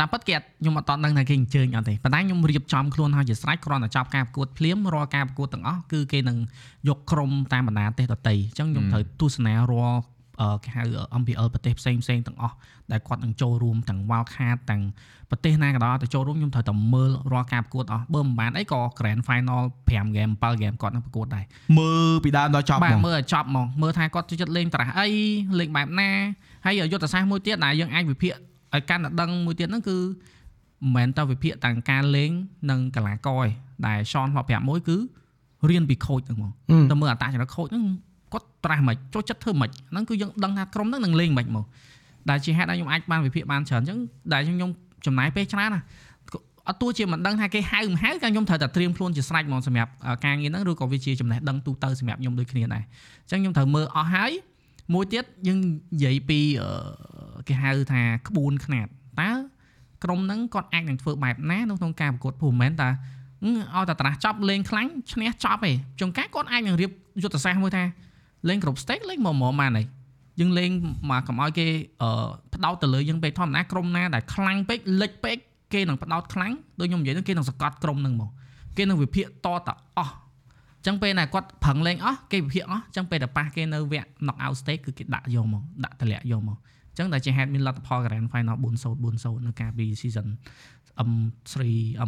[SPEAKER 3] តាមពិតគេអត់ខ្ញុំអត់តន់ដឹងថាគេអញ្ជើញអត់ទេប៉ុន្តែខ្ញុំរៀបចំខ្លួនហើយជាស្រេចគ្រាន់តែចប់ការប្រកួតភ្លាមរាល់ការប្រកួតទាំងអស់គឺគេនឹងយកក្រុមតាមបណ្ដាទេសដទៃអញ្ចឹងខ្ញុំត្រូវទស្សនារាល់អឺគេហៅ MPL ប្រទេសផ្សេងផ្សេងៗទាំងអស់ដែលគាត់នឹងចូលរួមទាំង Wildcard ទាំងប្រទេសណាក៏ដោយទៅចូលរួមខ្ញុំត្រូវតែមើលរាល់ការប្រកួតអស់បើមិនបានអីក៏ Grand Final 5 game 7 game គាត់នឹងប្រកួតដែរ
[SPEAKER 4] មើលពីដើមដល់ចប់
[SPEAKER 3] បា
[SPEAKER 4] ហ្ម
[SPEAKER 3] ទ
[SPEAKER 4] ង
[SPEAKER 3] មើលឲ្យចប់ហ្មងមើលថាគាត់ចូលចិត្តលេងតារាស់អីលេងបែបណាហើយយុទ្ធសាស្ត្រមួយទៀតដែលយើងអាចវិភាគឲ្យកាន់តែដឹងមួយទៀតហ្នឹងគឺមិនមែនតែវិភាគទាំងការលេងនិងកីឡាករឯងដែលសនធ្លាប់ប្រាប់មួយគឺរៀនពីខូចហ្នឹងហ្មងតែមើលអត្តចរិតខូចហ្នឹងគាត់ត្រាស់មិនចូលចិត្តធ្វើមិនហ្នឹងគឺយើងដឹងថាក្រុមហ្នឹងនឹងលេងមិនហ្មងដែលជាហេតុដែលខ្ញុំអាចបានវិភាគបានច្រើនអញ្ចឹងដែលខ្ញុំខ្ញុំចំណាយពេលច្រើនណាស់អត់ទោះជាមិនដឹងថាគេហៅមិនហៅក៏ខ្ញុំត្រូវតែត្រៀមខ្លួនជាស្រេចហ្មងសម្រាប់អ่าការងារហ្នឹងឬក៏វាជាចំណេះដឹងទូទៅសម្រាប់ខ្ញុំដូចគ្នាដែរ អញ្ចឹងខ្ញុំត្រូវមើលអស់ហើយមួយទៀតយើងនិយាយពីអឺគេហៅថាក្បួនខ្នាតតើក្រុមហ្នឹងគាត់អាចនឹងធ្វើបែបណានៅក្នុងការប្រកួតព្រោះមិនមែនតាអឺឲ្យតែតារាស់ចប់លេងខ្លាំងឈ្នះចប់ឯងចុងការគាត់អាចនឹងរៀបយុទ្ធសាស្ត្រមួយថាលេងគ្រប់ stake លេងមកមកបានឯងយើងលេងមកកុំឲ្យគេអឺផ្ដោតទៅលើយើងពេកធម្មតាក្រុមណាដែលខ្លាំងពេកលិចពេកគេនឹងផ្ដោតខ្លាំងដូចខ្ញុំនិយាយហ្នឹងគេនឹងសកាត់ក្រុមហ្នឹងមកគេនឹងវិភាគតតអស់ ចឹងពេលណាគាត់ប្រឹងលេងអស់គេវិភាគអស់ចឹងពេលតែប៉ះគេនៅវគ្គ knock out stage គឺគេដាក់យកមកដាក់តម្លាក់យកមកចឹងតែជាហេតុមានលទ្ធផល Grand Final 4-0 4-0នៅកាលពី season M3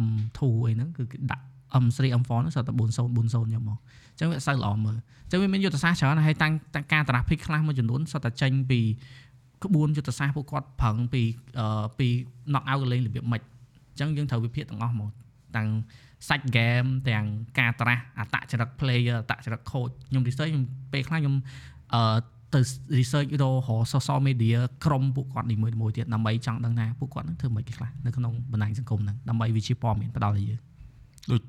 [SPEAKER 3] M2 អីហ្នឹងគឺគេដាក់ M3 M4 ហ្នឹងស្អាប់តែ4-0 4-0យកមកចឹងវាអត់សូវល្អមើលចឹងវាមានយុទ្ធសាស្ត្រច្រើនណាស់ហើយតាំងតាំងការតារាភិកខ្លះមួយចំនួនស្អាប់តែចេញពីក្បួនយុទ្ធសាស្ត្រពួកគាត់ប្រឹងពីអឺពី knock out លេងរបៀបម៉េចចឹងយើងត្រូវវិភាគទាំងអស់មកតាំង សាច់ហ្គេមទាំងការត្រាស់អត្តចរិត player អត្តចរិត coach ខ្ញុំ research ខ្ញុំពេលខ្លះខ្ញុំអឺទៅ research រហ social media ក្រុមពួកគាត់នីមួយៗទៀតដើម្បីចង់ដឹងថាពួកគាត់នឹងធ្វើម៉េចគេខ្លះនៅក្នុងបណ្ដាញសង្គមហ្នឹងដើម្បីវាជាព័ត៌មានផ្ដល់ឲ្យយើង
[SPEAKER 4] ដូច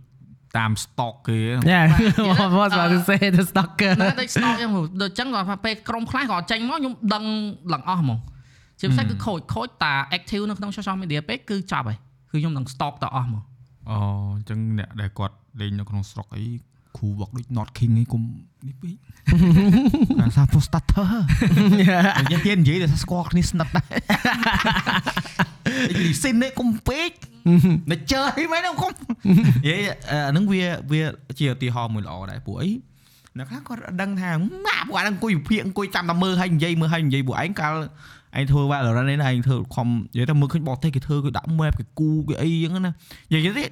[SPEAKER 4] តាម stock គេ
[SPEAKER 2] យ៉ា
[SPEAKER 3] បាទ
[SPEAKER 2] what was to say the stalker
[SPEAKER 3] ណាដូច stock អញ្ចឹងដូចអញ្ចឹងគាត់ថាពេលក្រុមខ្លះក៏ចេញមកខ្ញុំដឹងឡើងអស់ហ្មងជាពិសេសគឺ coach coach តា active នៅក្នុង social media ពេកគឺចប់ហើយគឺខ្ញុំនឹង stock តអស់ហ្មង
[SPEAKER 4] អូអញ្ចឹងអ្នកដែលគាត់លេងនៅក្នុងស្រុកអីគ្រូវឹកដូច Not King អីគុំនេះពេក អា សា post starter និយាយទៀតនិយាយតែស្គាល់គ្នាស្និទ្ធដែរនិយាយសិននេះគុំពេកតែជើអីមិនហ្នឹងគុំនិយាយអឺអាហ្នឹងវាវាជាឧទាហរណ៍មួយល្អដែរពួកអីអ្នកខ្លះគាត់អត់ដឹងថាម៉ាពួកអាហ្នឹងអង្គុយវិភាគអង្គុយចាំតែមើលហើយនិយាយមើលហើយនិយាយពួកឯងកាលឯងធ្វើ Valorant នេះណាឯងធ្វើខំនិយាយតែមើលឃើញបតទេសគេធ្វើគេដាក់ map គេគូគេអីអញ្ចឹងណានិយាយទៀត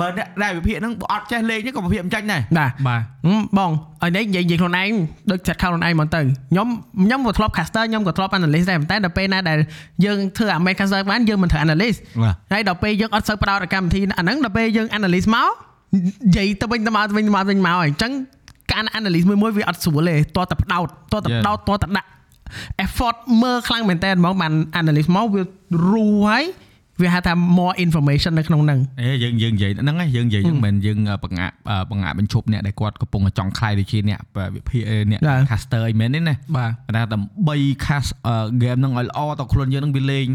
[SPEAKER 4] បើអ្នកដែលវិភាគហ្នឹងបើអត់ចេះលេងទេក៏វិភាគមិនចាញ់ដែរ
[SPEAKER 2] បាទ
[SPEAKER 4] បាទ
[SPEAKER 2] ហឹមបងឲ្យនេះនិយាយនិយាយខ្លួនឯងដូចចាត់ខោខ្លួនឯងមកទៅខ្ញុំខ្ញុំក៏ធ្លាប់ caster ខ្ញុំក៏ធ្លាប់ analyst ដែរប៉ុន្តែដល់ពេលណាដែលយើងធ្វើអា main caster បានយើងមិនធ្វើ analyst
[SPEAKER 4] បាទ
[SPEAKER 2] ហើយដល់ពេលយើងអត់សូវផ្ដោតដល់កម្មវិធីអាហ្នឹងដល់ពេលយើង analyst មកនិយាយទៅវិញទៅមកទៅវិញទៅមកទៅវិញមកអញ្ចឹងការ analyst មួយមួយៗវាអត់ស្រួលទេតោះតែផ្ដោតតោះតែ
[SPEAKER 4] Yeah.
[SPEAKER 2] ផ្ដោតតោះតែដាក់ effort មើលខ្លាំងមែនតើហ្មងបាន analyst មកវារੂហើយវាហៅថា more information នៅក្នុងហ្នឹង
[SPEAKER 4] អេយើងយើងនិយាយហ្នឹងឯងយើងនិយាយហ្នឹងមិនមែនយើងអ่ะបង្អាក់អ่ะបង្អាក់បញ្ឈប់អ្នកដែលគាត់កំពុងតែចង់ខ្លាយដូចជាអ្នកអ่ะវិភាគអេអ្នក
[SPEAKER 2] ដែរ
[SPEAKER 4] caster អីមែនទេណា
[SPEAKER 2] បាទ
[SPEAKER 4] តែដើម្បី cast អ่ะ game ហ្នឹងឲ្យល្អតខ្លួនយើងហ្នឹងវាលេង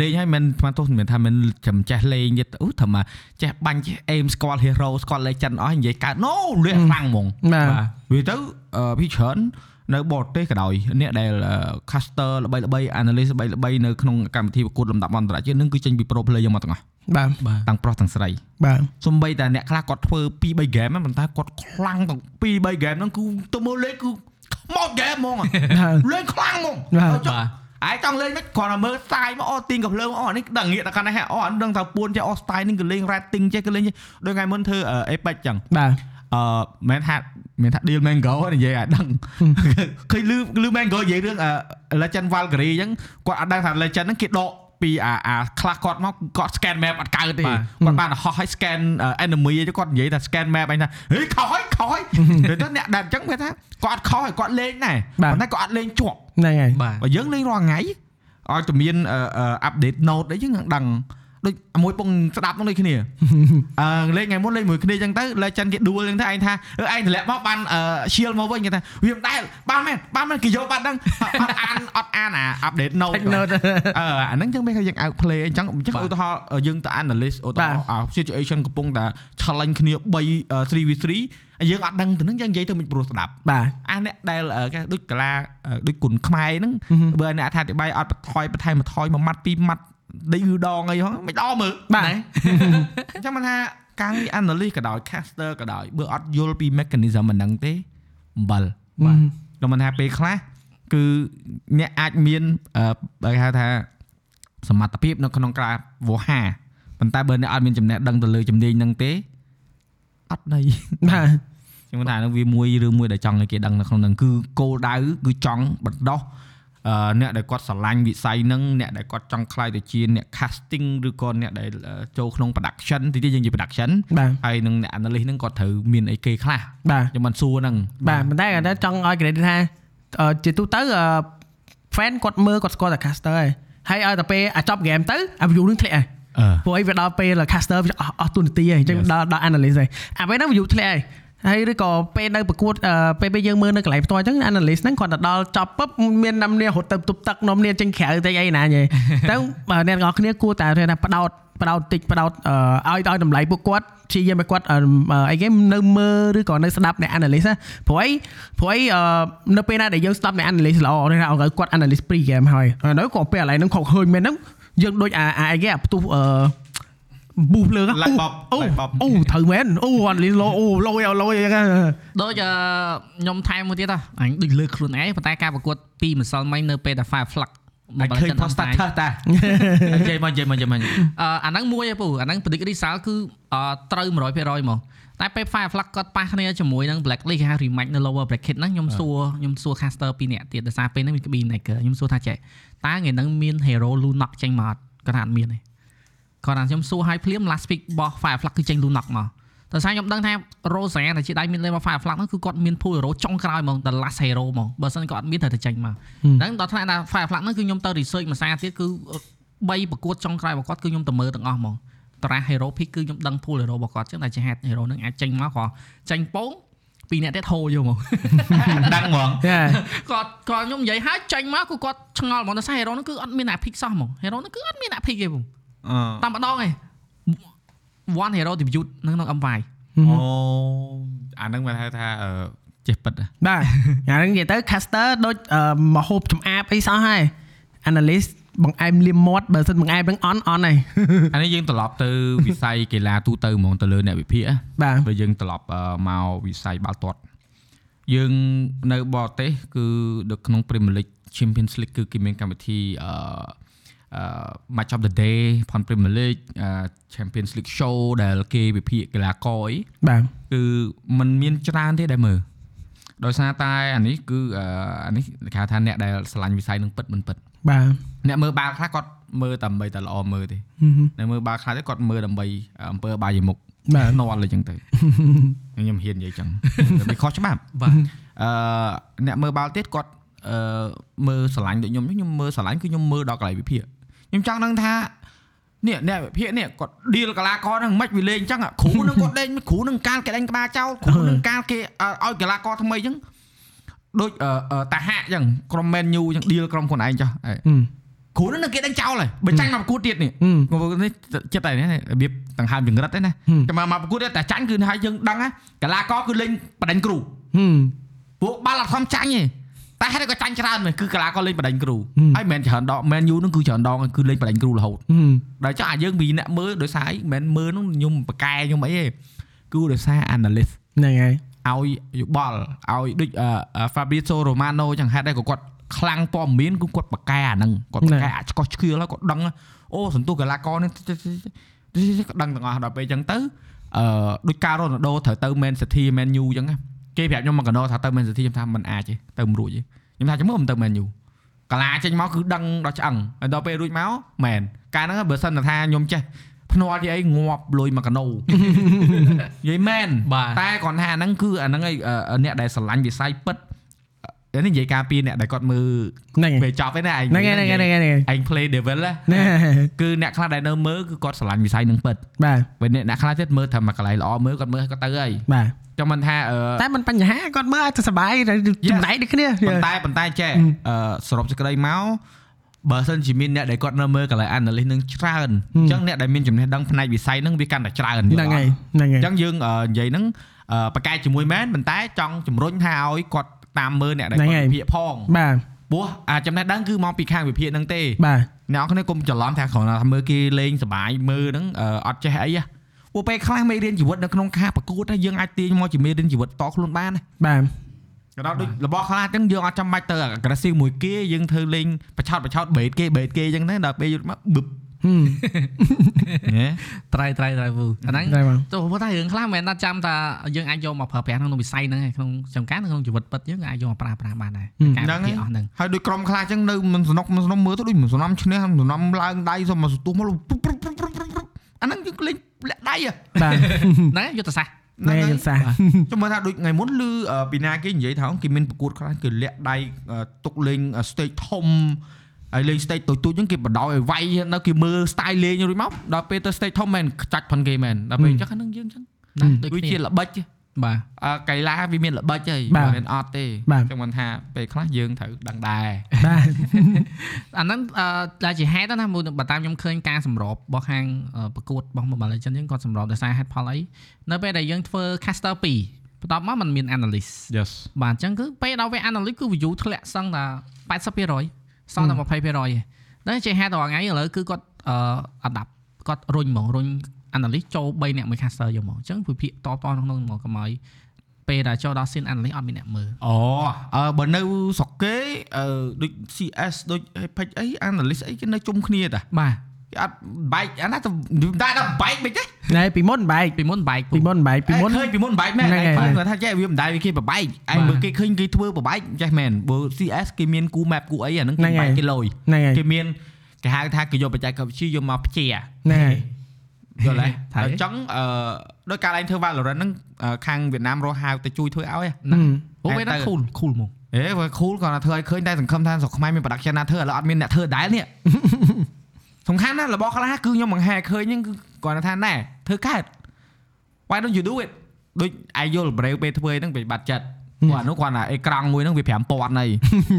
[SPEAKER 4] លេងឲ្យមិនស្មានទោះមិនមែនថាមិនចាំចេះលេងទៀតអូថាមកចេះបាញ់ចេះ aim ស្គាល់ hero ស្គាល់ legend អស់និយាយកើត no លះខ្លាំងហ្មង
[SPEAKER 2] បាទ
[SPEAKER 4] វាទៅអ่ะពីច្រើន នៅបរទេសក៏ដោយអ្នកដែល caster ល្បីៗ analyst ល្បីៗនៅក្នុងកម្មវិធីប្រកួតលំដាប់អន្តរជាតិនឹងគឺចេញពី pro player យើងមកទាំងអស់
[SPEAKER 2] បាទ
[SPEAKER 3] បាទ
[SPEAKER 4] ទាំងប្រុសទាំងស្រី
[SPEAKER 2] បាទ
[SPEAKER 4] សំបីតែអ្នកខ្លះគាត់ធ្វើ2 3ហ្គេមហ្នឹងប៉ុន្តែគាត់ខ្លាំងទាំង2 3ហ្គេមហ្នឹងគឺទៅមើលលេខគឺខ្មោចហ្គេមហ្មង អ่ะ លេងខ្លាំងហ្មង
[SPEAKER 2] បាទ
[SPEAKER 4] ចុះអាយចង់លេងមិនគ្រាន់តែមើលស្ទាយមកអូទីងកំភ្លើងអូអានេះដឹងងាកដល់កាន់ហ្នឹងអូអានដឹងថាពួនចេះអូស្ទាយនេះក៏លេង rating ចេះក៏លេងចេះដូចថ្ងៃមុនធ្វើអេប៉ិចចឹង
[SPEAKER 2] បាទ
[SPEAKER 4] អឺមិនមែនថាមានថា deal mango ហ្នឹងនិយាយអាដឹង ឃើញលឺលឺ mango និយាយរឿងអឺ legend valkyrie ចឹងគាត់អត់ដឹងថា legend ហ្នឹងគេដកពីអាអាខ្លះគាត់មកគាត់ scan map អត់កើតទេ
[SPEAKER 3] បាទ
[SPEAKER 4] គាត់បានហោះឲ្យ scan អឺ enemy ឯងគាត់និយាយថា scan map ឯងថាហេខុសហើយខុសហើយទៅទៅអ្នកដែលអញ្ចឹងវាថាគាត់អត់ខុសហើយគាត់លេងដែរប៉ុន្តែគាត់អត់លេងជាប់
[SPEAKER 2] ហ្នឹងហើយ
[SPEAKER 3] បាទ
[SPEAKER 4] បើយើងលេងរាល់ថ្ងៃឲ្យតែមានអាប់ដេត note អីយើងនឹងដឹងដូចមួយពងស្ដាប់នឹងដូច គ្នាអឺលេងថ្ងៃមុនលេងមួយគ្នាអញ្ចឹងទៅ legend គេ duel អញ្ចឹងទៅឯងថាអឺឯងតម្លាក់មកបានអឺ shield មកវិញគេថាវាមិនដែលបានមែនបានមែនគេយកបាត់ដឹងអត់អាន អត់អានអា update note
[SPEAKER 2] តិចណឺត
[SPEAKER 4] អឺអាហ្នឹងអញ្ចឹងមិនថាយើង out play អីអញ្ចឹងអញ្ចឹងឧទាហរណ៍យើងទៅ analyst ឧទាហរណ៍អា situation កំពុងតែ challenge គ្នា3 3v3 យើងអត់ដឹងទៅហ្នឹងយើងនិយាយទៅមិនព្រោះស្ដាប់
[SPEAKER 2] បាទ
[SPEAKER 4] អាអ្នកដែលអឺគេដូចកលាអឺដូចគុណខ្មែរហ្នឹងបើអ្នកអត្ថាធិប្បាយអត់បន្ថយបន្ថែមបន្ថយមួយម៉ាត់ពីរម៉ាត់ដេញឬដងអីហងមិនដកមើល
[SPEAKER 2] បាទ
[SPEAKER 4] ណែ អញ្ចឹងមិនថាការងារ analyst ក៏ដោយ caster ក៏ដោយបើអត់យល់ពី mechanism មិនហ្នឹងទេអំបិល
[SPEAKER 2] បាទ
[SPEAKER 4] ដល់មិនថាពេលខ្លះគឺអ្នកអាចមានអឺគេហៅថាសមត្ថភាពនៅក្នុងការវោហារប៉ុន្តែបើអ្នកអត់មានចំណេះដឹងទៅលើជំនាញហ្នឹងទេអត់ន័យ
[SPEAKER 2] បាទ
[SPEAKER 4] ខ្ញុំថាហ្នឹងវាមួយរឿងមួយដែលចង់ឲ្យគេដឹងនៅក្នុងហ្នឹងគឺគោលដៅគឺចង់បណ្ដោះអឺអ្នកដែលគាត់ស្រឡាញ់វិស័យហ្នឹងអ្នកដែលគាត់ចង់ខ្លាយទៅជាអ្នក casting ឬក៏អ្នកដែលអឺចូលក្នុង production ទីទៀតយើងនិយាយ production
[SPEAKER 2] បាទ
[SPEAKER 4] ហើយនឹងអ្នក analyst ហ្នឹងគាត់ត្រូវមានអីគេខ្លះ
[SPEAKER 2] បាទ
[SPEAKER 4] ខ្ញុំមិនសួរហ្នឹង
[SPEAKER 2] បាទប៉ុន្តែគាត់ថាចង់ឲ្យ credit ថាអឺជាទូទៅអឺ fan គាត់មើលគាត់ស្គាល់តែ caster ហើយហើយឲ្យតែពេលអាចប់ game ទៅអា view នឹងធ្លាក់ហើយព្រោះ
[SPEAKER 4] អឺ
[SPEAKER 2] អីវាដល់ពេល caster វាអស់អស់ទូនាទីហើយអញ្ចឹង
[SPEAKER 4] Yes.
[SPEAKER 2] ដល់ដល់ analyst ហើយអាពេលហ្នឹង view ធ្លាក់ហើយហើយឬក៏ពេលនៅប្រកួតអឺពេលពេលយើងមើលនៅកន្លែងផ្ទាល់អញ្ចឹង analyst ហ្នឹងគាត់ទៅដល់ចប់ពឹបមាននំនារត់ទៅទប់ទឹកនំនារចេញក្រៅតិចអីណាញ៉េ ទៅបើអ្នកទាំងអស់គ្នាគួរតែថាបដោតបដោតតិចបដោតអឺឲ្យឲ្យតម្លៃពួកគាត់ព្យាយាមឲ្យគាត់អឺអឺអីគេនៅមើលឬក៏នៅស្ដាប់អ្នក analyst ណាព្រោះអីព្រោះអីអឺនៅពេលណាដែលយើងស្ដាប់អ្នក analyst ល្អនេះថាអង្គគាត់ analyst pre game ហើយហើយនៅក៏ពេលឥឡូវហ្នឹងខកឃើញមែនហ្នឹងយើងដូចអាអាអីគេអាផ្ទុះអឺប៊ូភ្លើង
[SPEAKER 4] Light bulb,
[SPEAKER 2] អូ
[SPEAKER 4] light bulb
[SPEAKER 2] អូត្រូវមែនអូ analyst ឡូអូឡូយឡូយអញ្ចឹងណា
[SPEAKER 3] ដូចអឺខ្ញុំថែមមួយទៀតហ៎អញដូចលើខ្លួនឯងប៉ុន្តែការប្រកួតពីម្សិលមិញនៅពេលដែល Fire Flux
[SPEAKER 4] អាចឃើញ post status តានិយាយមកនិយាយមកនិយាយមក
[SPEAKER 3] អឺអាហ្នឹងមួយឯងពូអាហ្នឹង predict result គឺអឺត្រូវ100%ហ្មងតែពេល Fire Flux គាត់ប៉ះគ្នាជាមួយនឹង Black List គេហៅ rematch នៅ lower bracket ហ្នឹងខ្ញុំសួរខ្ញុំសួរ caster ពីរនាក់ទៀតដោយសារពេលហ្នឹងមាន KB Niger ខ្ញុំសួរថាចេះតើថ្ងៃហ្នឹងមាន hero Lunox ចេញមកអត់គាត់ថាអត់មានទេគាត់ថាខ្ញុំសួរឲ្យភ្លាម last pick របស់ Fire Flux គឺចេញ Lunox មកតែសារខ្ញុំដឹងថា Rosa ដែលជាដៃមានលេរបស់ Fire Flux ហ្នឹងគឺគាត់មាន pool hero ចុងក្រោយហ្មង the last hero ហ្មងបើមិនគាត់អត់មានត្រូវតែចេញមកហ្នឹងដល់ថ្នាក់ណា Fire Flux ហ្នឹងគឺខ្ញុំទៅ research មួយសារទៀតគឺ 3ប្រកួតចុងក្រោយរបស់គាត់គឺខ្ញុំទៅមើលទាំងអស់ហ្មងតារា Hero Pick គឺខ្ញុំដឹង pool Hero របស់គាត់ចឹងតែលជាហេតុ Hero ហ្នឹងអាចចេញមកក៏ចេញពងពីរអ្នកទៀតហូរយកហ្មង
[SPEAKER 4] ដឹងហ្មង
[SPEAKER 2] ចា
[SPEAKER 3] គាត់គាត់ខ្ញុំនិយាយហើយចេញមកគឺគាត់ឆ្ងល់ហ្មងដល់សារ Hero ហ្នឹងគឺអត់មានអ្នក Pick សោះហ្មង Hero ហ្នឹងគឺអត់មានអ្នក Pick ទេហ្មង
[SPEAKER 4] អឺ
[SPEAKER 3] តែម្ដងឯង One Hero debut នៅក្នុង MY
[SPEAKER 4] អូអាហ្នឹងមិនហៅថាអឺចេះប៉ិតហ៎
[SPEAKER 2] បាទអាហ្នឹងនិយាយទៅ caster ដូចអឺមកហូបចំអាបអីសោះហើយ analyst បង្អែមលៀមមាត់បើមិនបង្អែមហ្នឹងអន់អន់ហើយ
[SPEAKER 4] អានេះយើងត្រឡប់ទៅវិស័យកីឡាទូទៅហ្មងទៅលើអ្នកវិភាគហ៎
[SPEAKER 2] បាទ
[SPEAKER 4] បើយើងត្រឡប់អឺមកវិស័យបាល់ទាត់យើងនៅបរទេសគឺនៅក្នុង Premier League Champions League គឺគេមានកម្មវិធីអឺអឺ Match of the Day ផន Premier League អឺ Champions League Show ដែលគេវិភាគកីឡាករអី
[SPEAKER 2] បាទ
[SPEAKER 4] គឺมันមានច្រើនទេដែលមើលដោយសារតែអានេះគឺអឺអានេះគេហៅថាអ្នកដែលឆ្លាញ់វិស័យនឹងពិតមិនពិត
[SPEAKER 2] បាទ
[SPEAKER 4] អ្នកមើលបាល់ខ្លះគាត់មើលតែដើម្បីតែល្អមើលទេ
[SPEAKER 2] ហឹមហឹម
[SPEAKER 4] អ្នកមើលបាល់ខ្លះទេគាត់មើលដើម្បីអំពើអបាយមុខ
[SPEAKER 2] បា
[SPEAKER 4] បាទ ទនល់អីចឹ ងទៅ ខ្ញុំហ៊ាននិយាយចឹង វាខុសច្បាប់
[SPEAKER 3] បាទ
[SPEAKER 4] អឺអ្នកមើលបាល់ទៀតគាត់អឺមើលស្រឡាញ់ដូចខ្ញុំខ្ញុំមើលស្រឡាញ់គឺខ្ញុំមើលដល់កន្លែងវិភាគខ្ញុំចង់ដឹងថានេះអ្នកវិភាគនេះគាត់ deal កីឡាករហ្នឹងមិនខ្មិចវាលេងចឹងអាគ្រូហ្នឹងគាត់លេងគ្រូហ្នឹងកាលគេđánh ក្បាលចោលគ្រូហ្នឹងកាលគេអឺឲ្យកីឡាករថ្មីចឹងដូចអឺអឺតាហាក់ចឹងក្រុម Man U ចឹង deal ក្រុមខ្លួនឯងចោះអេ
[SPEAKER 2] ហឹម
[SPEAKER 4] គ្រូហ្នឹងនឹងគេđánhចោលហើយបើចាញ់មកប្រកួតទៀតនេះ
[SPEAKER 2] ហឹម
[SPEAKER 4] មកនេះចិត្តតែនេះរបៀបដង្ហើមចង្រិតឯណា
[SPEAKER 2] ហឹម
[SPEAKER 4] តែមកមកប្រកួតតែចាញ់គឺឲ្យយើងដឹងណាកីឡាករគឺលេងបដិញ្ញគ្រូ
[SPEAKER 2] ហឹម
[SPEAKER 4] ពួកបាល់អត់ខំចាញ់ទេ តែហេតុអីក៏ចាញ់ច្រើនមែនគឺកីឡាករលេងបដិញ្ញគ្រូហើយមិនមែនច្រើនដងមែនយូនឹងគឺច្រើនដងគឺលេងបដិញ្ញគ្រូរហូតដល់ចុះអាយើងពីអ្នកមើលដោយសារអីមិនមែនមើលនោះខ្ញុំបកកែខ្ញុំអីទេគឺដោយសារ analyst
[SPEAKER 2] ហ្នឹងហើយ
[SPEAKER 4] ឲ្យយោបល់ឲ្យដូច Fabrizio Romano ចឹងហេតុអីក៏គាត់ខ្លាំងព័ត៌មានគឺគាត់បកកែអាហ្នឹងគាត់បកកែអាឆ្កោះឆ្កៀលហើយគាត់ដឹងអូសន្ទុះកីឡាករនេះគាត់ដឹងទាំងអស់ដល់ពេលចឹងទៅអឺដូចការរ៉ូណាល់ដូត្រូវទៅ Man City Man U ចឹងគេប្រាប់ខ្ញុំមកកណ្ដោថាទៅ Man City ខ្ញុំថាមិនអាចទេទៅមិនរួចទេខ្ញុំថាចាំមើលមិនទៅ Man U កាឡាចេញមកគឺដឹងដល់ឆ្អឹងហើយដល់ពេលរួចមកមែនកាលហ្នឹងបើសិនថាខ្ញុំចេះភ្នាល់ទីអីងាប់លុយមកកណូ និយាយមែន
[SPEAKER 3] បាទ
[SPEAKER 4] តែគាត់ថាហ្នឹងគឺអាហ្នឹងឯងអឺអ្នកដែលស្រឡាញ់វិស័យពិតអឺនេះនិយាយការពីអ្នកដែលគាត់មើល
[SPEAKER 2] ហ្នឹងហើយ
[SPEAKER 4] ពេលចប់ឯណាឯង
[SPEAKER 2] ហ្នឹងហើយហ្នឹងហើយហ្នឹងហើយហ្នឹងហើយ
[SPEAKER 4] ឯង play devil ណា
[SPEAKER 2] ណា
[SPEAKER 4] គឺអ្នកខ្លះដែលនៅមើលគឺគាត់ស្រឡាញ់វិស័យហ្នឹងពិត
[SPEAKER 2] បាទ
[SPEAKER 4] បើអ្នកអ្នកខ្លះទៀតមើលថាមកកន្លែងល្អមើលគាត់មើលគាត់ទៅហើយ
[SPEAKER 2] បាទ
[SPEAKER 4] ចាំមិនថា អឺ
[SPEAKER 2] តែមិនបញ្ហាគាត់មើលឲ្យទៅសុបាយចំណែកដូចគ្នា
[SPEAKER 4] ប៉ុន្តែប៉ុន្តែចេះអឺសរុបសេចក្តីមកបើសិនជាមានអ្នកដែលគាត់នៅមើលកន្លែង analyst នឹងច្រើនអញ្ចឹងអ្នកដែលមានចំណេះដឹងផ្នែកវិស័យហ្នឹងវាកាន់តែច្រើនយល់
[SPEAKER 2] ហ្នឹងហើយ
[SPEAKER 4] អ
[SPEAKER 2] ហ្នឹងហើយ
[SPEAKER 4] ញ្ចឹងយើងអឺនិយាយហ្នឹងអឺប្រកែកជាមួយមែនប៉ុន្តែចង់ជំរុញថាឲ្យគាត់តាមមើលអ្នកដែល
[SPEAKER 2] ហ្នឹងហើយ
[SPEAKER 4] គាត់វិភាគផង
[SPEAKER 2] បាទ
[SPEAKER 4] ព្រោះអាចំណេះដឹងគឺមកពីខាងវិភាគហ្នឹងទេ
[SPEAKER 2] បាទ
[SPEAKER 4] អ្នកនរគ្នាកុំច្រឡំថាគ្រាន់តែថាមើលគេលេងសប្បាយមើលហ្នឹងអឺអត់ចេះអីហ៎ព្រោះពេលខ្លះមេរៀនជីវិតនៅក្នុងការប្រកួតណាយើងអាចទាញមកជាមេរៀនជីវិតតខ្លួនបានណា
[SPEAKER 2] បាទ
[SPEAKER 4] ក៏ដល់ដូចរបស់ខ្លះអញ្ចឹងយើងអត់ចាំបាច់ទៅ aggressive មួយគេយើងធ្វើលេងប្រឆោតប្រឆោត bait គេ bait គេអញ្ចឹងទៅដល់ពេលយល់មកបឹប
[SPEAKER 2] ហឹម
[SPEAKER 4] ហ៎
[SPEAKER 3] ត្រៃត្រៃត្រៃវូអា ហ្នឹង
[SPEAKER 2] ត្រៃបង
[SPEAKER 3] ទោះថារឿងខ្លះមិនមែនណាត់ចាំថាយើងអាចយកមកប្រើប្រាស់ក្នុងវិស័យហ្នឹងឯងក្នុងចំការក្នុងជីវិតពិតយើងក៏អាចយកមកប្រើប្រាស់បានដែរការ
[SPEAKER 4] ហ្នឹងហើយ
[SPEAKER 3] វិភាគអស់ហ្នឹង
[SPEAKER 4] ហើយដូចក្រុមខ្លះអញ្ចឹងនៅមិនสนุกមិនสนุกមើលទៅដូចមិនสนุกឈ្នះមិនสนุกឡើងដៃសុំមកសន្ទុះមកលុបព្រុបព្រុបព្រុបព្រុបព្រុបអាហ្នឹងយើងលេងលាក់ដៃហ៎
[SPEAKER 2] បាទ
[SPEAKER 3] ហ្នឹងឯងយុទ្ធសាស្ត្រ
[SPEAKER 2] ណែយល់សាសន៍
[SPEAKER 4] ចាំមើលថាដូចថ្ងៃមុនលឺអឺពីណាគេនិយាយថាគេមានប្រកួតខ្លះគេលាក់ដៃអឺទុកលេងអឺ stage ធំហើយលេង stage តូចតូចហ្នឹងគេបដោយឲ្យវាយនៅគេមើល style លេងរួចមកដល់ពេលទៅ stage ធំមែនខ្ចាច់ផុនគេមែនដល់ពេលអញ្ចឹងអាហ្នឹងយើងអញ្ចឹង
[SPEAKER 3] ណាដូច
[SPEAKER 4] វា
[SPEAKER 3] គ្នា
[SPEAKER 4] ជាល្បិចហ៎
[SPEAKER 3] បាទ
[SPEAKER 4] អឺកីឡាវាមានល្បិចហើយ
[SPEAKER 2] បាទ
[SPEAKER 4] មិនអត់ទេ
[SPEAKER 2] បាទ
[SPEAKER 4] ចឹងមិនថាពេលខ្លះយើងត្រូវដឹងដែរ
[SPEAKER 2] បាទ
[SPEAKER 3] អាហ្នឹងអឺដែលជាហេតុណាមួយបើតាមខ្ញុំឃើញការសម្របរបស់ខាងអឺប្រកួតរបស់ Mobile Legends យើងគាត់សម្របដោយសារហេតុផលអីនៅពេលដែលយើងធ្វើ caster 2បន្ទាប់មកมันមាន analyst
[SPEAKER 4] Yes
[SPEAKER 3] បាទអញ្ចឹងគឺពេលដល់វា analyst គឺ view ធ្លាក់សឹងតែ80%សល់តែ20%ឯងតែជាហេតុរាល់ថ្ងៃឥឡូវគឺគាត់អឺអត់ដាប់គាត់រុញហ្មងរុញ analyst ចូល3នាក់មួយ caster យកហ្មងអញ្ចឹងវិភាគតបតក្នុងក្នុងហ្មងកុំឲ្យពេលដែលចូលដល់ scene analyst អត់មានអ្នកមើល
[SPEAKER 4] អូអឺបើនៅស្រុកគេអឺដូច CS ដូច Apex អី analyst អីគេនៅជុំគ្នាតា
[SPEAKER 3] បាទ
[SPEAKER 4] គេអត់បែកអាណាទៅតែដល់បែកមិនទេ
[SPEAKER 2] ណែពីមុនបែក
[SPEAKER 3] ពីមុនបែក
[SPEAKER 2] ពីមុនបែកពីមុន
[SPEAKER 4] ឯងឃើញពីមុនបែកមែន
[SPEAKER 2] ហ្នឹងហើយ
[SPEAKER 4] ឯងឃើញគាត់ថាចេះវាមិនដែរវាគេប្របែកឯងមើលគេឃើញគេធ្វើប្របែកចេះមែនបើ CS គេមានគូ map គូអីអាហ្នឹងគេ
[SPEAKER 2] ហ្នឹង
[SPEAKER 4] បែ
[SPEAKER 2] ហើ
[SPEAKER 4] ក
[SPEAKER 2] យ
[SPEAKER 4] គេលយ
[SPEAKER 2] ហ្នឹងហើយ
[SPEAKER 4] គេមានគេហៅថាគេយកបច្ចេកវិទ្យាយកមកព្យា
[SPEAKER 2] ហ្នឹងហើយ
[SPEAKER 4] យល់ហើយ
[SPEAKER 3] ថា
[SPEAKER 4] អញ្ចឹងអឺដោយការឡើងធ្វើ Valorant ហ្នឹងអឺខាងវៀតណាមរស់ហៅទៅជួយធ្វើឲ្យហ៎
[SPEAKER 3] អូវាដល់
[SPEAKER 4] ទៅ
[SPEAKER 3] cool cool ហ្មង
[SPEAKER 4] អេវាខូលគាត់ថាធ្វើឲ្យឃើញតែសង្ឃឹមថាស្រុកខ្មែរមាន production ណាធ្វើឥឡូវអត់មានអ្នកធ្វើដដែលនេះ សំខាន់ណាស់របស់ខ្លះគឺខ្ញុំបង្ហាឃើញហ្នឹងគឺគាត់ថាណែធ្វើកើត Why don't you do it ដូចឯងយល់ Brave ពេលធ្វើហ្នឹងវាបាត់ចិត្តគាត់នោះគាត់ថាអេក្រង់មួយហ្នឹងវា5000ហើយ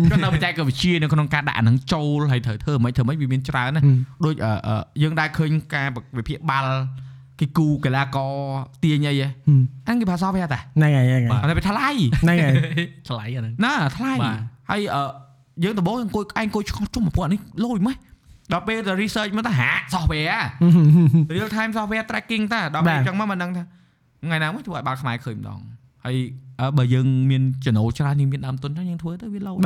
[SPEAKER 4] គាត់នៅបច្ចេកវិទ្យានៅក្នុងការដាក់អាហ្នឹងចូលហើយត្រូវធ្វើមិនធ្វើមិនវាមានច្រើនណា
[SPEAKER 2] ហឹម
[SPEAKER 4] ដូចអឺអឺយើងដែរឃើញការវិភាគបាល់គេគូកីឡាករទាញអីហ៎
[SPEAKER 2] ហឹម
[SPEAKER 4] ហ្នឹងគេផាសអស់វាតែ
[SPEAKER 2] ហ្នឹងហើយហ្នឹងហើយ
[SPEAKER 4] អត់ទៅថ្លៃ
[SPEAKER 2] ហ្នឹងហើយ
[SPEAKER 3] ថ្លៃអាហ្នឹង
[SPEAKER 4] ណាថ្លៃ
[SPEAKER 3] បាទ
[SPEAKER 4] ហើយអឺយើងដំបូងអង្គុយឯងអង្គុយឆ្កោះជុំពពួកអានេះលុយម៉េចដល់ពេលទៅ research មកទៅហា software ហ៎ real time software tracking តាដល់ពេល
[SPEAKER 2] បាទ
[SPEAKER 4] អញ្ចឹងមកមិនដឹងថាថ្ងៃណាមួយធ្វើឲ្យបាល់ខ្មែរឃើញម្ដងហើយអឺបើយើងមានចំណូលច្រើនយើងមានដើមទុនច្រើនយើងធ្វើទៅវាលុយ
[SPEAKER 2] បាទ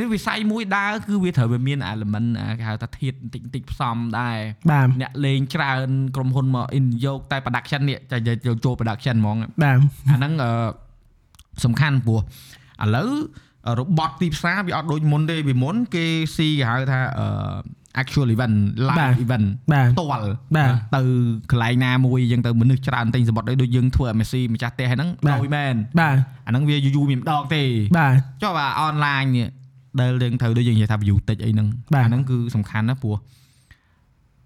[SPEAKER 4] នេះវិស័យមួយដើរគឺវាត្រូវវាមាន element អាគេហៅថាធាតបន្តិចបន្តិចផ្សំដែរ
[SPEAKER 2] បាទ
[SPEAKER 4] អ្នកលេងច្រើនក្រុមហ៊ុនមក in យកតែ production នេះចែកយកចូល production ហ្មង
[SPEAKER 2] បាទ
[SPEAKER 4] អាហ្នឹងអឺសំខាន់ព្រោះឥឡូវរបត់ទីផ្សារវាអត់ដូចមុនទេពីមុនគេស៊ីគេហៅថាអឺ actual event live event
[SPEAKER 2] បាទ
[SPEAKER 4] តល
[SPEAKER 2] បាទ
[SPEAKER 4] ទៅកន្លែងណាមួយយើងទៅមនុស្សច្រើនទិញសម្បត្តិអីដូចយើងធ្វើឲ្យ Messi ម្ចាស់ផ្ទះហ្នឹង
[SPEAKER 2] បាទ
[SPEAKER 4] ដោយមែន
[SPEAKER 2] បាទ
[SPEAKER 4] អាហ្នឹងវាយូរយូរមានម្ដងទេ
[SPEAKER 2] បាទ
[SPEAKER 4] ចុះបើ online នេះដែលយើងត្រូវដូចយើងនិយាយថា view តិចអីហ្នឹង
[SPEAKER 2] បាទ
[SPEAKER 4] អាហ្នឹងគឺសំខាន់ណាស់ព្រោះ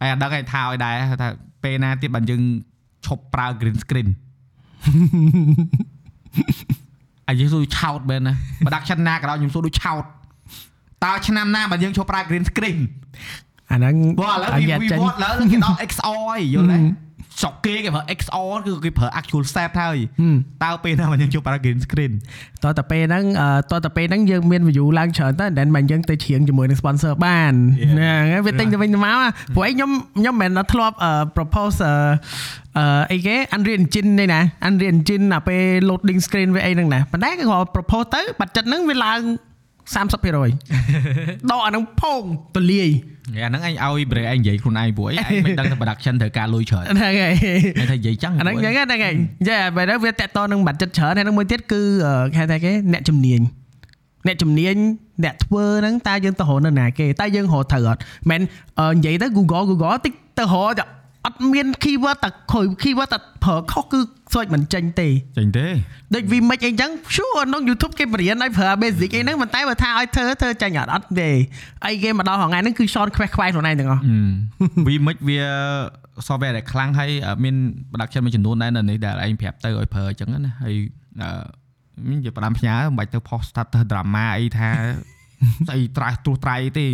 [SPEAKER 4] ហើយអត់ដឹងឯងថាឲ្យដែរថាពេលណាទៀតបើយើងឈប់ប្រើ green screen អាយើងសួរដូចឆោតមែនណា production ណាក៏ដោយខ្ញុំសួរដូចឆោតតើឆ្នាំណាបើយើងឈប់ប្រើ green screen
[SPEAKER 2] អាហ្នឹង
[SPEAKER 4] ព្រោះឥឡូវ
[SPEAKER 2] យ៉ា
[SPEAKER 4] we
[SPEAKER 2] ចេញ
[SPEAKER 4] what ឥឡូវគេដល់ XR ហើយយល់ទេ ស្រុកគេគេប្រើ XR គឺគេប្រើ actual set ហើយតើពេលណាមកយើងជួប bargain screen
[SPEAKER 2] តោះតែពេលហ្នឹងអឺតោះតែពេលហ្នឹងយើងមាន view ឡើងច្រើនទៅ and then មកយើងទៅច្រៀងជាមួយនឹង sponsor បានហ្នឹងហើយវាទិញទៅវិញទៅមកណាព្រោះឯងខ្ញុំខ្ញុំមិនមែនធ្លាប់អឺ propose អឺអឺអីគេ Unreal Engine នេះណា Unreal Engine ដល់ពេល loading screen វាអីហ្នឹងណាប៉ុន្តែគេគាត់ propose ទៅបាត់ចិត្តហ្នឹងវាឡើង30%ដកអាហ្នឹងផងពលាយ
[SPEAKER 4] អាហ្នឹងអញឲ្យ break ឯងនិយាយខ្លួនឯងព្រោះ អីឯងមិនដឹងថា production ត្រូវការលុយច្រើន
[SPEAKER 2] ហ្នឹងហើយ
[SPEAKER 4] ឯងថានិយាយចឹង
[SPEAKER 2] អាហ្នឹងយ៉ាងហ្នឹងហ្នឹងយ៉ាបែរទៅវាតកតនឹងបាត់ចិត្តច្រើនហើយហ្នឹងមួយទៀតគឺអឺគេហៅថាគេអ្នកជំនាញអ្នកជំនាញអ្នកធ្វើហ្នឹងតើយើងទៅរកនៅណាគេតើយើងរកត្រូវអត់មិនអឺនិយាយទៅ Google Google តិចទៅរកតែអត់មាន keyword តែខុយ keyword តែប្រើខុសគឺ search មិនចេញទេ
[SPEAKER 4] ចេញទេ
[SPEAKER 2] ដូច Vimix អីចឹង sure ក្នុង YouTube គេបរៀនឲ្យប្រើ basic អីហ្នឹងប៉ុន្តែបើថាឲ្យធ្វើធ្វើចេញអត់អត់ទេអីគេមកដល់រហងៃហ្នឹងគឺ short ខ្វេះខ្វាយខ្លួនឯងទាំងអស់
[SPEAKER 4] វាមិនវា software ដែលខ្លាំងហើយអ่ะមាន production មួយចំនួនដែរនៅនេះដែលឯងប្រាប់ទៅឲ្យប្រើអញ្ចឹងណាហើយអឺមានជាផ្ដាំផ្ញើមិនបាច់ទៅ post status drama អីថា ស្អីត្រាស់ទ្រោះត្រៃទេ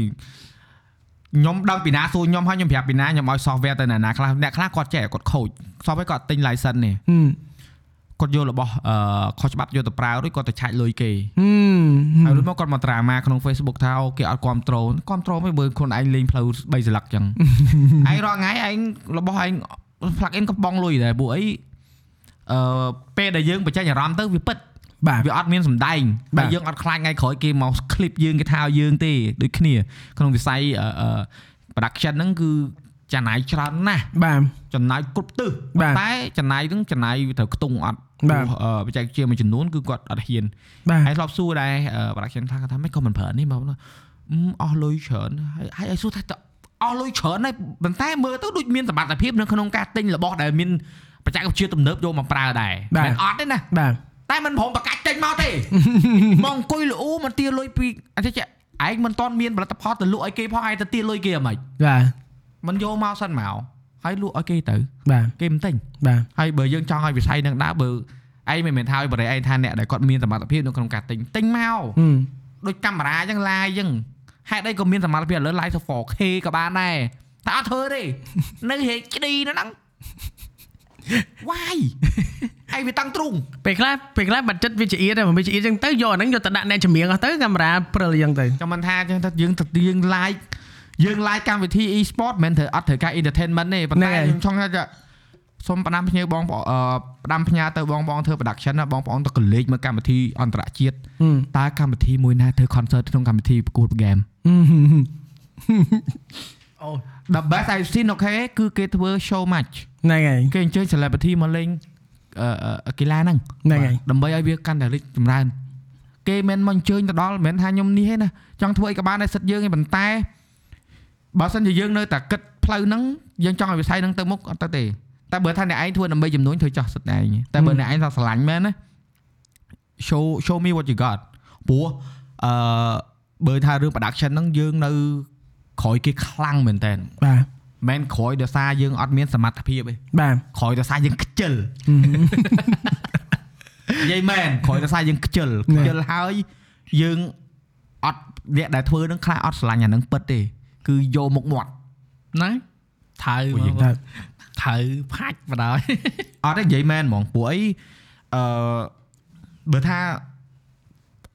[SPEAKER 4] ខ្ញុំដឹងពីណាសួរខ្ញុំហើយខ្ញុំប្រាប់ពីណាខ្ញុំឲ្យ software ទៅណាណាខ្លះអ្នកខ្លះគាត់ចេះគាត់ខូច software គាត់ទិញ license នេះ
[SPEAKER 2] ហឹម
[SPEAKER 4] គាត់យករបស់អឺខុសច្បាប់យកទៅប្រើរួចគាត់ទៅឆាច់លុយគេ
[SPEAKER 2] ហឹម
[SPEAKER 4] ហើយរួចមកគាត់មកត្រាម៉ាក្នុង Facebook ថាអូគេអត់គ្រប់ត្រូលគ្រប់ត្រូលមិនបើខ្លួនឯងលេងផ្លូវ3សន្លឹកចឹង ឯងរាល់ថ្ងៃឯងរបស់ឯង plug in កំប៉ុងលុយដែរពួកអីអឺពេលដែលយើងបញ្ចេញអារម្មណ៍ទៅវាពិត
[SPEAKER 2] បាទ
[SPEAKER 4] វាអត់មានសម្ដែង
[SPEAKER 2] បាទ
[SPEAKER 4] តែយើងអត់ខ្លាចថ្ងៃក្រោយគេមក clip យើងគេថាឲ្យយើងទេដូចគ្នា ក្នុងវិស័យអឺអឺ production ហ្នឹងគឺចំណាយច្រើនណាស់
[SPEAKER 2] បាទ
[SPEAKER 4] ចំណាយគ្រប់ទិស
[SPEAKER 2] បាទ
[SPEAKER 4] ប៉ុន្តែចំណាយហ្នឹងចំណាយវាត្រូវខ្ទង់អត់
[SPEAKER 2] បាទ
[SPEAKER 4] ព្រោះអឺបច្ចេកវិទ្យាមួយចំនួនគឺគាត់អត់ហ៊ាន
[SPEAKER 2] បាទ
[SPEAKER 4] ហើយធ្លាប់សួរដែរអឺ production ថាគាត់ថាមិនក៏មិនប្រើនេះមកណាអឺអស់លុយច្រើនហើយហើយឲ្យសួរថាតើអស់លុយច្រើនហើយប៉ុន្តែមើលទៅដូចមានសមត្ថ ភាពនៅក្នុងការទិញរបស់ដែលមានបច្ចេកវិទ្យាទំនើបយកមកប្រើដែរ
[SPEAKER 2] បាទ
[SPEAKER 4] មិនអត់ទេណា
[SPEAKER 2] បាទ
[SPEAKER 4] តែមិនព្រមប្រកាច់ទិញមកទេ មកអង្គុយលូមកទាលុយពីអតិចឯងមិនតន់មានផលិតផលទៅលក់ឲ្យគេផងឯងទៅទាលុយគេហ្មង
[SPEAKER 2] បាទ
[SPEAKER 4] មិនយកមកសិនមកហើយលក់ឲ្យគេទៅ
[SPEAKER 2] បាទ
[SPEAKER 4] គេមិនទិញ
[SPEAKER 2] បាទ
[SPEAKER 4] ហើយបើយើងចង់ឲ្យវិស័យនឹងដើរបើឯងមិនមែនថាឲ្យបរិយាយឯងថាអ្នកដែលគាត់មានសមត្ថភាពនៅក្នុងការទិញទិញមក
[SPEAKER 2] ហឹម
[SPEAKER 4] ដូចកាមេរ៉ាអញ្ចឹង live អញ្ចឹងហេតុអីក៏មានសមត្ថភាពឥឡូវ live ទៅ 4K ក៏បានដែរតែអត់ធ្វើទេ នៅហេកឈ្ឌីនៅហ្នឹង why ឯងវាតាំងទ្រូង
[SPEAKER 2] ពេលខ្លះពេលខ្លះបាត់ចិត្តវាចអៀតហ្នឹងវាចអៀតចឹងទៅយកអាហ្នឹងយកទៅដាក់អ្នកចម្រៀងអស់ទៅកាមេរ៉ាព្រិលចឹងទៅ
[SPEAKER 4] ចាំមិនថាអញ្ចឹងថាយើងទៅយើង live យើង live កម្មវិធី e-sport មិនមែនត្រូវអត់ត្រូវការ entertainment ទេប៉ុន្តែខ្ញុំចង់ថាសូមផ្ដាំផ្ញើបងប្អូនអឺផ្ដាំផ្ញើទៅបងប្អូនធ្វើ production ណាបងប្អូនទៅកលេចមើលកម្មវិធីអន្តរជាតិ តើកម្មវិធីមួយណាធ្វើ concert ក្នុងកម្មវិធីប្រកួតហ្គេម
[SPEAKER 2] អូ
[SPEAKER 4] The best I've seen okay គឺគេធ្វើ show match
[SPEAKER 2] ហ្នឹងហើយ
[SPEAKER 4] គេអញ្ជើញ celebrity មកលេងអឺអឺកីឡាហ្នឹង
[SPEAKER 2] ហ្នឹងហើយ
[SPEAKER 4] ដើម្បីឲ្យវាកាន់តែរីកចម្រើន គេមិនមកអញ្ជើញទៅដល់មិនមែនថាខ្ញុំនេះទេណាចង់ធ្វើអីក៏បានដែរសិតយើងឯងប៉ុន្តែបើសិនជាយើងនៅតែគិតផ្លូវហ្នឹងយើងចង់ឲ្យវិស័យហ្នឹងទៅមុខអត់ទៅទេតែបើថាអ្នកឯងធ្វើដើម្បីចំនួនធ្វើចោះសិតឯងតែបើអ្នកឯងថាស្រឡាញ់មែនណា show show me what you got ព្រោះអឺបើថារឿង production ហ្នឹងយើងនៅក្រោយគេខ្លាំងមែនតើ
[SPEAKER 2] បាទ
[SPEAKER 4] មិនក្រោយដោយសារយើងអត់មានសមត្ថភាពទេ
[SPEAKER 2] បាទ
[SPEAKER 4] ក្រោយដោយសារយើងខ្ជិ លនិយាយមែនក្រោយដោយសារយើងខ្ជិលខ្ជិលហើយយើងអត់អ្នកដែលធ្វើនឹងខ្លះអត់ស្រឡាញ់អានឹងពិតទេ គឺយកមុខមាត់
[SPEAKER 3] ហ្នឹងថៅ
[SPEAKER 2] អូយ
[SPEAKER 3] មក
[SPEAKER 2] បាទ
[SPEAKER 3] ថៅផាច់បណ្ដោយ
[SPEAKER 4] អត់ទេនិយាយមែនហ្មងពួកអីអឺបើថា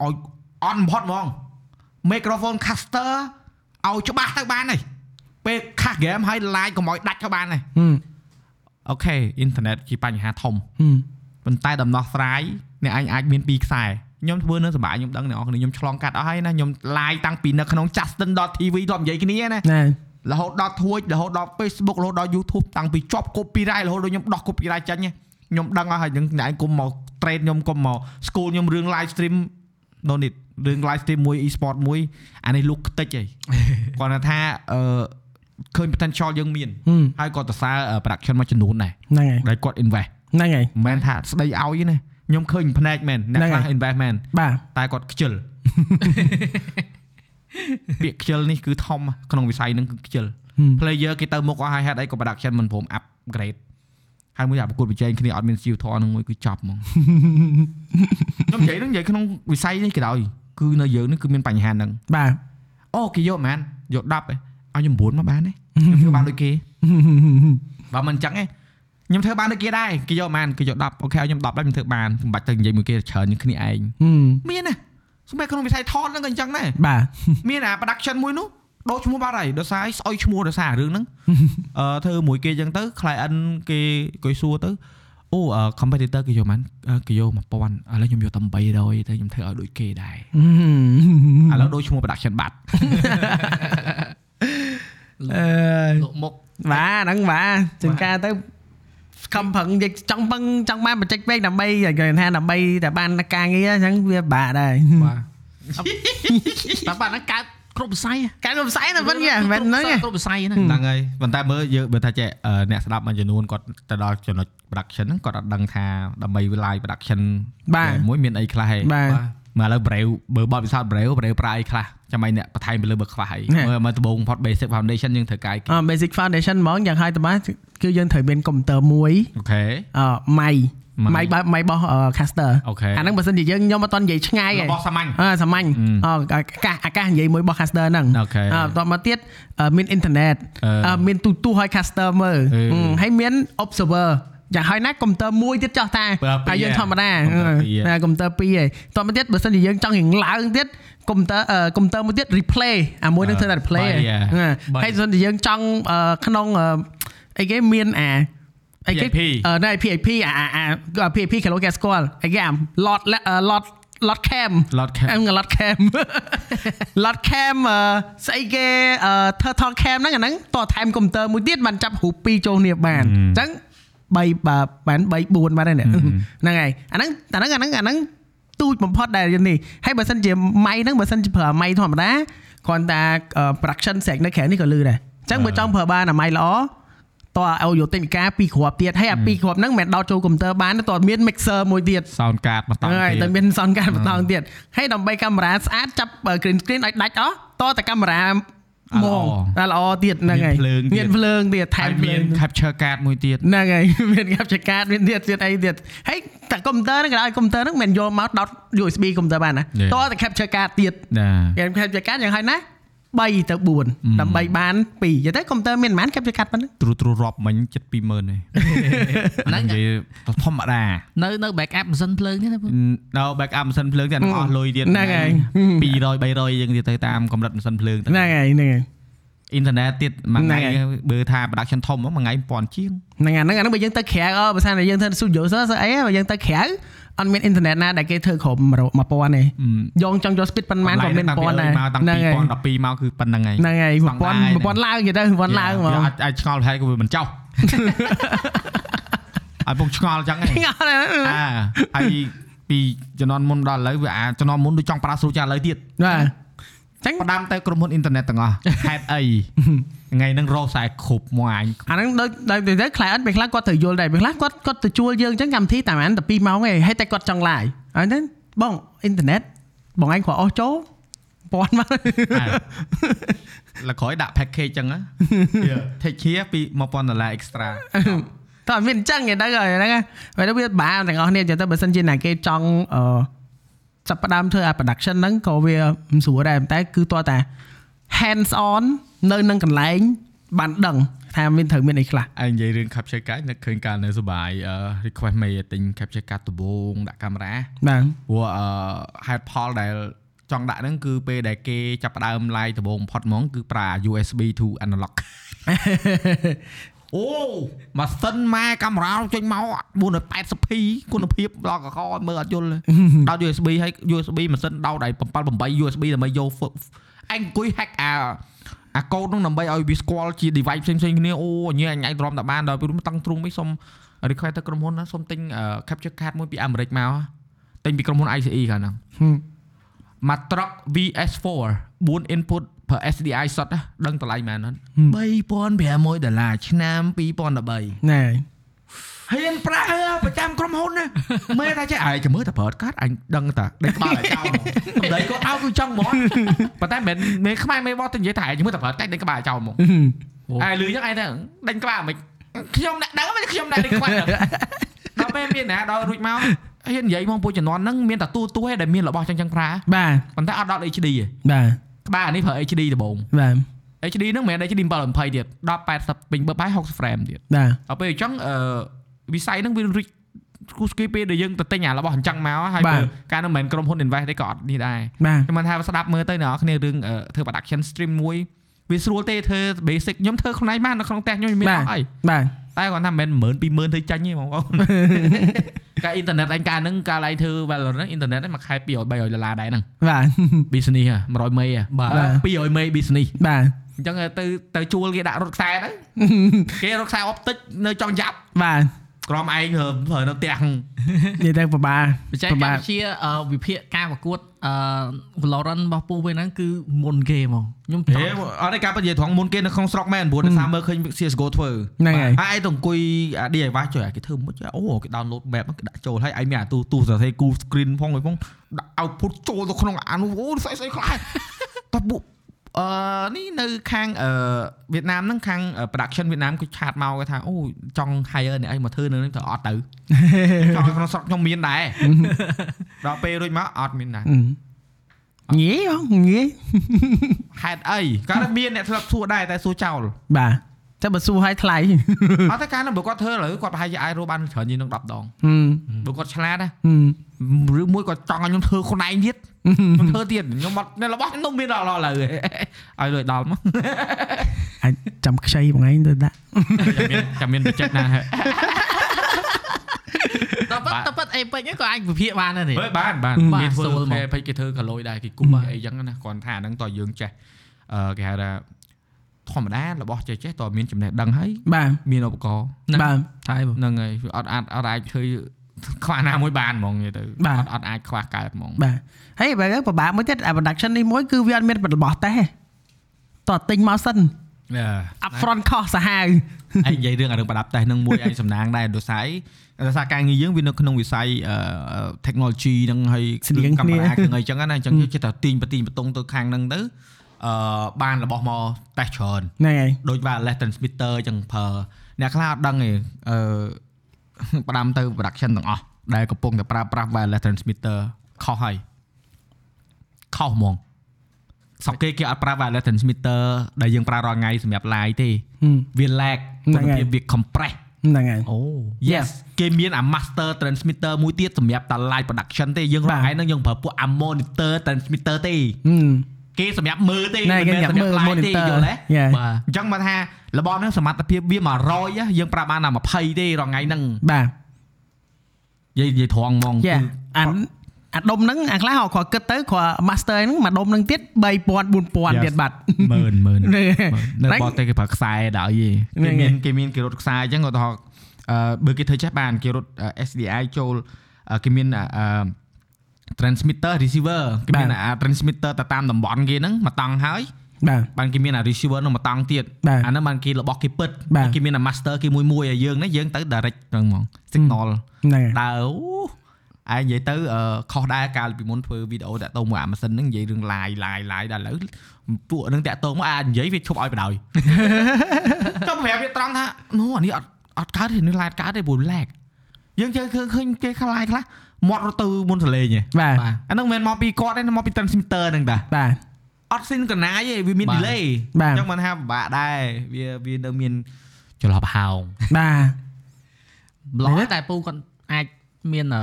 [SPEAKER 4] ឲ្យអត់បំផុតហ្មងមីក្រូហ្វូន caster ឲ្យច្បាស់ទៅបានហើយពេលខាស់ហ្គេមហើយឡាយកុំឲ្យដាច់ទៅបានហើយ
[SPEAKER 2] ហឹម
[SPEAKER 4] អូខេអ៊ីនធឺណិតជាបញ្ហាធំ
[SPEAKER 2] ហឹម
[SPEAKER 4] ប៉ុន្តែដំណោះស្រាយអ្នកឯងអាចមានពីរខ្សែខ្ញុំធ្វើនៅសប្បាយខ្ញុំដឹងអ្នកនរគ្នាខ្ញុំឆ្លងកាត់អស់ហើយណាខ្ញុំ live តាំងពីនៅក្នុង justin.tv ធ្លាប់និយាយគ្នាណា
[SPEAKER 2] ណែ
[SPEAKER 4] រហូតដល់ធួចរហូតដល់ Facebook រហូតដល់ YouTube តាំងពីជាប់ copyright រហូតដល់ខ្ញុំដោះ copyright ចេញខ្ញុំដឹងអស់ហើយនឹងអ្នកឯងគុំមក trade ខ្ញុំគុំមក school ខ្ញុំរឿង live stream no need រឿង live stream មួយ e-sport មួយអានេះលុកខ្ទេចហី គាត់ថាអឺឃើញ potential យើងមាន
[SPEAKER 2] ហឹម
[SPEAKER 4] ហើយគាត់សរសើរ production មួយចំនួនដែរ
[SPEAKER 2] ហ្នឹងហើយ
[SPEAKER 4] ដែលគាត់ invest
[SPEAKER 2] ហ្នឹងហើយ
[SPEAKER 4] មិនមែនថាស្ដីឲ្យទេណាខ្ញុំឃើញផ្នែកមែនអ្នក
[SPEAKER 2] ហ្នឹង
[SPEAKER 4] ខ្លះ
[SPEAKER 2] ហើយ
[SPEAKER 4] investment
[SPEAKER 2] បាទ
[SPEAKER 4] តែគាត់ ខ្ជិល ពាក្យខ្ជិលនេះគឺធំក្នុងវិស័យហ្នឹងគឺខ្ជិល
[SPEAKER 2] ហឹម
[SPEAKER 4] player គេទៅមុខអស់ហើយហេតុអីក៏ production មិនព្រម upgrade ហើយមួយអាប្រកួតប្រជែងគ្នាអត់មានជីវធម៌ហ្នឹង មួយគឺចប់ហ្មង ខ្ញុំនិយាយហ្នឹងនិយាយក្នុងវិស័យនេះក៏ដោយគឺនៅយើងហ្នឹងគឺមានបញ្ហាហ្នឹង
[SPEAKER 2] បាទ
[SPEAKER 4] អូគេយកហ្មងយក10ឯងឲ្យខ្ញុំ9មកបានទេខ្ញុំធ្វើបានដូចគេ បើមិនអញ្ចឹងឯង ខ្ញុំធ្វើបានដូចគេដែរគេយកប្រហែលគេយក10អូខេឲ្យខ្ញុំ10ដែរខ្ញុំធ្វើបានមិនបាច់ទៅនិយាយមួយគេច្រើនជាងគ្នាឯង
[SPEAKER 2] ហឹម
[SPEAKER 4] មានណាសម្រាប់ក្នុងវិស័យថតហ្នឹងក៏អញ្ចឹងដែរ
[SPEAKER 2] បាទ
[SPEAKER 4] មានអា production មួយនោះដោឈ្មោះបាត់ហើយដោយសារឲ្យស្អុយឈ្មោះដោយសាររឿងហ្នឹងអឺធ្វើមួយគេអញ្ចឹងទៅ client គេគេសួរទៅអូអឺ competitor គេយកមិនគេយក1000ឥឡូវខ្ញុំយកតែ800ទៅខ្ញុំធ្វើឲ្យដូចគេដែរ
[SPEAKER 2] ហឹម
[SPEAKER 4] ឥឡូវដោឈ្មោះ production បាត់
[SPEAKER 2] អឺ
[SPEAKER 3] លោកមុខ
[SPEAKER 2] បាទហ្នឹងបាទជាង
[SPEAKER 3] បាទ
[SPEAKER 2] ការទៅខំប្រឹងនិយាយចង់ប្រឹងចង់បានបច្ចេកទេសដើម្បីគេថាដើម្បីតែបានការងារអញ្ចឹងវាពិបាកដែរ
[SPEAKER 3] បាទតែបាទហ្នឹងកើតគ្រប់វិស័យ
[SPEAKER 2] ការរំសាយទៅវិញហ្នឹងមែនហ្នឹងឯង
[SPEAKER 3] គ្រប់វិស័យហ្នឹង
[SPEAKER 4] ហ្នឹងហើយប៉ុន្តែមើលយើងបើថាចេះអឺអ្នកស្ដាប់មួយចំនួនគាត់ទៅដល់ចំណុច production ហ្នឹងគាត់អត់ដឹងថាដើម្បី live production មួយមានអីខ្លះហេ
[SPEAKER 2] បាទ
[SPEAKER 4] មកឥឡូវ Brave បើបទពិសោធន៍ Brave Brave ប្រើអីខ្លះចាំមិនអ្នកបន្ថែមទៅលើបើខ្វះអី
[SPEAKER 2] ហេ
[SPEAKER 4] មើលមើលដំបូងផុត basic foundation យើងត្រូវកាយ
[SPEAKER 2] អ basic foundation ហ្មងយ៉ាងហើយតើបាទគឺយើងត្រូវមានកុំព្យូទ័រមួយ
[SPEAKER 4] អូខេ
[SPEAKER 2] អឺម៉ៃ
[SPEAKER 4] ម៉ៃ
[SPEAKER 2] ម៉ៃបែបម៉ៃរបស់អឺ caster
[SPEAKER 4] អូខេ
[SPEAKER 2] អាហ្នឹងបើសិនជាយើងខ្ញុំអត់តនិយាយឆ្ងាយឯង
[SPEAKER 4] របស់សាមញ្ញ
[SPEAKER 2] អឺសាមញ្ញ
[SPEAKER 4] អឺ
[SPEAKER 2] អអាកាសអាកាសនិយាយមួយរបស់ caster ហ្នឹង
[SPEAKER 4] អូខេ
[SPEAKER 2] បន្តមកទៀតអឺមានអ៊ីនធឺណិត
[SPEAKER 4] អឺ
[SPEAKER 2] អឺមានទូទូឲ្យ caster មើល
[SPEAKER 4] អឺ
[SPEAKER 2] ហឹមហើយមាន observer យ៉ាងហើយណាកុំព្យូទ័រមួយទៀតចោះតែ
[SPEAKER 4] ប្រើពីរ
[SPEAKER 2] ហើយយើង
[SPEAKER 4] ហ៎
[SPEAKER 2] ធម្មតា
[SPEAKER 4] កុំព្យូទ័រពីរ
[SPEAKER 2] ណា
[SPEAKER 4] ហ៎
[SPEAKER 2] កុំព្យូទ័រពីរឯងបន្តមកទៀតបើសិនជាយើងចង់រៀងឡើងទៀតកុំព្យូទ័រអឺកុំព្យូទ័រមួយទៀត replay អាមួយហ្នឹង
[SPEAKER 4] អឺ
[SPEAKER 2] ធ្វើតែ replay
[SPEAKER 4] បីហ៎
[SPEAKER 2] ហ៎
[SPEAKER 4] បី
[SPEAKER 2] ហើយបើសិនជាយើងចង់អឺក្នុងអឺអីគេមានអាអីគេ
[SPEAKER 4] PIP
[SPEAKER 2] អឺណៃ PIP អាអាអា PIP គេលោកគេស្គាល់អីគេអា lot lot lot cam
[SPEAKER 4] Lot cam
[SPEAKER 2] អឹង lot cam lot cam អឺស្អីគេអឺ turtle cam ហ្នឹងអាហ្នឹងតថែមកុំព្យូទ័រមួយទៀតបានចាប់រូបពីរចូលគ្នាបានអញ្ចឹង3បាទបាន3 4បានហើយ នេះហ្នឹងហើយអាហ្នឹងអាហ្នឹងអាហ្នឹងអាហ្នឹងទូចបំផុតដែរយនេះហើយបើសិនជាម៉ៃហ្នឹងបើសិនជាប្រើម៉ៃធម្មតាគ្រាន់តែអឺ production ស្រែកនៅក្រៅនេះក៏លឺដែរអញ្ចឹងបើចង់ប្រើបានអាម៉ៃល្អ តើឲ្យយកទិញការពីរគ្រាប់ទៀតហើយអាពីរគ្រាប់ហ្នឹងមិនមែនដោតចូលកុំព្យូទ័របានទេតើមាន mixer មួយទៀត
[SPEAKER 4] sound card មកត
[SPEAKER 2] ហ្នឹងហើយតែ
[SPEAKER 4] ទៀត
[SPEAKER 2] មានសនការបន្តោងទៀតហើយដើម្បីកាមេរ៉ាស្អាតចាប់អឺ green screen ឲ្យដាច់អស់តតែកាមេរ៉ា
[SPEAKER 4] អា
[SPEAKER 2] ម
[SPEAKER 4] ល្អ
[SPEAKER 2] ងតែល្អទៀតហ្នឹងហើយ
[SPEAKER 4] មានភ្លើងទៀត
[SPEAKER 2] មានភ្លើងទៀតថែ
[SPEAKER 4] ហើយ
[SPEAKER 2] ម
[SPEAKER 4] មា
[SPEAKER 2] ភ្លើ
[SPEAKER 4] ន
[SPEAKER 2] ង
[SPEAKER 4] capture card មួយទៀត
[SPEAKER 2] ហ្នឹងហើយ មានកាប់ចកាតមានទៀតទៀតអីទៀតហើយតែកុំព្យូទ័រហ្នឹងក៏ឲ្យកុំព្យូទ័រហ្នឹងមិនមែនយកមកដោត USB កុំព្យូទ័របានណា
[SPEAKER 4] យេ
[SPEAKER 2] តតែ capture card ទៀត
[SPEAKER 4] ណា
[SPEAKER 2] game capture card យ៉ាងហើយណា3ទៅ4ដើម្បីបាន2យល់ទេកុំព្យូទ័រមានប៉ុន្មាន capture card ប៉ុណ្ណឹង
[SPEAKER 4] ទ្រូទ្រូរាប់មិញចិត្ត20000ឯ ង
[SPEAKER 3] ហ្នឹង
[SPEAKER 4] និយាយធម្មតា
[SPEAKER 3] នៅនៅ backup ម៉ាស៊ីនភ្លើងនេះណាបង
[SPEAKER 4] ដល់ backup ម៉ាស៊ីនភ្លើងទៀតអស់លុយទៀត
[SPEAKER 2] ហ្នឹងហើយ
[SPEAKER 4] 200 300យើងទៀតទៅតាមកម្រិតម៉ាស៊ីនភ្លើងទៅ
[SPEAKER 2] ហ្នឹងហើយហ្នឹងហើយ
[SPEAKER 4] អ៊ីនធឺណិតទៀតមួយថ្ងៃ
[SPEAKER 2] ហ្នឹងហើយ
[SPEAKER 4] បើថា production ធំហ្មងមួយថ្ងៃ1000ជាង
[SPEAKER 2] ហ្នឹងអាហ្នឹងអាហ្នឹងបើយើងទៅក្រៅអបើសិនតែយើងធ្វើ studio សោះស្អីហ៎បើយើងទៅក្រៅអត់មានអ៊ីនធឺណិតណាដែលគេធ្វើក្រុម1000ទេយងចង់យក speed ប៉ុន្មានក៏មាន
[SPEAKER 4] កម្លាំង
[SPEAKER 2] 1000ដែរ
[SPEAKER 4] តាំងពី
[SPEAKER 2] ហ្នឹងហើយ
[SPEAKER 4] មកតាំងពី2012មកគឺប៉ុណ្្នឹងហើយ
[SPEAKER 2] ហ្នឹងហើយ1000 1000ឡើងយទៅ1000ឡើងមក
[SPEAKER 4] វាអាចអាចឆ្ងល់ថែក៏វាមិនចោះ ឲ្យពុកឆ្ងល់ចឹងហ្នឹង
[SPEAKER 2] ងល់ហើយ
[SPEAKER 4] អាហើយពីជំនាន់មុនដល់ឥឡូវវាអាជំនាន់មុនដូចចង់ប្រើស្រូចាឥឡូវទៀត
[SPEAKER 2] បាទចឹង
[SPEAKER 4] ផ្ដាំទៅក្រុមហ៊ុនអ៊ីនធឺណិតទាំងអស់ហេតុអីថ្ងៃហ្នឹងរកខ្សែគ្រប់មួយអញ
[SPEAKER 2] អាហ្នឹងដូចដូចទៅ client ពេលខ្លះគាត់ត្រូវយល់ដែរពេលខ្លះគាត់គាត់ទៅជួលយើងចឹងកម្មវិធីតាមអានតែ2ម៉ោងឯងហើយតែគាត់ចង់ឡាយអញ្ចឹងបងអ៊ីនធឺណិតបងឯងគ្រាន់អស់ចូល1000មក
[SPEAKER 4] អាលើក្រោយដាក់ package ចឹងណា take care ពី1000ដុល្លារ extra
[SPEAKER 2] តើអត់មានអញ្ចឹងឯងទៅហើយហ្នឹងហើយពេលទៅវាបាទាំងអស់គ្នាចឹងទៅបើសិនជាណាគេចង់អឺ ចាប់ផ្ដើមធ្វើអា production ហ្នឹងក៏វាមិនស្រួលដែរប៉ុន្តែគឺតោះតា hands on នៅនឹងកន្លែងបានដឹងថាមានត្រូវមានអីខ្លះ
[SPEAKER 4] ឯងនិយាយរឿង capture card នឹកឃើញការនៅសបាយអឺ request មេទិញ capture card ដំបូងដាក់កាមេរ៉ា
[SPEAKER 2] បាទ
[SPEAKER 4] ព្រោះអឺហេតុផលដែលចង់ដាក់ហ្នឹងគឺពេលដែលគេចាប់ផ្ដើម live ដំបូងបំផុតហ្មងគឺប្រើ USB to analog អូម៉ាស៊ីនម៉ែកាមេរ៉ាចេញមក 480p គុណភាពឡកកកមើលអត់យ ល់ទេ ដោត USB ហើយ USB ម៉ាស៊ីនដោតឲ្យ78 USB ដើម្បីយក fo- ឯងអង្គុយ hack អាអាកូដហ្នឹងដើម្បីឲ្យវាស្គាល់ជា device ផ្សេងៗគ្នាអូញ៉ែអញអាចទ្រាំតែបានដល់ពេលនោះតាំងទ្រូងមិនសុំ request ទៅក្រុមហ៊ុនណាសុំទិញអឺ capture card មួយពីអាមេរិកមកទិញពីក្រុមហ៊ុន ICE កាលហ្នឹង មកត្រក VS4 4 input per SDI សុតណាដឹងតម្លៃ មែនអត់3500ដុល្លារឆ្នាំ2013
[SPEAKER 2] ណែហើយ
[SPEAKER 4] ហ៊ានប្រាក់អើប្រចាំក្រុមហ៊ុន ណាមើលថាចេះអាយចាំមើលតែប្រើកាតអញដឹងតាដេកក្បាលឲ្យចោល ហ្មងសម្ដីគាត់ឲ្យគឺចង់ហ្មងប៉ុន្តែមិនមែនមិនខ្មែរមិនបោះទៅនិយាយថាអាយចាំមើលតែប្រើកាតដេកក្បាលឲ្យចោលហ្មងអាយលឺចឹងអាយថាដេកក្បាលមិនខ្ញុំអ្នកដឹងមិនខ្ញុំអ្នក ដេកក្បាលដល់ពេលមានណាដល់រួចមកហ៊ាននិយាយហ្មងពួកជំនាន់ហ្នឹងមានតែទូទូឯងដែលមានរបស់ចឹងចឹងប្រើ
[SPEAKER 2] បាទ
[SPEAKER 4] ប៉ុន្តែអត់ដល់ HD ទេ
[SPEAKER 2] បាទ
[SPEAKER 4] ក្បាលអានេះប្រើ HD ដំបូង
[SPEAKER 2] បាទ
[SPEAKER 4] HD ហ្នឹងមិនមែន HD 720ទៀត1080ពេញបើកហើយ60 frame ទៀត
[SPEAKER 2] បាទ
[SPEAKER 4] ដល់ពេលអញ្ចឹងអឺវិស័យហ្នឹងវារីកគូស្គីពេលដែលយើងទៅទិញអារបស់អញ្ចឹងមកហើយបើការហ្នឹងមិនមែនក្រុមហ៊ុន invest ទេក៏អត់នេះដែរ
[SPEAKER 2] បាទ
[SPEAKER 4] ខ្ញុំមិនថាស្ដាប់មើលទៅអ្នកនរគ្នារឿងអឺធ្វើ production stream មួយវាស្រួលទេធ្វើ basic ខ្ញុំធ្វើខ្លួនឯងបាននៅក្នុងផ្ទះខ្ញុំមានអស់ហើយ
[SPEAKER 2] បាទ
[SPEAKER 4] តែគាត់ថាមិនមែន10000 20000ធ្វើចាញ់ទេបងប្អូន ការអ៊ីនធឺណិតឯងកាលហ្នឹងកាលឯងធ្វើ Valorant ហ្នឹងអ៊ីនធឺណិតឯងមួយខែ200 300ដុល្លារដែរហ្នឹង
[SPEAKER 2] បាទ
[SPEAKER 4] business ហ่ะ100មេហ่ะ
[SPEAKER 3] បាទ
[SPEAKER 4] 200មេ business
[SPEAKER 2] បាទ
[SPEAKER 4] អញ្ចឹងទៅទៅជួលគេដាក់រត់ខ្សែ ទៅគេរត់ខ្សែ optic នៅចង់យ៉ាប់
[SPEAKER 2] បាទ
[SPEAKER 4] ក្រុមឯងរើរើនៅផ្ទះ ហ្នឹង
[SPEAKER 2] និយាយទៅប្របា
[SPEAKER 3] បច្ចេក
[SPEAKER 2] ប្របា
[SPEAKER 3] វិទ្យាអឺវិភាគការប្រកួតអឺ Valorant របស់ពូវិញហ្នឹងគឺមុនគេហ្មងខ្ញុំច
[SPEAKER 4] ហេ
[SPEAKER 3] ង់
[SPEAKER 4] អត់ឯងការពិតនិយាយត្រង់មុនគេនៅក្នុងស្រុកមែនព្រោះដោយសារមើលឃើញ CS:GO ធ្វើ
[SPEAKER 2] ហ្នឹងហើយ
[SPEAKER 4] ហើយឯងទៅអង្គុយអា DIY ជួយគេធ្វើមិនអូគេ download map ហ្នឹងគេដាក់ចូលហើយឯងមានអាទូទូសរសេរ full screen ផងអីផងដាក់ output ចូលទៅក្នុងអានោះអូស្អីស្អីខ្លះតែពួកអឺនេះនៅខាងអឺវៀតណាមហ្នឹងខាង production វៀតណាមគេឆាតមកគេថាអូចង់ hire អ្នកឯងមកធ្វើនៅហ្នឹងទៅអត់ទៅចង់ឲ្យក្នុងស្រុកខ្ញុំមានដែរដល់ពេលរួចមកអត់មានណា
[SPEAKER 2] ញីហ៎ញី
[SPEAKER 4] ហេតុអីក៏មានអ្នកធ្លាប់សួរដែរតែសួរចោល
[SPEAKER 2] បាទតែបើសួរឲ្យថ្លៃ
[SPEAKER 4] អត់តែការហ្នឹងបើគាត់ធ្វើឥឡូវគាត់ប្រហែលជាអាចរកបានច្រើនជាងនឹង10ដង
[SPEAKER 2] ហឹម
[SPEAKER 4] បើគាត់ឆ្លាតណា
[SPEAKER 2] ហឹម
[SPEAKER 4] ឬមួយគាត់ចង់ឲ្យខ្ញុំធ្វើខ្លួនឯងទៀតខ្ញុំធ្វើ ទៀតខ្ញុំអត់នៅរបស់ខ្ញុំមានដល់ឥឡូ វឯងឲ្យលុយដល់មក
[SPEAKER 2] អាចចាំខ្ចីបងឯងទៅដាក់
[SPEAKER 4] ចាំមានចាំមានបច្ចិត ណាហេ
[SPEAKER 3] តែប៉ិតតែប៉ិតអេពេចហ្នឹងក៏អាចវិភាគបានដែរនេះ
[SPEAKER 4] ើបានបាន
[SPEAKER 3] បាទ
[SPEAKER 4] គេធ្វើ
[SPEAKER 3] សូលមក
[SPEAKER 4] គេពេចគេធ្វើកលុយដែរគេគប់អីចឹងណាគ្រាន់ថាហ្នឹងតើយើងចេះអឺគេហៅថាធម្មតារបស់ចេះចេះតើមានចំណេះដឹងហើយ
[SPEAKER 2] បាទ
[SPEAKER 4] មានឧបករណ៍
[SPEAKER 2] បាទ
[SPEAKER 3] តែបង
[SPEAKER 4] ហ្នឹងហើយវាអត់អាចអត់អាចធ្វើខ្វះណាមួយបានហ្មងនិយាយទៅអត់អត់អាចខ្វះកើតហ្មង
[SPEAKER 2] បាទហើយបើប្របាមួយទៀតអា production នេះមួយគឺវាអត់មានរបស់តេសតោះទិញមកសិន upfront cost សាហាវ
[SPEAKER 4] ឯងនិយាយរឿងអារឿងប្រដាប់តេស្តហ្នឹងមួយឯងសំណាងដែរដោយសារអីដោយសារការងារយើងវានៅក្នុងវិស័យអឺ technology ហ្នឹងហើយ
[SPEAKER 2] ស្តៀង
[SPEAKER 4] កា
[SPEAKER 2] គ្នា
[SPEAKER 4] មេរ៉ាហ្នឹងអីចឹងណាអញ្ចឹងយើងចេះតែទាញបទីបតុងទៅខាងហ្នឹងទៅអឺបានរបស់មកតេស្តច្រើន
[SPEAKER 2] ហ្នឹងហើយ
[SPEAKER 4] ដូច wireless transmitter អញ្ចឹងប្រើអ្នកខ្លះអត់ដឹងទេអឺ ផ្ដាំទៅ production ទាំងអស់ដែលកំពុងតែប្រើប្រាស់ wireless transmitter ខុសហើយខុសហ្មងសក់គេគេអត់ប្រើ wireless transmitter ដែលយើងប្រើរាល់ថ្ងៃសម្រាប់ live ទេ
[SPEAKER 2] ហឹម
[SPEAKER 4] វា lag
[SPEAKER 2] ហ្នឹ
[SPEAKER 4] គុ
[SPEAKER 2] ង
[SPEAKER 4] ណ
[SPEAKER 2] ហើយ
[SPEAKER 4] ភាពវា compress
[SPEAKER 2] ហ្នឹងហើយ
[SPEAKER 3] អូ
[SPEAKER 4] yes គេមានអា master transmitter មួយទៀតសម្រាប់តា live production ទេយើង
[SPEAKER 2] បា
[SPEAKER 4] រា
[SPEAKER 2] ទ
[SPEAKER 4] ល់ហ្នឹងយើងប្រើពួកអា monitor transmitter ទេ
[SPEAKER 2] ហឹម
[SPEAKER 4] គេសម្រាប់មើលទេ
[SPEAKER 2] ហ្នឹងហើយគេ
[SPEAKER 4] មិនមែ
[SPEAKER 2] ញ៉ាំមើល
[SPEAKER 4] សម្រាប់ live ទេ
[SPEAKER 2] monitor
[SPEAKER 4] យល់ទេ
[SPEAKER 2] យ៉ា
[SPEAKER 4] បាទអញ្ចឹងមកថារបស់ហ្នឹងសមត្ថភាពវា100ណាយើងប្រាប់បានតែ20ទេរាល់ថ្ងៃហ្នឹង
[SPEAKER 2] បាទ
[SPEAKER 4] និយាយនិយាយត្រង់ហ្មង
[SPEAKER 2] យ៉ាអានអាដុំហ្នឹងអាខ្លះគាត់គាត់គិតទៅគាត់ master ហ្នឹងមួយដុំហ្នឹងទៀត3000 4000ទៀតបាត់
[SPEAKER 4] មើលមើល
[SPEAKER 2] ហ្នឹង
[SPEAKER 4] នៅបតទេគេប្រើខ្សែដល់យី
[SPEAKER 2] ហ្នឹ
[SPEAKER 4] គេ
[SPEAKER 2] ងហើយ
[SPEAKER 4] មានគេមានគេរត់ខ្សែអញ្ចឹងគាត់ថាអឺបើគេធ្វើចេះបានគេរត់អឺ SDI ចូលអឺគេមានអអឺ transmitter receiver គេមានអា transmitter ទៅតាមតំបន់គេហ្នឹងមកតង់ហើយ
[SPEAKER 2] បាទ
[SPEAKER 4] បានគេមានអា receiver នោះមកតង់ទៀត
[SPEAKER 2] បាទ
[SPEAKER 4] អាហ្នឹងបានគេរបស់គេពិត
[SPEAKER 2] បាទ
[SPEAKER 4] គេមានអា master គេមួយមួយឲ្យយើងហ្នឹងយើងទៅ direct ហ្នឹងហ្មង signal
[SPEAKER 2] ហ្នឹងហើយ
[SPEAKER 4] ដើរអូឯងនិយាយទៅអឺខុសដែរកាលពីមុនធ្វើវីដេអូតាក់ទងមួយអាម៉ាស៊ីនហ្នឹងនិយាយរឿង live live live ដល់ឥឡូវពួកហ្នឹងតាក់ទងមកអានិយាយវាឈប់ឲ្យបណ្ដោយ ចុះប្រាប់វាត្រង់ថានោះអានេះអត់អត់កើតទេនេះ live កើតទេព្រោះ lag យើងជឿឃើញឃើញគេខ្លះ live ខ្លះមាត់រត់ទៅមុនសលេងឯង
[SPEAKER 2] បាទ
[SPEAKER 3] បាទ
[SPEAKER 4] អាហ្នឹងមិនមែនមកពីគាត់ទេមកពី transmitter ហ្នឹងតា
[SPEAKER 2] បាទ
[SPEAKER 4] អត់ស៊ីនកណាយទេវាមាន
[SPEAKER 3] បាទ
[SPEAKER 4] delay
[SPEAKER 2] បាទ
[SPEAKER 4] អញ្ចឹងមិនថាពិបាកដែរវាវានៅមានច្រឡប់ហោង
[SPEAKER 2] បាទ
[SPEAKER 3] ឡោះតែពូគាត់អាចមានអឺ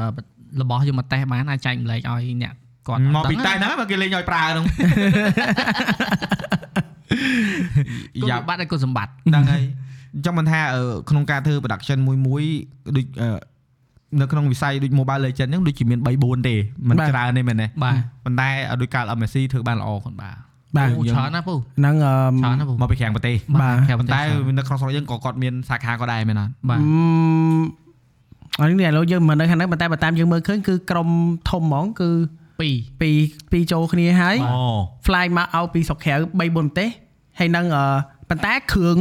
[SPEAKER 3] របស់យកមកតេស្តបានអាចចែកម្លែកឲ្យអ្នកគាត់
[SPEAKER 4] មកពី
[SPEAKER 3] ដឹង
[SPEAKER 4] តែហ្នឹងមកគេលេងឲ្យប្រើ ហ្នឹង
[SPEAKER 3] គុណ
[SPEAKER 4] យ៉ា
[SPEAKER 3] សម្បត្តិឲ្យគុណសម្បត្តិ
[SPEAKER 4] ហ្នឹងហើយអញ្ចឹងមិនថាអឺក្នុងការធ្វើ production មួយមួយដូចអឺនៅក្នុងវិស័យដូច Mobile Legend ហ្នឹងដូចជាមាន3 4ទេមិន
[SPEAKER 2] បាទ
[SPEAKER 4] ច្រើនទេមែនទេ
[SPEAKER 3] បាទ
[SPEAKER 4] ប៉ុន្តែអ่ะដូចកាល MSC ធ្វើបានល្អគាត់បាទ
[SPEAKER 2] បាទ
[SPEAKER 3] ពូច្រើនណាពូ
[SPEAKER 2] ហ្នឹងអ
[SPEAKER 3] ច្រើនណាពូ
[SPEAKER 4] មកពីខាងប្រទេស
[SPEAKER 2] ឺបាទ
[SPEAKER 3] ខាង
[SPEAKER 4] ប៉ុ
[SPEAKER 3] ប៉ុ
[SPEAKER 4] ន្
[SPEAKER 3] ន្តែ
[SPEAKER 4] តែនៅក្នុងស្រុកយើងក៏គាត់មានសាខាក៏ដែរមែនអត់
[SPEAKER 3] បាទ
[SPEAKER 2] អឺនេះឥឡូវយើងមិននៅខាងហ្នឹងប៉ុន្តែបើតាមយើងមើលឃើញគឺក្រុមធំហ្មងគឺ
[SPEAKER 3] ពីរ
[SPEAKER 2] ពីរពីរចូលគ្នាហើយ
[SPEAKER 4] អូ
[SPEAKER 2] fly មកឲ្យពីស្រុកក្រៅ3 4ប្រទេសហើយនឹងអឺប៉ុន្តែគ្រឿង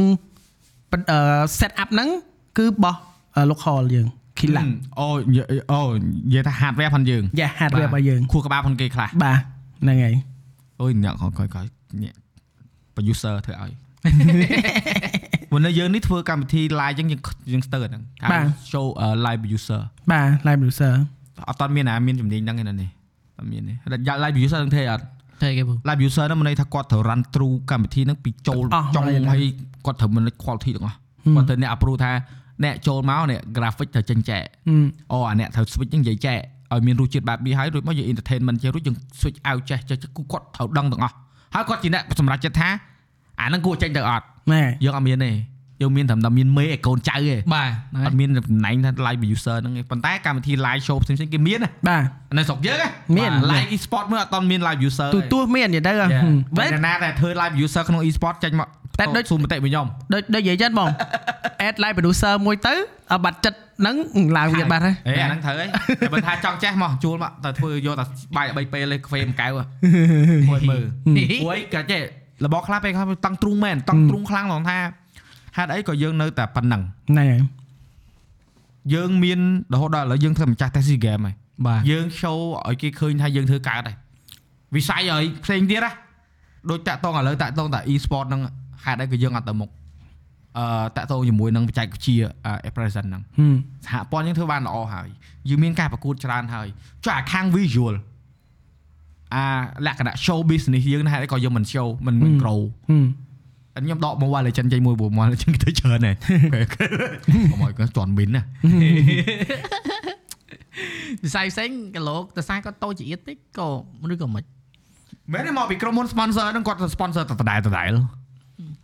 [SPEAKER 2] ប៉ុន្អឺ set up ហ្នឹងគឺបោះអឺ local យើង Kilang
[SPEAKER 4] អូនិយាយអូនិយាយថា hardware ផងយើង
[SPEAKER 2] យ៉ា hardware របស់យើង
[SPEAKER 4] ខួរក្បាលផងគេខ្លះ
[SPEAKER 2] បាទហ្នឹងហើយ
[SPEAKER 4] អូយអ្នកគាត់គាត់គាត់អ្នក producer ធ្វើឲ្យ មិននៅយើងនេះធ្វើកម្មវិធី live អញ្ចឹងយើងយើងស្ទើរហ្នឹងហៅ show អឺ live producer
[SPEAKER 2] បាទ live producer
[SPEAKER 4] អត់តមានណាមានជំនាញហ្នឹងឯណានេះអត់មានទេ live producer នឹងធ្វើអត់
[SPEAKER 3] ទេគេពូ
[SPEAKER 4] live user ហ្នឹងមិនន័យថាគាត់ត្រូវ run through កម្មវិធីហ្នឹងពីចូល
[SPEAKER 2] ទាំងអស់
[SPEAKER 4] ចុង
[SPEAKER 2] ហើយ
[SPEAKER 4] ហើយគាត់ត្រូវ manage quality ទាំងអស់គាត់ត្រូវអ្នក approve ថាអ្នកចូលមកអ្នក graphic ត្រូវចេញចែកអូអាអ្នកត្រូវ switch ហ្នឹងនិយាយចែកឲ្យមានរសជាតិបែបនេះហើយរួចមកយើង entertainment ចេះរួចយើង switch out ចេះចេះចេះគឺគាត់ត្រូវដឹងទាំងអស់ហើយគាត់ជាអ្នកសម្រេចចិត្តថាអាហ្នឹងគួរចេញទៅអត់
[SPEAKER 2] ណែ
[SPEAKER 4] យើងអត់មានទេយើងមានត្រឹមតែមានមេឯកូនចៅទេ
[SPEAKER 3] បាទហ្នឹង
[SPEAKER 4] អ
[SPEAKER 3] ហើយ
[SPEAKER 4] ត់មានតំណែងថា live user ហ្នឹងទេប៉ុន្តែកម្មវិធី live show ផ្សេងៗគេមានណា
[SPEAKER 2] បាទ
[SPEAKER 4] នៅស្រុកយើង
[SPEAKER 2] មា
[SPEAKER 4] ហ្នឹ
[SPEAKER 2] ន
[SPEAKER 4] ង live e-sport មើលអត់តមាន live user ទេ
[SPEAKER 2] ទូទោះមាននិយាយទៅហឹម
[SPEAKER 4] បែ
[SPEAKER 2] បែប
[SPEAKER 4] រណាតែធ្វើ live user ក្នុង e-sport ចេញមក
[SPEAKER 2] តែដូច
[SPEAKER 4] ស៊ូមតិវិញខ្ញុំ
[SPEAKER 2] ដូចដូចនិយាយចឹងបង add live producer មួយទៅឲ្យបាត់ចិត្តហ្នឹងឡើងវាបាត់ហើយ
[SPEAKER 4] អេអាហ្នឹងត្រូវហើយតែបើថាចង់ចេះមកជួលមកតែធ្វើយកតែបាយបីពេលលេខ្វេមកៅហ៎មួយមើលអួយក៏ចេះរបស់ខ្លះពេលខ្លះវាតង់ទ្រូងមែនតង់ទ្រូងខ្លាំងដល់ថាហេតុអីក៏យើងនៅតែប៉ុណ្ណឹង
[SPEAKER 2] ហ្នឹងហើយ
[SPEAKER 4] យើងមានរហូតដល់ឥឡូវយើងធ្វើម្ចាស់ Tesla game ហើយ
[SPEAKER 3] បាទ
[SPEAKER 4] យើង show ឲ្យគេឃើញថាយើងធ្វើកើតហើយវិស័យឲ្យផ្សេងទៀតណាដូចតាក់តងឥឡូវតាក់តងតា e-sport ហ្នឹងហេតុអីក៏យើងអត់ទៅមុខអឺតាក់តងជាមួយនឹងបច្ចេកវិទ្យា Appreciation ហ្នឹង
[SPEAKER 2] ហឹម
[SPEAKER 4] សហព័ន្ធយើងធ្វើបានល្អហើយយើងមានការប្រកួតច្រើនហើយចុះអាខាង visual អាលក្ខណៈ show business យើងណាស់ក៏យើងមិន show មិនមិន grow
[SPEAKER 2] ហឹម
[SPEAKER 4] ឥឡូវខ្ញុំដក Mobile Legend ចេញមួយព្រោះ Mobile Legend គេទៅច្រើន ហែង កុំឲ្យគាត់ជន់មីនណា
[SPEAKER 3] វិស័យផ្សេងកលោកតសាគាត់តូចចង្អៀតតិចក៏ឬក៏មិន
[SPEAKER 4] មែនទេមកពីក្រុមហ៊ុន sponsor ហ្នឹងគាត់ sponsor តែដដែលដដែល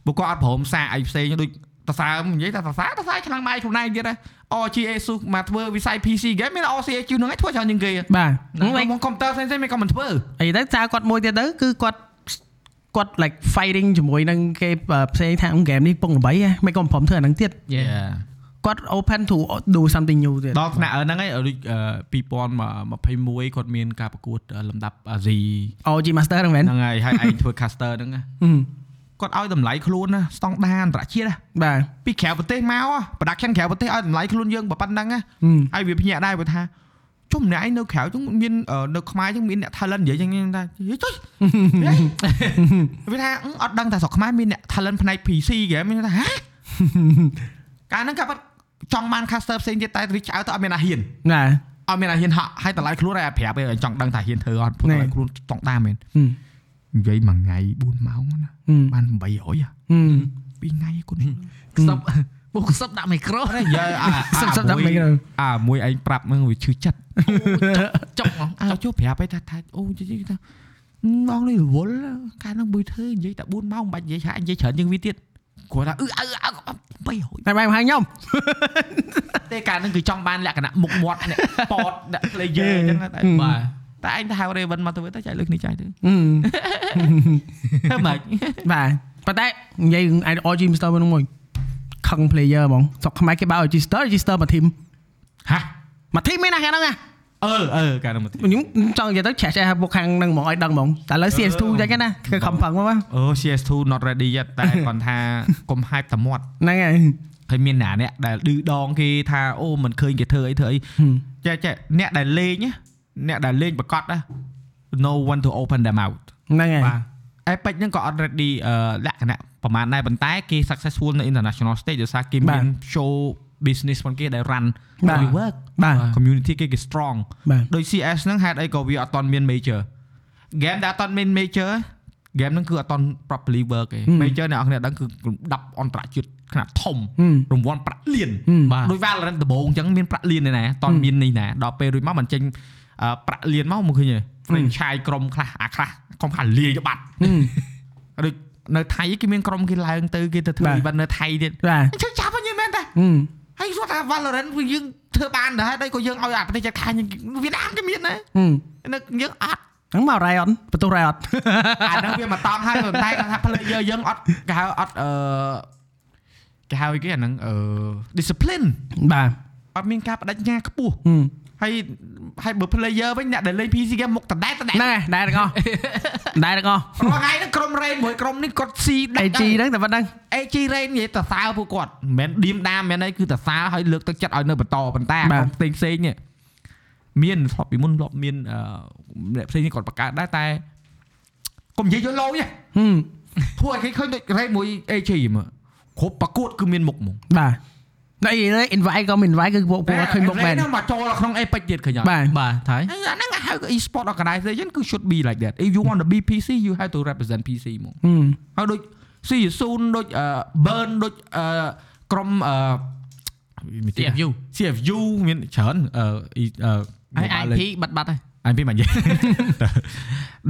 [SPEAKER 4] ពួកគាត់អត់ព្រមសារឯផ្សេងដូចតសើមនិយាយថាតសើតសើឆ្នាំបាយខ្លួនឯងទៀតហ៎ OGA ស៊ូមកធ្វើវិស័យ PC game មាន OCA ជឿហ្នឹងឯងធ្វើច្រើនជាងគេ
[SPEAKER 2] បាទ
[SPEAKER 4] ហ្នឹង
[SPEAKER 2] ហ្នឹង
[SPEAKER 4] ក្រុមហ៊ុនកុំព្យូទ័រផ្សេងៗមិនក៏មិនធ្វើ
[SPEAKER 2] អីទៅចៅគាត់មួយទៀតទៅគឺគាត់គាត់ like fighting ជាមួយនឹងគេអឺផ្សេងថាហ្គេមនេះពងល្បីហ៎មិនក៏មិនព្រមធ្វើអាហ្នឹងទៀត
[SPEAKER 3] យេ
[SPEAKER 4] Yeah.
[SPEAKER 2] គាត់ open to do something new ទៀត
[SPEAKER 4] ដល់ថ្នាក់ហ្នឹងឯងដូចអឺ2021គាត់មានការប្រកួតអឺលំដាប់អាស៊ី
[SPEAKER 2] OG master ហ្នឹងមែន
[SPEAKER 4] ហ្នឹងហើយហើយឯងធ្វើ caster ហ្នឹងណា
[SPEAKER 2] ហឹម
[SPEAKER 4] គាត់ឲ្យតម្លៃខ្លួនណាស្តង់ដារអន្តរជាតិណា
[SPEAKER 2] បាទ
[SPEAKER 4] ពីក្រៅប្រទេសមកហ៎ production ក្រៅប្រទេសឲ្យតម្លៃខ្លួនយើងបើប៉ុណ្ណឹងណា
[SPEAKER 2] ហឹម
[SPEAKER 4] ហើយវាភ្ញាក់ដែរបើថាជុំម្នាក់ឯងនៅក្រៅជុំមានអឺនៅខ្មែរជុំមានអ្នក talent និយាយចឹងខ្ញុំថាយេចុយហេវាថាអឺអត់ដឹងថាស្រុកខ្មែរមានអ្នក talent ផ្នែក PC គេខ្ញុំថាហ៎ កាលហ្នឹងក៏ប៉ាត់ចង់បាន caster ផ្សេងទៀតតែ reach out ទៅអត់មានអាហ៊ាន
[SPEAKER 2] ណា
[SPEAKER 4] អត់មានអាហ៊ានហក់ហើយតម្លៃខ្លួនឯងអត់ប្រាប់ទេចង់ដឹងថាហ៊ានធ្វើអត់ព្រោះ
[SPEAKER 2] ណែ
[SPEAKER 4] តម្លៃខ្លួនចង់តាមមែន
[SPEAKER 2] ហឹម
[SPEAKER 4] និយាយមួយថ្ងៃ4ម៉ោងណា
[SPEAKER 2] ហឹម
[SPEAKER 4] បាន800ហ៎
[SPEAKER 2] ហឹម
[SPEAKER 4] ពីរថ្ងៃគុណ
[SPEAKER 3] ខ្សឹប ពួកខ្សឹបដាក់មីក្រូ
[SPEAKER 4] អរយាយអា
[SPEAKER 2] សុំសុំដាក់មីក្រូ
[SPEAKER 4] អាមួយឯងប្រាប់ហ្នឹងវាឈឺចិត្ត
[SPEAKER 3] ចុកហ្មង
[SPEAKER 4] អាចូលប្រាប់ឯងថាថាអូនិយាយថាម៉ោងនេះរវល់កាលហ្នឹងមួយធ្វើនិយាយតែ4ម៉ោងមិនបាច់និយាយឆានិយាយច្រើនជាងវាទៀតគាត់ថាអឺអើអើ800
[SPEAKER 2] តែបែបហាងខ្ញុំ
[SPEAKER 4] ទេកាលហ្នឹងគឺចង់បានលក្ខណៈមុខមាត់អ្នកប៉តអ្នក player អញ្ចឹងណាតែ
[SPEAKER 3] បាទ
[SPEAKER 4] តែឯងទៅហៅ Raven មកទៅវិញទៅចែកលុយគ្នាចែក
[SPEAKER 2] ហឹម
[SPEAKER 4] ទៅធ្វើម៉េច
[SPEAKER 2] បាទប៉ុន្តែនិយាយរឿង OG master ហ្នឹងមួយខឹង player ហ្មងស្រុកខ្មែរគេបើ OG master register មក team
[SPEAKER 4] ហ៎
[SPEAKER 2] មក team មានណាខាងហ្នឹងណា
[SPEAKER 4] អឺអឺកាលហ្នឹងមកទៀត
[SPEAKER 2] ខ្ញុំចង់និយាយទៅឆេះឆេះពួកខាងនឹងហ្មងឲ្យដឹងហ្មងតែឥឡូវ CS2
[SPEAKER 4] អឺ
[SPEAKER 2] យ៉ាងណាគឺខំផឹងមកបាទ
[SPEAKER 4] អូ CS2 not ready yet តែ គាត់ថាកុំ hype តែមាត់
[SPEAKER 2] ហ្នឹងហើយ
[SPEAKER 4] ហើយមានអ្នកអ្នកដែលឌឺដងគេថាអូមិនឃើញគេធ្វើអីធ្វើអី
[SPEAKER 2] ហឹម
[SPEAKER 4] ចេះចេះអ្នកដែលលេងណាអ្នកដែលលេងប្រកាសណា no one to open them out
[SPEAKER 2] ហ្នឹងហើយ
[SPEAKER 4] បាទ Epic ហ្នឹងក៏ not ready អឺលក្ខណៈប្រហែលដែរប៉ុន្តែគេ successful នៅ international stage ដោយសារគេ
[SPEAKER 2] បា
[SPEAKER 4] មា
[SPEAKER 2] ទ
[SPEAKER 4] ន show business របស់គេដែល run
[SPEAKER 2] បាទ
[SPEAKER 4] really work
[SPEAKER 2] បាទ
[SPEAKER 4] community គេគេ strong
[SPEAKER 2] បាទ
[SPEAKER 4] ដោយ CS ហ្នឹងហេតុអីក៏វាអត់តន់មាន major game ដែលអត់តន់មាន major game ហ្នឹងគឺអត់តន់ properly work ទេ major អ្នកនរគ្នាដឹងគឺរំដាប់អន្តរជាតិខ្នាតធំ
[SPEAKER 2] ហឹម
[SPEAKER 4] រង្វាន់ប្រាក់លាន
[SPEAKER 2] ហឹម
[SPEAKER 4] បាទដោយ Valorant ដំបូងអញ្ចឹងមានប្រាក់លានឯណាអត់តន់មាននេះណាដល់ពេលរួចមកមិនចេញអឺប្រាក់លានមកមកឃើញទេ franchise ក្រុមខ្លះអាខ្លះក្រុមខ្លះលាយបាត់
[SPEAKER 2] ហឹម
[SPEAKER 4] ដូចនៅថៃគេមានក្រុមគេឡើងទៅគេទៅធ្វើ
[SPEAKER 2] បាទ
[SPEAKER 4] event នៅថៃទៀត
[SPEAKER 2] បាទ
[SPEAKER 4] អញ្ចឹងចាប់វិញមែនតា
[SPEAKER 2] ហឹម
[SPEAKER 4] ហើយគាត់ថា Valorant វាយើងធ្វើបានដែរហេតុអីក៏យើងឲ្យអាប្រទេសជិតខាងយើងវៀតណាមគេមានដែរ
[SPEAKER 2] ហឹម
[SPEAKER 4] នៅយើងអត់
[SPEAKER 2] ហ្នឹងមក ừ. Riot បន្ទោស Riot
[SPEAKER 4] អាហ្នឹងវាមកតំហើយ ប៉ុន្តែគាត់ថា player យើងអត់គេហៅអត់អឺគេហៅអីគេអាហ្នឹងអឺ discipline
[SPEAKER 2] បាទ
[SPEAKER 4] អត់មានការបដិញ្ញាខ្ពស់
[SPEAKER 2] ហឹម
[SPEAKER 4] ហើយហើយបើ player វិញអ្នកដែលលេង PC game មុខតដែតតដែត
[SPEAKER 2] ហ្នឹងហើយដែរទាំងអស់ ដែរទាំងអស់
[SPEAKER 4] រាល់ថ្ងៃហ្នឹងក្រុម rain មួយក្រុមនេះគាត់ស៊ីដាច់
[SPEAKER 2] AG ហ្នឹងតែប៉ុណ្្នឹង
[SPEAKER 4] AG rain និយាយតសើពួកគាត់មិនមែនឌៀមដាមមិនមែនអីគឺតសើឲ្យលើកទឹកចិត្តឲ្យនៅបន្តប៉ុន្តែអា
[SPEAKER 2] បាទ
[SPEAKER 4] ក្រុមផ្សេងផ្សេងនេះមានធ្លាប់ពីមុនធ្លាប់មានអឺអ្នកផ្សេងនេះគាត់បង្កើតដែរតែកុំនិយាយយកលោយទេ
[SPEAKER 2] ហឹម
[SPEAKER 4] ធ្វើឲ្យគេឃើញដូចរ៉េមួយ AG មកគ្រប់ប្រកួតគឺមានមុខហ្មង
[SPEAKER 2] បាទ អីនេះ invite ក៏មិន invite គឺពួកពួកគាត់ឃើញមុខមែន
[SPEAKER 4] ហ្នឹងមកចូលក្នុងអេពេចទៀតខ្ញុំ
[SPEAKER 2] បាទ
[SPEAKER 3] បាទហើយ
[SPEAKER 4] អាហ្នឹងហៅ e-sport organization គឺ should be like that if you want to be PC you have to represent PC ហ្មក
[SPEAKER 2] ហឹម
[SPEAKER 4] ហើយដូច CSUN ដូច burn ដូចអឺក្រុមអឺ
[SPEAKER 3] CFU
[SPEAKER 4] CFU មានច្រើនអឺ e- អឺ
[SPEAKER 3] ហើយ
[SPEAKER 4] Mobile
[SPEAKER 3] IP បាត់បាត់ហើយ
[SPEAKER 4] អញពីមក និយាយ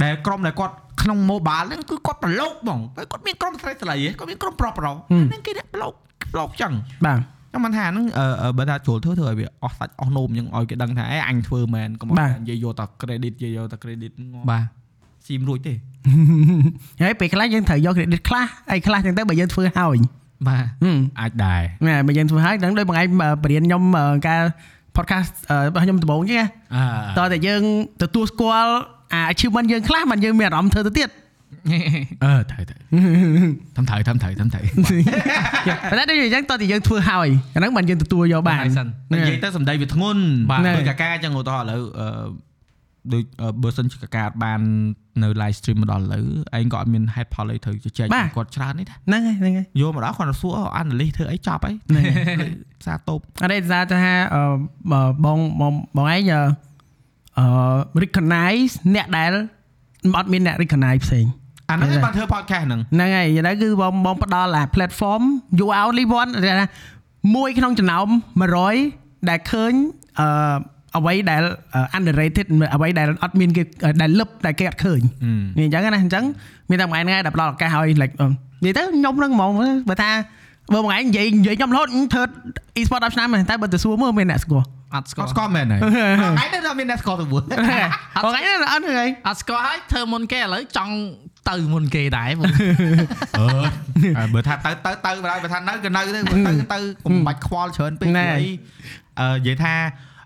[SPEAKER 4] ដែលក្រុមដែលគាត់ក្នុង mobile ហ្នឹងគឺគាត់ប្រឡូកហ្មងហើយគាត់មានក្រុមស្រីស្រីហ៎គាត់មានក្រុមប្រុសប្រុស
[SPEAKER 2] ហឹម
[SPEAKER 4] ហ្នឹងគេអ្នកប្រឡូកប្រឡូកចឹង
[SPEAKER 2] បាទ
[SPEAKER 4] ខ្ញុំមិនថាហ្នឹងអឺអឺបើថាចូលធ្វើធ្វើឲ្យវាអស់សាច់អស់នោមចឹងឲ្យគេដឹងថាអេអញធ្វើមែនកុំ
[SPEAKER 2] បាទ
[SPEAKER 4] ឲ្យនិយាយយកតែ credit និយាយយកតែ credit
[SPEAKER 3] បា
[SPEAKER 4] បាទ
[SPEAKER 3] ទ
[SPEAKER 4] ស៊ីមរួចទេ
[SPEAKER 2] ហើយពេលខ្លះយើងត្រូវយក credit ខ្លះអីខ្លះចឹងទៅបើយើងធ្វើហើយ
[SPEAKER 3] បាទ
[SPEAKER 2] ហឹម
[SPEAKER 4] អាចដែរ
[SPEAKER 2] ណែបើយើងធ្វើហើយដឹងដូចបងឯងអឺបរៀនខ្ញុំអឺការ podcast អឺរបស់ខ្ញុំដំបូងហ្នឹងណា
[SPEAKER 4] អ
[SPEAKER 2] តោះតែយើងទទួលស្គាល់អា achievement យើងខ្លះមិនយើងមានអារម្មណ៍ធ្វើទៅទៀត
[SPEAKER 4] ឺអឺត្រូវត្រូវធ្វើត្រូវធ្វើត្រូវធ្វើ
[SPEAKER 2] ប៉ុ
[SPEAKER 4] ត្រូវ
[SPEAKER 2] ន្តែដូចយ៉ាងចឹងតោះតែយើងធ្វើហើយអាហ្នឹងមិនយើងទទួលយកបាន
[SPEAKER 3] ហើយសិន
[SPEAKER 4] និយាយទៅសំដីវាធ្ងន់បាទ
[SPEAKER 2] ណែ
[SPEAKER 4] ដូចកាកាចឹងឧទាហរណ៍ឥឡូវអឺដូចអឺបើសិនជាកាកាអត់បាននៅ live stream មកដល់ឥឡូវឯងក៏អត់មាន headផលអីត្រូវជជែកជាមួយគាត់ច្រើននេះដែរ
[SPEAKER 2] ហ្នឹងហើយហ្នឹងហើយ
[SPEAKER 4] យកមកដល់គាត់ទៅសួរអូអានាលីសធ្វើអីចប់អី
[SPEAKER 2] ណែ
[SPEAKER 4] ផ្សារតូប
[SPEAKER 2] អរិយសាទៅថាអឺបើបងបងបងឯងអឺអឺ recognize អ្នកដែលអត់មានអ្នក recognize ផ្សេង
[SPEAKER 4] អាហ្នឹង
[SPEAKER 2] ណែ
[SPEAKER 4] ឯងបានធ្វើ podcast ហ្នឹង
[SPEAKER 2] ហ្នឹងហើយឥឡូវគឺបងបងផ្ដល់អា platform you only one ដែលថាមួយក្នុងចំណោម100ដែលឃើញអឺអ្វីដែលអឺ underrated អ្វីដែលអត់មានគេដែលលឹបដែលគេអត់ឃើញវាអញ្ចឹងណាអញ្ចឹងមានតែមួយថ្ងៃដែលផ្ដល់ឱកាសឲ្យ like អឺនិយាយទៅខ្ញុំហ្នឹងហ្មងបើថាបើមួយថ្ងៃនិយាយនិយាយខ្ញុំរហូតអឺធ្វើ e-sport 10ឆ្នាំហើយតែបើទៅសួរមើលមានអ្នកស្គាល់
[SPEAKER 3] អត់ស្គា
[SPEAKER 4] គាត់
[SPEAKER 3] ល់
[SPEAKER 4] ស្គាល់មែន ហើយថ្ងៃនេះដល់មានអ្នកស្គាល់ទៅវល់
[SPEAKER 2] ប ងថ្ងៃ ហ្នឹងអត់ហ្នឹងហើយ
[SPEAKER 3] អត់ស្គាល់ហើយធ្វើមុនគេឥឡូវចង់ទៅមុនគេដែរបង
[SPEAKER 4] អឺបើថាទៅទៅទៅបើថានៅក៏នៅទៅបើទៅទៅកុំបាច់ខ្វល់ច្រើនពេកព្រោះអីអឺនិយាយថា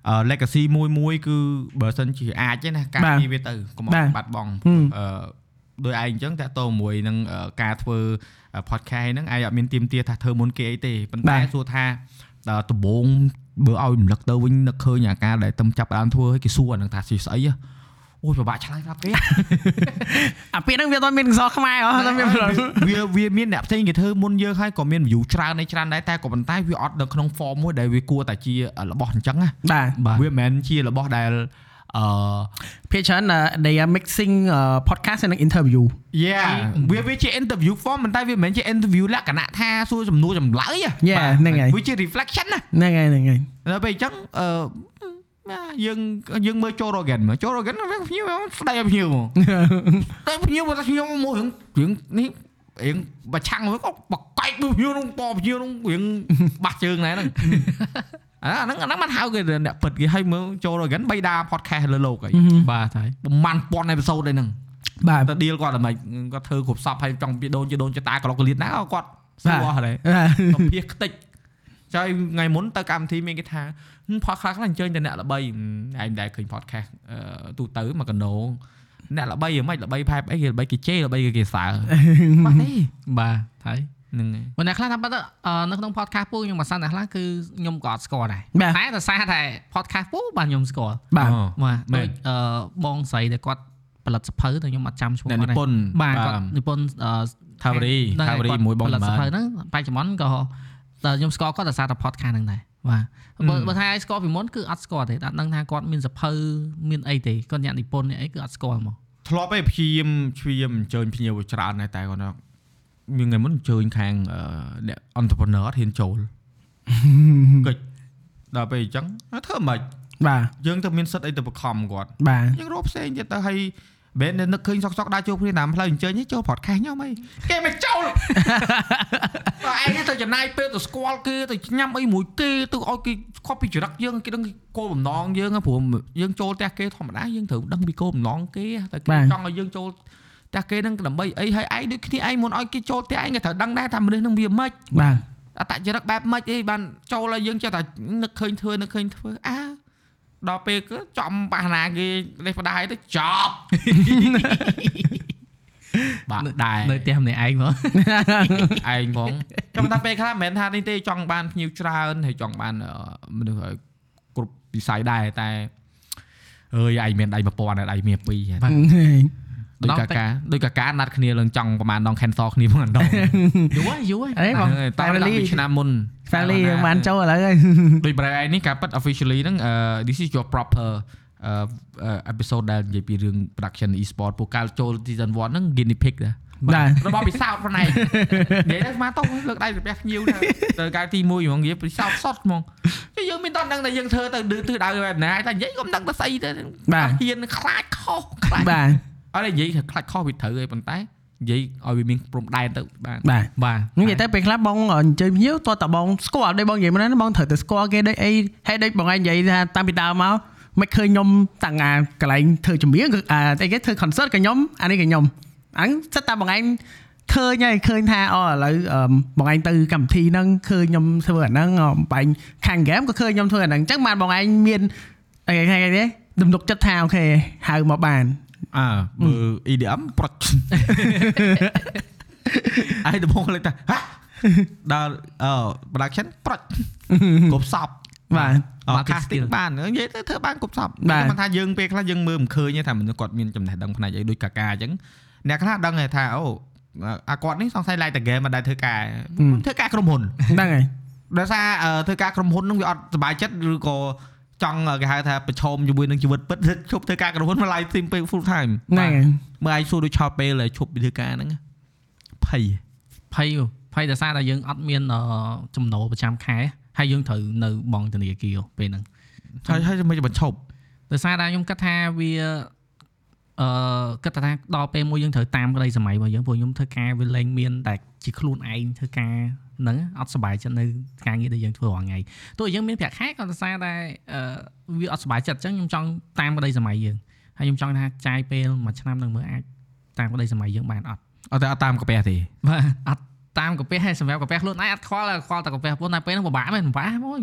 [SPEAKER 4] អឺ legacy មួយមួយគឺបើសិនជាអាចទេណាការពីវាទៅកុំឲ្យបាត់បង់អឺដោយឯងអញ្ចឹងតាក់ទងជាមួយនឹងអឺការធ្វើ podcast ហ្នឹងឯងអត់មានទៀមទាថាធ្វើមុនគេអីទេប៉ុន្តែសួរថា ដល់ដំបងបើឲ្យរំលឹកទៅវិញនឹកឃើញអាការដែលទំចាប់ផ្ដើមធ្វើឲ្យគេសួរអានឹងថាស៊ីស្អីហ៎អូយពិបាកឆ្លើយប្រាប់គេ
[SPEAKER 2] អាពាក្យហ្នឹងវាអត់មានកសោះខ្មែរអត់ មាន
[SPEAKER 4] វាវាមានអ្នកផ្សេងគេធ្វើមុនយើងហើយក៏មាន view ច្រើននៃច្រើនដែរតែក៏ប៉ុន្តែវាអត់នៅក្នុង form មួយដែលវាគួរតែជារបស់អញ្ចឹងណា
[SPEAKER 2] បាទ
[SPEAKER 3] បាទ
[SPEAKER 4] វាមិនមែនជារបស់ដែលអ
[SPEAKER 2] ភាគច្រើនអឺ they are mixing អឺ podcast និង interview
[SPEAKER 4] ឺ yeah វាវាជា interview form មិនតែវាមិនមែនជា interview លក្ខណៈថាសួរចំនួនចម្លើយហ៎
[SPEAKER 2] Yeah
[SPEAKER 4] បាទ
[SPEAKER 2] ហ្នឹងហើយ
[SPEAKER 4] វាជា reflection ណា
[SPEAKER 2] ហ្នឹងហើយហ្នឹងហើយ
[SPEAKER 4] ដល់ពេលអញ្ចឹងអឺណាយើងយើងមើលចូលរ៉ូហ្គិនមើលចូលរ៉ូហ្គិនវាភ្ញៀវស្ដីឲ្យភ្ញៀវហ្មង តែភ្ញៀវមកថាខ្ញុំមករឿងរឿងនេះរឿងប្រឆាំងមកក៏បកែកមើលភ្ញៀវនោះប៉ភ្ញៀវនោះរឿងបាស់ជើងដែរហ្នឹង អាហ្នឹងអាហ្នឹងមិនហៅគេថាអ្នកពិតគេឲ្យមើលចូលរ៉ូហ្គិនបីដា podcast លើโลกហើយ
[SPEAKER 3] បាទហើយ
[SPEAKER 4] ប្រហែលពាន់អេពីសូតឯហ្នឹង
[SPEAKER 2] បាទ
[SPEAKER 4] តែឌីលគាត់ដល់ម៉េចគាត់ធ្វើគ្រប់សពហើយចង់ពីដូនជាដូនជាតាក្លុកក្លៀតណាក៏គាត់សួរ
[SPEAKER 2] បាទ
[SPEAKER 4] អស់ដែរ សុភាសខ្ទេចចុយថ្ងៃមុនទៅកម្មវិធីមានគេថាហ៊ឹម podcast ខ្លះអញ្ជើញតែអ្នកល្បីហ៊ឹមឯងមិនដែលឃើញ podcast អឺទូទៅមកកណោអ្នកល្បីហ្មិនល្បីផែបអីគេល្បីគេជេរល្បីគេគេសើបាត់ទេ
[SPEAKER 3] បាទហើយ
[SPEAKER 4] ហ្នឹងឯង
[SPEAKER 3] មកអ្នកខ្លះថាបាត់ទៅអឺនៅក្នុង podcast ពូខ្ញុំមិនសន្និខ្លះគឺខ្ញុំក៏អត់ស្គាល់ដែរ
[SPEAKER 2] បាទ
[SPEAKER 3] តែដោយសារតែ podcast ពូបាទខ្ញុំស្គាល់
[SPEAKER 2] បាទ
[SPEAKER 4] អូ
[SPEAKER 3] បាទ
[SPEAKER 4] មែ
[SPEAKER 3] ដូច
[SPEAKER 4] ន
[SPEAKER 3] អឺបងស្រីដែលគាត់ផលិតសភៅតែខ្ញុំអត់ចាំឈ្មោះ
[SPEAKER 4] អ្នកនិ
[SPEAKER 3] គាត់
[SPEAKER 4] ព
[SPEAKER 3] ទេ
[SPEAKER 4] ន្ធ
[SPEAKER 3] បាទគាត់និពន្ធអឺ
[SPEAKER 4] ថាវរី
[SPEAKER 3] ហ្នឹង
[SPEAKER 4] ថាវរី
[SPEAKER 3] គាត់
[SPEAKER 4] មួយបង
[SPEAKER 3] ផលិត
[SPEAKER 4] ល្មើ
[SPEAKER 3] សភៅហ្នឹងបច្ចុប្បន្នក៏តែខ្ញុំស្គាល់គាត់ដោយសារតែ podcast ហ្នឹងដែរបាទបើ
[SPEAKER 4] អឺ
[SPEAKER 3] បើថាឲ្យស្គាល់ពីមុនគឺអត់ស្គាល់ទេដាក់ដឹងថាគាត់មានសភៅមានអីទេគាត់អ្នកនិពន្ធអ្នកអីគឺអត់ស្គាល់ហ្មង
[SPEAKER 4] ធ្លាប់ឯងព្យាយាមព្យាយាមអញ្ជើញភ្ញៀវច្រើនដែរតែគាត់ថាមានថ្ងៃមុនអញ្ជើញខាងអឺអ្នក entrepreneur អត់ហ៊ាន ចូលគេចដល់ពេលអញ្ចឹងហើយធ្វើមិន
[SPEAKER 2] បាទ
[SPEAKER 4] យើងទៅមានសិទ្ធអីទៅបង្ខំគាត់
[SPEAKER 2] បាទ
[SPEAKER 4] យើងរកផ្សេងទៀតទៅហើយបែរនឹកឃើញសក់សក់ដើរចូលគ្នាតាមផ្លូវអញ្ជើញឯងចូល podcast ខ្ញុំអីគេមកចូល បើឯងទៅចំណាយពេលទៅស្គាល់គេទៅញ៉ាំអីមួយគេទៅឲ្យគេស្គាល់ពីចរិតយើងគេដឹងគោលបំណងយើងហ្នឹងព្រោះយើងចូលផ្ទះគេធម្មតាយើងត្រូវដឹងពីគោលបំណងគេតែគេចង់ឲ្យយើងចូលផ្ទះគេហ្នឹងដើម្បីអីហើយឯងដូចគ្នាឯងមុនឲ្យគេចូលផ្ទះឯងគេត្រូវដឹងដែរថាមនុស្សហ្នឹងវាម៉េច
[SPEAKER 2] បាទ
[SPEAKER 4] អត្តចរិតបែបម៉េចអីបានចូលឲ្យយើងចេះតែនឹកឃើញធ្វើនឹកឃើញធ្វើអើដល់ពេលគឺចំបាសណាគេលេសផ្ដាយទៅចប់ បាក់ដែរ
[SPEAKER 3] នៅផ្ទះម្នាក់ឯងហ្មង
[SPEAKER 4] ឯង ផងខ្ញុំថាពេលខ្លះមិនមែនថានេះទេចង់បានភ្ញៀវច្រើនហើយចង់បានអឺមនុស្សឲ្យគ្រប់វិស័យដែរតែអើយឯងមានដៃ1000ហើយដៃមាន2
[SPEAKER 2] ហ្នឹងហើយ
[SPEAKER 4] ដូច
[SPEAKER 3] ដល់
[SPEAKER 4] កា
[SPEAKER 3] តិច
[SPEAKER 4] កាដូចកាកាណាត់គ្នាឡើងចង់ប្រហែលដង cancel គ្នាមួយដង
[SPEAKER 3] យូរហើយយូរហើយ
[SPEAKER 2] អីបង
[SPEAKER 4] តែ
[SPEAKER 2] Family
[SPEAKER 4] ពីឆ្នាំមុន
[SPEAKER 2] family យើងបានចូលឥឡូវហើយ
[SPEAKER 4] ដូចប្រែឯងនេះការប៉ັດ officially ហ្នឹងអឺ this is your proper អឺ episode ដែលនិយាយពីរឿង production e-sport ពួកកាលចូល season 1ហ្នឹង guinea pig ដែរ
[SPEAKER 2] ដែរ
[SPEAKER 4] របស់ពិសោធន៍ខ្លួនឯងនិយាយដល់ស្មាតោលើកដៃទៅផ្ទះភ្ញៀវទៅទៅកាលទី1ហ្មងនិយាយពិសោធន៍សតហ្មងតែយើងមានតន់ដឹងតែយើងធ្វើទៅឌឺទិសដៅបែបណាតែនិយាយក៏មិនដឹងតែស្អីទៅ
[SPEAKER 2] បាទ
[SPEAKER 4] ហ៊ានខ្លាចខុសខ្លាច
[SPEAKER 2] បាទ
[SPEAKER 4] អត់និយាយថាខ្លាចខុសវាត្រូវឯងប៉ុន្តែនិយាយឲ្យវាមានព្រំដែនទៅបាន
[SPEAKER 2] បាទ
[SPEAKER 4] បាទ
[SPEAKER 2] និយាយទៅពេលខ្លះបងអញ្ជើញភ្ញៀវតោះតាបងស្គាល់ដូចបងនិយាយមិនណាបងត្រូវតែស្គាល់គេដូចអីហើយដូចបងឯងនិយាយថាតាំងពីដើមមកមិនឃើញខ្ញុំតាំងអាកន្លែងធ្វើចម្រៀងគឺអាអីគេធ្វើ concert ក៏ខ្ញុំអានេះក៏ខ្ញុំអញ្ចឹងចិត្តតែបងឯងឃើញហើយឃើញថាអូឥឡូវអឺមបងឯងទៅកម្មវិធីហ្នឹងឃើញខ្ញុំធ្វើអាហ្នឹងអបាញ់ខាង game ក៏ឃើញខ្ញុំធ្វើអាហ្នឹងអញ្ចឹងបានបងឯងមានអីគេគេទំនុកចិត្តថាអូខេហៅមកបាន
[SPEAKER 4] អើមើល EDM ប្រុច អាយដំបងលើកតាហាដល់អឺ production ប្រុច គប់សព
[SPEAKER 2] បាទ
[SPEAKER 4] អូ
[SPEAKER 3] Market
[SPEAKER 4] casting
[SPEAKER 3] skill
[SPEAKER 4] បាននិយាយទៅធ្វើបានគប់សព
[SPEAKER 2] បាទ
[SPEAKER 4] មិនថាយើងពេលខ្លះយើងមើលមិនឃើញទេថាមនុស្សគាត់មានចំណេះដឹងផ្នែកអីដូចកាកាអញ្ចឹងអ្នកខ្លះដឹងទេថាអូអាគាត់នេះសង្ស័យឡាយតាហ្គេមមិនដែលធ្វើការធ្វើការក្រុមហ៊ុន
[SPEAKER 2] ហ្នឹងហើយ
[SPEAKER 4] ដោយសារអឺធ្វើការក្រុមហ៊ុនហ្នឹងវាអត់សុបាយចិត្តឬក៏ចង់គេហៅថាប្រឈមជាមួយនឹងជីវិតពិតឈប់ធ្វើការក្រុមហ៊ុនមកឡាយទីមពេល full time
[SPEAKER 2] ហ្នឹងហើយ
[SPEAKER 4] មើលឯងសួរដូចឆោតពេលហើយឈប់ពីធ្វើការហ្នឹងភ័យ
[SPEAKER 3] ភ័យអូភ័យដោយសារតែយើងអត់មានអឺចំណូលប្រចាំខែហើយយើងត្រូវនៅបង់ធនាគារអូពេលហ្នឹង
[SPEAKER 4] ហើយហើយមិនបញ្ឈប់
[SPEAKER 3] ដោយសារតែខ្ញុំគិតថាវាអឺគិតថាដល់ពេលមួយយើងត្រូវតាមក្តីសម័យរបស់យើងព្រោះខ្ញុំធ្វើការវាលែងមានតែជាខ្លួនឯងធ្វើការហ្នឹងអត់សុបាយចិត្តនៅការងារដែលយើងធ្វើរាល់ថ្ងៃទោះយើងមានប្រាក់ខែក៏ដោយសារតែអឺវាអត់សុបាយចិត្តអញ្ចឹងខ្ញុំចង់តាមក្តីសម័យយើងហើយខ្ញុំចង់ថាចាយពេលមួយឆ្នាំនឹងមើលអាចតាមក្តីសម័យយើងបានអត់
[SPEAKER 4] អត់តែអត់តាមកាពះទេ
[SPEAKER 3] បាទអត់តាមកាពះហើយសម្រាប់កាពះខ្លួនឯងអត់ខ្វល់ហើយខ្វល់តែកាពះប៉ុន្តែពេលហ្នឹងពិបាកមែនពិបាកហ្មង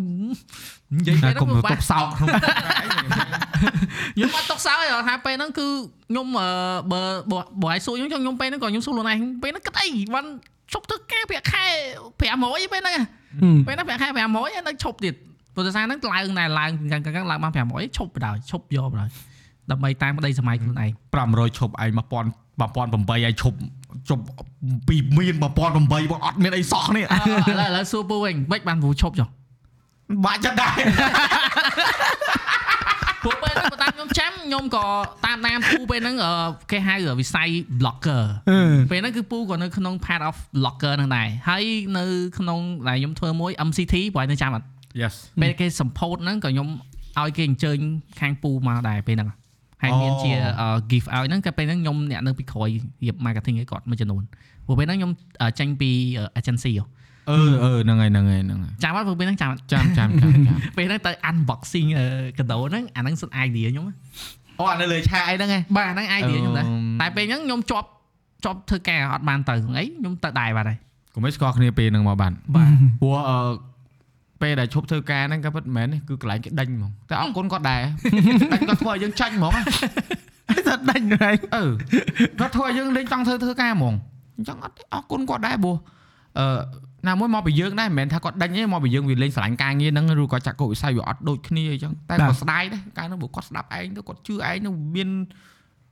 [SPEAKER 3] និយាយពេល
[SPEAKER 4] គុំ
[SPEAKER 3] ហ្នឹងពិបា
[SPEAKER 4] ទៅ
[SPEAKER 3] ក
[SPEAKER 4] សោក ក្នុង
[SPEAKER 3] ខ្ញុំអត់ຕົកសោយហ៎ថាពេលហ្នឹងគឺខ្ញុំអឺបើបើបើឲ្យសួរខ្ញុំចង់ខ្ញុំពេលហ្នឹងក៏ខ្ញុំសួរខ្លួនឯងពេលហ្នឹងគិតអីបានឈប់ធ្វើការប្រាក់ខែ500ពេលហ្នឹងហ៎ពេលហ្នឹងប្រាក់ខែ500ហើយនៅឈប់ទៀតព្រោះតែសារហ្នឹងឡើងតែឡើងកាំងកាំងឡើងបាន500ឈប់បណ្ដោយឈប់យកបណ្ដោយដើម្បីតាមក្តីសម័យខ្លួនឯង
[SPEAKER 4] 500ឈប់ឯង1000 1008ឯងឈប់ជប់ពីមាន1008បងអត់មានអីសោះនេះ
[SPEAKER 3] អឺឥឡូវឥឡូវសួរពូវិញមិនបានពូឈប់ចុះ
[SPEAKER 4] បាក់ចិត្តដែរ
[SPEAKER 3] ពួកពេលហ្នឹងបើតាមខ្ញុំចាំខ្ញុំក៏តាមតាមពូពេលហ្នឹងអឺគេហៅវិស័យ blogger ពេលហ្នឹងគឺពូក៏នៅក្នុង part of blogger ហ្នឹងដែរហើយនៅក្នុងដែលខ្ញុំធ្វើមួយ MCT បើឲ្យនៅចាំអត់
[SPEAKER 4] Yes
[SPEAKER 3] ពេលគេសម្ពោធហ្នឹងក៏ខ្ញុំឲ្យគេអញ្ជើញខាងពូមកដែរពេលហ្នឹងហើយមានជា gift ឲ្យហ្នឹងក៏ពេលហ្នឹងខ្ញុំអ្នកនៅពីក្រោយរៀប marketing ឲ្យគាត់មួយចំនួនព្រោះពេលហ្នឹងខ្ញុំអឺចេញពី agency ហ៎
[SPEAKER 4] អឺអឺហ្នឹងហើយហ្នឹងហើយហ្នឹងហើយ
[SPEAKER 3] ចាំអត់ព្រោះពេលហ្នឹងចាំអត់
[SPEAKER 4] ចាំចាំចាំចាំ
[SPEAKER 3] ពេលហ្នឹងទៅ unboxing អឺកដោហ្នឹងអាហ្នឹងសុទ្ធ idea ខ្ញុំហ៎
[SPEAKER 4] អូអានៅលើឆាកអីហ្នឹងឯង
[SPEAKER 3] បាទហ្នឹង idea ខ្ញុំដែរ
[SPEAKER 4] អឺ
[SPEAKER 3] តែពេលហ្នឹងខ្ញុំជាប់ជាប់ធ្វើការអត់បានទៅហ្នឹងអីខ្ញុំទៅដែរបាទហើយក
[SPEAKER 4] ុំឲ្យស្គាល់គ្នាពេលហ្នឹងមកបាន
[SPEAKER 3] បាទ
[SPEAKER 4] ព្រោះអឺពេលដែលឈប់ធ្វើការហ្នឹងក៏ពិតមែននេះគឺកន្លែងគេដេញហ្មងតែអរគុណគាត់ដែរ ដេញគាត់ធ្វើឲ្យយើងចាញ់ហ្មង
[SPEAKER 2] ថាដាច់ហ្នឹងហើយ
[SPEAKER 4] អឺគាត់ធ្វើឲ្យយើងលេងចង់ធ្វើធ្វើការហ្មងអញ្ចឹងអត់ទេអរគុណគាត់ដែរព្រោះអឺណាមួយមកពីយើងដែរមិនមែនថាគាត់ដេញទេមកពីយើងវាលេងស្រឡាញ់ការងារហ្នឹងឬក៏ចាក់កោវិស័យវាអត់ដូចគ្នាអញ្ចឹងតែ
[SPEAKER 2] បាទ
[SPEAKER 4] គាត់ស្ដាយដែរកាលហ្នឹងព្រោះគាត់ស្ដាប់ឯងទៅគាត់ជឿឯងទៅមាន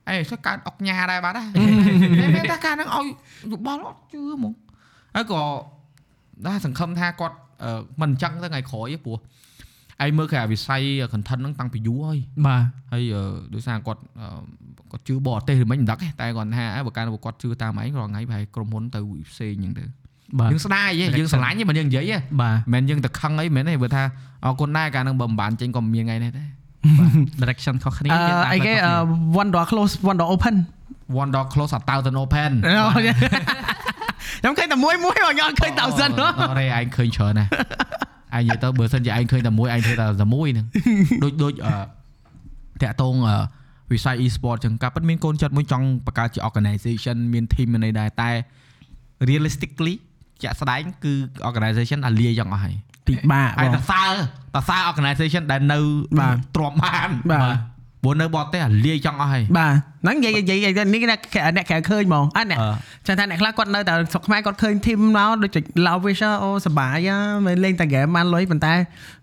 [SPEAKER 4] អេចុះកើតអុកញ៉ាដែរបាទដែរ តែតែកាលហ្នឹងឲ្យយោបល់អត់ជឿហ្មងហើយក៏ដែរសង្ឃឹមថាគាត់អឺមិនអញ្ចឹងទៅថ្ងៃក្រោយទេព្រោះឯងមើលគេអាវិស័យ content ហ្នឹងតាំងពីយូរហើយ
[SPEAKER 3] បាទ
[SPEAKER 4] ហើយអឺដោយសារគាត់អឺគាត់ជឿបរទេសឬមិនមិនដឹងទេតែគាត់ថាអើបើកាលណាគាត់ជឿតាមឯងរាល់ថ្ងៃប្រហែលក្រុមហ៊ុនទៅផ្សេងអញ្ចឹងទៅ
[SPEAKER 3] បាទ
[SPEAKER 4] យើងស្ដាយទេយើងស្រឡាញ់ទេមិនយើងនិយាយទេ
[SPEAKER 3] បាទ
[SPEAKER 4] មិនយើងទៅខឹងអីមិនទេបើថាអរគុណដែរកាលហ្នឹងបើមិនបានចេញក៏មិនមានថ្ងៃនេះដែរ
[SPEAKER 3] direction ខុសគ្នា
[SPEAKER 2] អឺ
[SPEAKER 3] វាតាម
[SPEAKER 2] អីគេ
[SPEAKER 3] ផ្លូវ
[SPEAKER 2] អឺ à,
[SPEAKER 3] ខុសគ្នា
[SPEAKER 2] one door close one door open
[SPEAKER 4] one door close a thousand open
[SPEAKER 2] ខ្ញុំឃើញតែមួយមួយបងខ្ញុំអត់ឃើញ thousand ហ៎
[SPEAKER 4] អរេឯងឃើញច្រើនណាស់ឯងនិយាយទៅបើសិនជាឯងឃើញតែមួយឯងធ្វើតែតែមួយ ហ្នឹងដូចដូចអឺតាក់តងអឺវិស័យ e-sport ចឹងក៏ពិតមានកូនចិត្តមួយចង់បង្កើតជា organization មាន team មានអីដែរតែ realistically ជាក់ស្ដែងគឺ organization អាលាយ៉ាងអស់ហើយ
[SPEAKER 2] ពិបាក
[SPEAKER 4] ឯ
[SPEAKER 2] បង
[SPEAKER 4] តសើតសើ organization ដែលនៅ
[SPEAKER 2] បាទ
[SPEAKER 4] ទ្រាំបាន
[SPEAKER 2] បាទ
[SPEAKER 4] ព្រោះ ព្រោះនៅបតទេសលាយចង់អស់ហើយ
[SPEAKER 2] បាទហ្នឹងនិយាយនិយាយនិយាយនេះគេថាអ្នកក្រៅឃើញហ្មងអត់អ្នក
[SPEAKER 4] អឺ
[SPEAKER 2] ចាំថាអ្នកខ្លះគាត់នៅតែស្រុកខ្មែរគាត់ឃើញធីមមកដូចជា Love Wisher អូសប្បាយហ៎មិនលេងតែហ្គេមបានលុយប៉ុន្តែ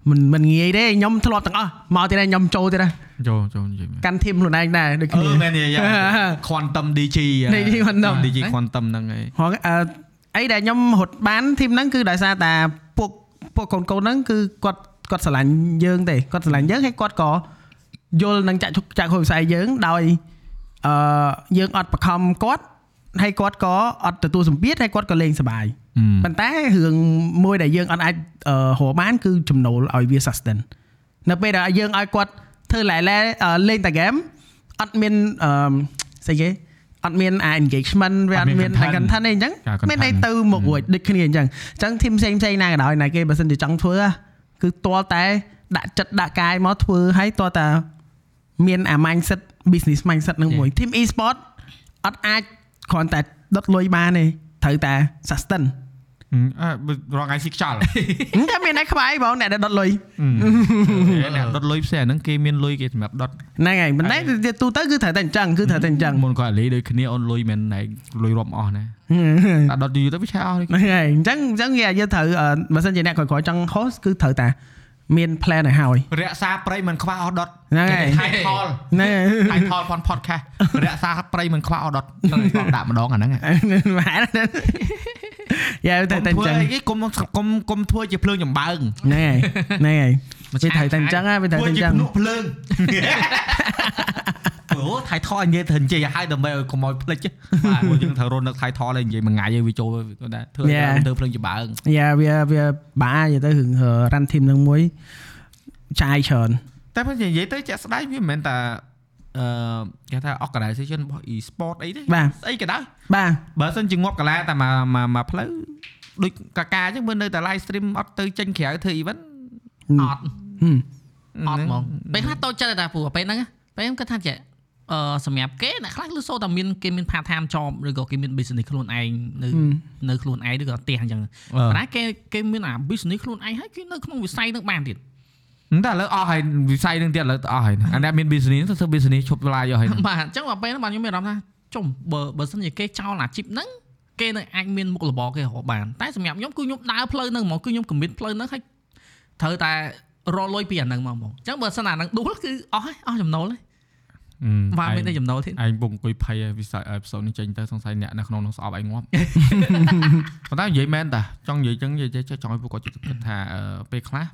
[SPEAKER 2] មិនមិនងាយទេខ្ញុំធ្លាប់ទាំងអស់មកទៀតហើយខ្ញុំចូលទៀតហើយ
[SPEAKER 4] ចូលចូលនិយាយមែន
[SPEAKER 2] កាន់ធីមខ្លួនឯងដែរដូច
[SPEAKER 4] អ
[SPEAKER 2] គ្នា
[SPEAKER 4] ឺមែននិយាយ
[SPEAKER 2] Ờ.
[SPEAKER 4] Quantum DG ហ៎
[SPEAKER 2] DG Quantum
[SPEAKER 4] DG
[SPEAKER 2] ហ៎
[SPEAKER 4] Quantum ហ្នឹងហើយ
[SPEAKER 2] ហងអឺអីដែលខ្ញុំរត់បានធីមហ្នឹងគឺដោយសារតែពួកពួកកូនកូនហ្នឹងគឺគាត់គាត់ស្រឡាញ់យើងទេគាត់ស្រឡាញ់យើងហើយគាត់ក៏យល់នឹងចាក់ជុកចាក់ហួយផ្សាយយើងដោយអឺយើងអត់បខំគាត់ហើយគាត់ក៏អត់ទទួលសម្ពាធហើយគាត់ក៏លេងសប្បាយ
[SPEAKER 4] អឺ
[SPEAKER 2] ប៉ុន្តែរឿងមួយដែលយើងអត់អាចអឺរកបានគឺចំណូលឲ្យវា sustain នៅពេលដែលយើងឲ្យគាត់ធ្វើឡែឡែអឺលេងតែហ្គេមអត់មានអឺស្អីគេអត់មានអា engagement វាអត់មាន
[SPEAKER 4] អត់មាន
[SPEAKER 2] content ហ្នឹងអញ្ចឹង
[SPEAKER 4] ចា content
[SPEAKER 2] មានន័យទៅមករួចដូចគ្នាអញ្ចឹងអញ្ចឹងធីមផ្សេងផ្សេងណាក៏ដោយណាគេបើសិនជាចង់ធ្វើអាគឺទាល់តែដាក់ចិត្តដាក់កាយមកធ្វើហើយទាល់តែមានអា mindset business mindset ហ្នឹងមួយ team e-sport អត់អាចគ្រាន់តែដុតលុយបានទេត្រូវតែ sustain
[SPEAKER 4] អឺរងថ្ងៃស៊ីខ្យ ល់
[SPEAKER 2] ហឹមតែមានឯខ្វាយបងអ្នកដែលដុតលុយ
[SPEAKER 4] អឺអ្នកដុតលុយផ្សេងអាហ្នឹងគេមានលុយគេសម្រាប់ដុត
[SPEAKER 2] ហ្នឹងហើយប៉ុន្តែទូទៅគឺត្រូវតែអញ្ចឹងគឺត្រូវតែអញ្ចឹង
[SPEAKER 4] មុនគាត់លេដូចគ្នាអូនលុយមែនណែលុយរាប់អស់ណាតែដុតយូរទៅវាឆាអស់ទេ
[SPEAKER 2] ហ្នឹងហើយអញ្ចឹងអញ្ចឹងវាយើងត្រូវអឺបើសិនជាអ្នកក្រោយៗចង់ host គឺត្រូវតែមាន plan ឲ្យហើយ
[SPEAKER 4] រក្សាប្រៃមិនខ្វះអ ស់ដុត
[SPEAKER 2] ហ្នឹងហើយ
[SPEAKER 4] ថៃថល
[SPEAKER 2] ហ្នឹងហើយ
[SPEAKER 4] ថៃថ លផនផតខាសរក្សាប្រៃមិនខ្វះអស់ដុតត្រូវគាត់ដាក់ម្ដងអាហ្នឹងហ่ะ
[SPEAKER 2] អឺម៉ែហ្នឹងយ៉ាតែតែអញ្ចឹង
[SPEAKER 4] ធ្វើអីគេកុំកុំកុំធ្វើជាភ្លើងចំបើង
[SPEAKER 2] ហ្នឹងហើយហ្នឹងហើយ
[SPEAKER 3] មិន
[SPEAKER 2] វា
[SPEAKER 3] ឆា
[SPEAKER 2] ត្រូវ
[SPEAKER 3] យ
[SPEAKER 2] តែអញ្ចឹងហ่ะវាត្រូវ
[SPEAKER 4] ធ្វើ
[SPEAKER 2] តែអ
[SPEAKER 4] ជា
[SPEAKER 2] ញ្ចឹង
[SPEAKER 4] ភ្នក់ ភ្លើងអូថៃថលនិយាយទៅនិយាយឲ្យដើម្បីឲ្យកុំឲ្យភ្លេចបាទព្រោះយើងត្រូវរត់នឹកថៃថលហើយនិយាយមួយថ្ងៃឲ្យវាចូលទៅដែរធ្វើឲ្យធ្វើភ្លើងចំបើង
[SPEAKER 2] យ៉ាវាវាបាយទៅរឿងរ៉ាន់ធីមនឹងមួយចាយច្រើន
[SPEAKER 4] តែបើនិយាយទៅជាក់ស្ដែងវាមិនមែនតែអឺគេថា organization របស់ e-sport អីទេ
[SPEAKER 2] បាទ
[SPEAKER 4] ស្អីក៏ដោយ
[SPEAKER 2] បាទ
[SPEAKER 4] បើសិនជាងាប់កាឡាតែមកមកមកផ្លូវដូចកាកាអញ្ចឹងមើលនៅតែ live stream អត់ទៅចេញក្រៅធ្វើ event
[SPEAKER 2] ហឹម
[SPEAKER 3] អ
[SPEAKER 2] ហឹម
[SPEAKER 3] ត់អត់ហ្មងពេលខ្លះតូចចិត្តតែព្រោះពេលហ្នឹងពេលខ្ញុំគិតថាចេះអឺសម្រាប់គេអ្នកខ្លះលឺសូតែមានគេមាន part time job ឬក៏គេមាន business ខ្លួនឯងនៅ
[SPEAKER 2] Ừ.
[SPEAKER 3] នៅខ្លួនឯងឬក៏ផ្ទះអញ្ចឹងប៉ុន្តែគេគេមានអា business ខ្លួនឯងហើយគេនៅក្នុងវិស័យហ្នឹងបានទៀត
[SPEAKER 4] ហ្នឹងតែឥឡូវអស់ហើយវិស័យនឹងទៀតឥឡូវអស់ហើយអាអ្នកមាន business ទៅធ្វើ business ឈប់ live អស់ហើយហ្នឹង
[SPEAKER 3] បាទអញ្ចឹងដល់ពេលហ្នឹងបាទខ្ញុំមានអារម្មណ៍ថាចុំបើបើសិនជាគេចោលអាជីពហ្នឹងគេនឹងអាចមានមុខរបរគេរកបានតែសម្រាប់ខ្ញុំគឺ ខ្ញុំដើរផ្លូវហ្នឹងហ្មងគឺខ្ញុំ commit ផ្លូវហ្នឹងឲ្យត្រូវតែរកលុយពីអាហ្នឹងមកហ្មងអញ្ចឹងបើសិនអាហ្នឹងដួលគឺអស់ហើយអស់ចំណូលហើយបាទមានតែចំណូលទេ
[SPEAKER 4] ឯងពងអង្គុយភ័យវិស័យអេផ isode នេះចេញទៅសង្ស័យអ្នកនៅក្នុងនោះស្អប់ឯង ងាប់ ប៉ុន្តែនិយាយមែនតាចង់និយាយចឹងនិយាយចេះចង់ឲ្យពួកគាត់ចិត្តគិតថាអឺពេលខ្លះ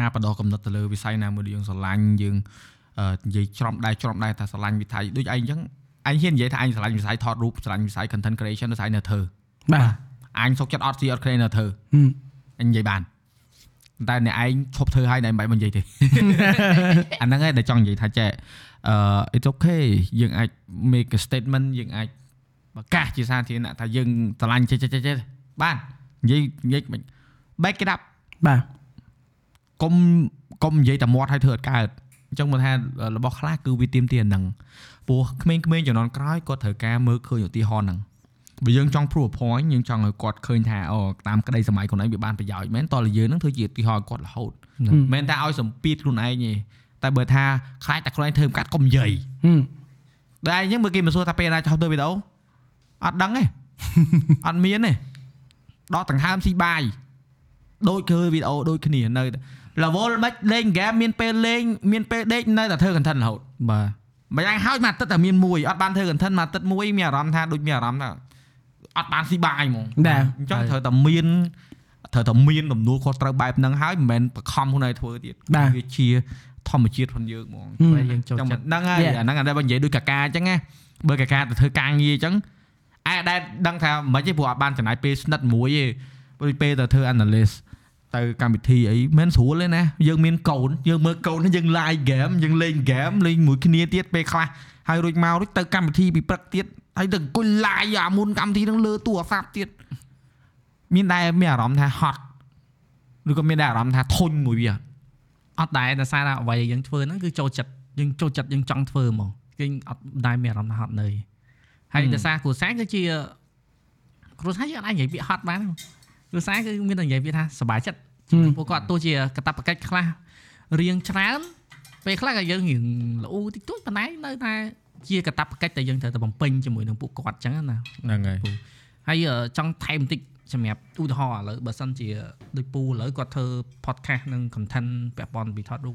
[SPEAKER 4] ការបដោះកំណត់ទៅលើវិស័យណាមួយដែលយើងស្រឡាញ់យើងអឺនិយាយច្រំដែរច្រំដែរថាស្រឡាញ់វិថ័យដូចឯងចឹងឯងហ៊ាននិយាយថាឯងស្រឡាញ់វិស័យថតរូបស្រឡាញ់វិស័យ content creation ដូចឯងនៅធ្វើ
[SPEAKER 2] បាទ
[SPEAKER 4] អញសុកចិត្តអត់ស៊ីអត់គ្នានៅធ្វើ
[SPEAKER 2] ហឹម
[SPEAKER 4] ឯងនិយាយបានប៉ុន្តែអ្នកឯងឈប់ធ្វើហើយអ្នកឯងមិនបាច់មកនិយាយទេ អាហ្នឹងឯងដែលចង់និយាយថាចែអឺ it's okay យើងអាច make a statement យើងអាចប្រកាសជាសាធារណៈថាយើងស្រឡាញ់ចេះចេះចេះចេះបាននិយាយនិយាយមិន back it up
[SPEAKER 2] បាទ
[SPEAKER 4] កុំកុំនិយាយតែមាត់ឲ្យធ្វើអត់កើតអញ្ចឹងមកថារបស់ខ្លះគឺវាទៀមទាអាហ្នឹងព្រោះក្មេងៗជំនាន់ក្រោយគាត់ត្រូវការមើលឃើញឧទាហរណ៍ហ្នឹងបើយើងចង់ proof a point យើងចង់ឲ្យគាត់ឃើញថាអូតាមក្តីសម័យខ្លួនឯងវាបានប្រយោជន៍មែនតើលើយើងហ្នឹងធ្វើជាឧទាហរណ៍ឲ្យគាត់រហូតមិនមែនតែឲ្យសម្ពាធខ្លួនឯងទេតែបើថាខ្លាចតែខ្លួនឯងធ្វើមិនកាត់កុំនិយាយ
[SPEAKER 2] ហឹម
[SPEAKER 4] ដែរអញ្ចឹងបើគេមិនសួរថាពេលណាចោះទៅវីដេអូអត់ដឹងទេ អត់មានទេដកដង្ហើមស៊ីបាយដូចគឺវីដេអូដូចគ្នានៅតែ level មិនលេងហ្គេមមានពេលលេងមានពេលដេកនៅតែធ្វើ content រហូត
[SPEAKER 1] បាទ
[SPEAKER 4] ម្យ៉ាងហើយមួយអាទិត្យតែមានមួយអត់បានធ្វើ content មួយអាទិត្យមួយមានអារម្មណ៍ថាដូចមានអារម្មណ៍ថាអត់បានស៊ីបាយហ្មង
[SPEAKER 2] ដែរ
[SPEAKER 4] អញ្ចឹងត្រូវតែមានត្រូវតែមានទំនួលខុសត្រូវបែបហ្នឹងហើយមិនមែនបខំខ្លួនឯងធ្វើទៀត
[SPEAKER 2] បាទ
[SPEAKER 4] វាជា ធម្មជាតិផងយើងហ្មង
[SPEAKER 3] ពេលយើងចូល
[SPEAKER 4] ចឹង
[SPEAKER 3] ចិត្ត
[SPEAKER 4] ហ្នឹងហើយ
[SPEAKER 2] Yeah.
[SPEAKER 4] អាហ្នឹងអាដែលបើនិយាយដូចកាកាអញ្ចឹងណាបើកាកាទៅធ្វើការងារអញ្ចឹងអាដែលដឹងថាមិនទេព្រោះអត់បានចំណាយពេលស្និទ្ធមួយទេព្រោះពេលទៅធ្វើ analyst ទៅកម្មវិធីអីមិនស្រួលទេណាយើងមានកូនយើងមើលកូនហ្នឹងយើង live game យើងលេង game លេងមួយគ្នាទៀតពេលខ្លះហើយរួចមករួចទៅកម្មវិធីពីព្រឹកទៀតហើយទៅអង្គុយ live អាមុនកម្មវិធីហ្នឹងលើទូរស័ព្ទទៀតមានដែរមានអារម្មណ៍ថាហត់ឬក៏មានដែរអារម្មណ៍ថាធុញមួយវាអត់
[SPEAKER 3] អត់ដែរដោយសារថាអ្វីដែលយើងធ្វើហ្នឹងគឺចូលចិត្តយើងចូលចិត្តយើងចង់ធ្វើហ្មងយើងអត់ដែរមានអារម្មណ៍ថាហត់នឿយហើយ
[SPEAKER 4] Hmm.
[SPEAKER 3] ដោយសារគ្រួសារគឺជាគ្រួសារយើងអត់អាចនិយាយពាក្យហត់បានទេគ្រួសារគឺមានតែនិយាយពាក្យថាសប្បាយចិត្ត
[SPEAKER 2] ហឹម
[SPEAKER 3] ពួកគាត់ទោះជាកតបកិច្ចខ្លះរៀងច្រើន ពេលខ្លះក៏យើងរៀងល្អូតិចតួចប៉ុន្តែនៅតែជាកតាបកិច្ចដែលយើងត្រូវតែបំពេញជាមួយនឹងពួកគាត់អញ្ចឹងណា
[SPEAKER 4] ហ្នឹងហើយ
[SPEAKER 3] ហើយអឺចង់ថែមបន្តិចសម្រាប់ឧទាហរណ៍ឥឡូវបើសិនជាដូចពូឥឡូវគាត់ធ្វើ podcast និង content ពាក់ព័ន្ធពីថតរូប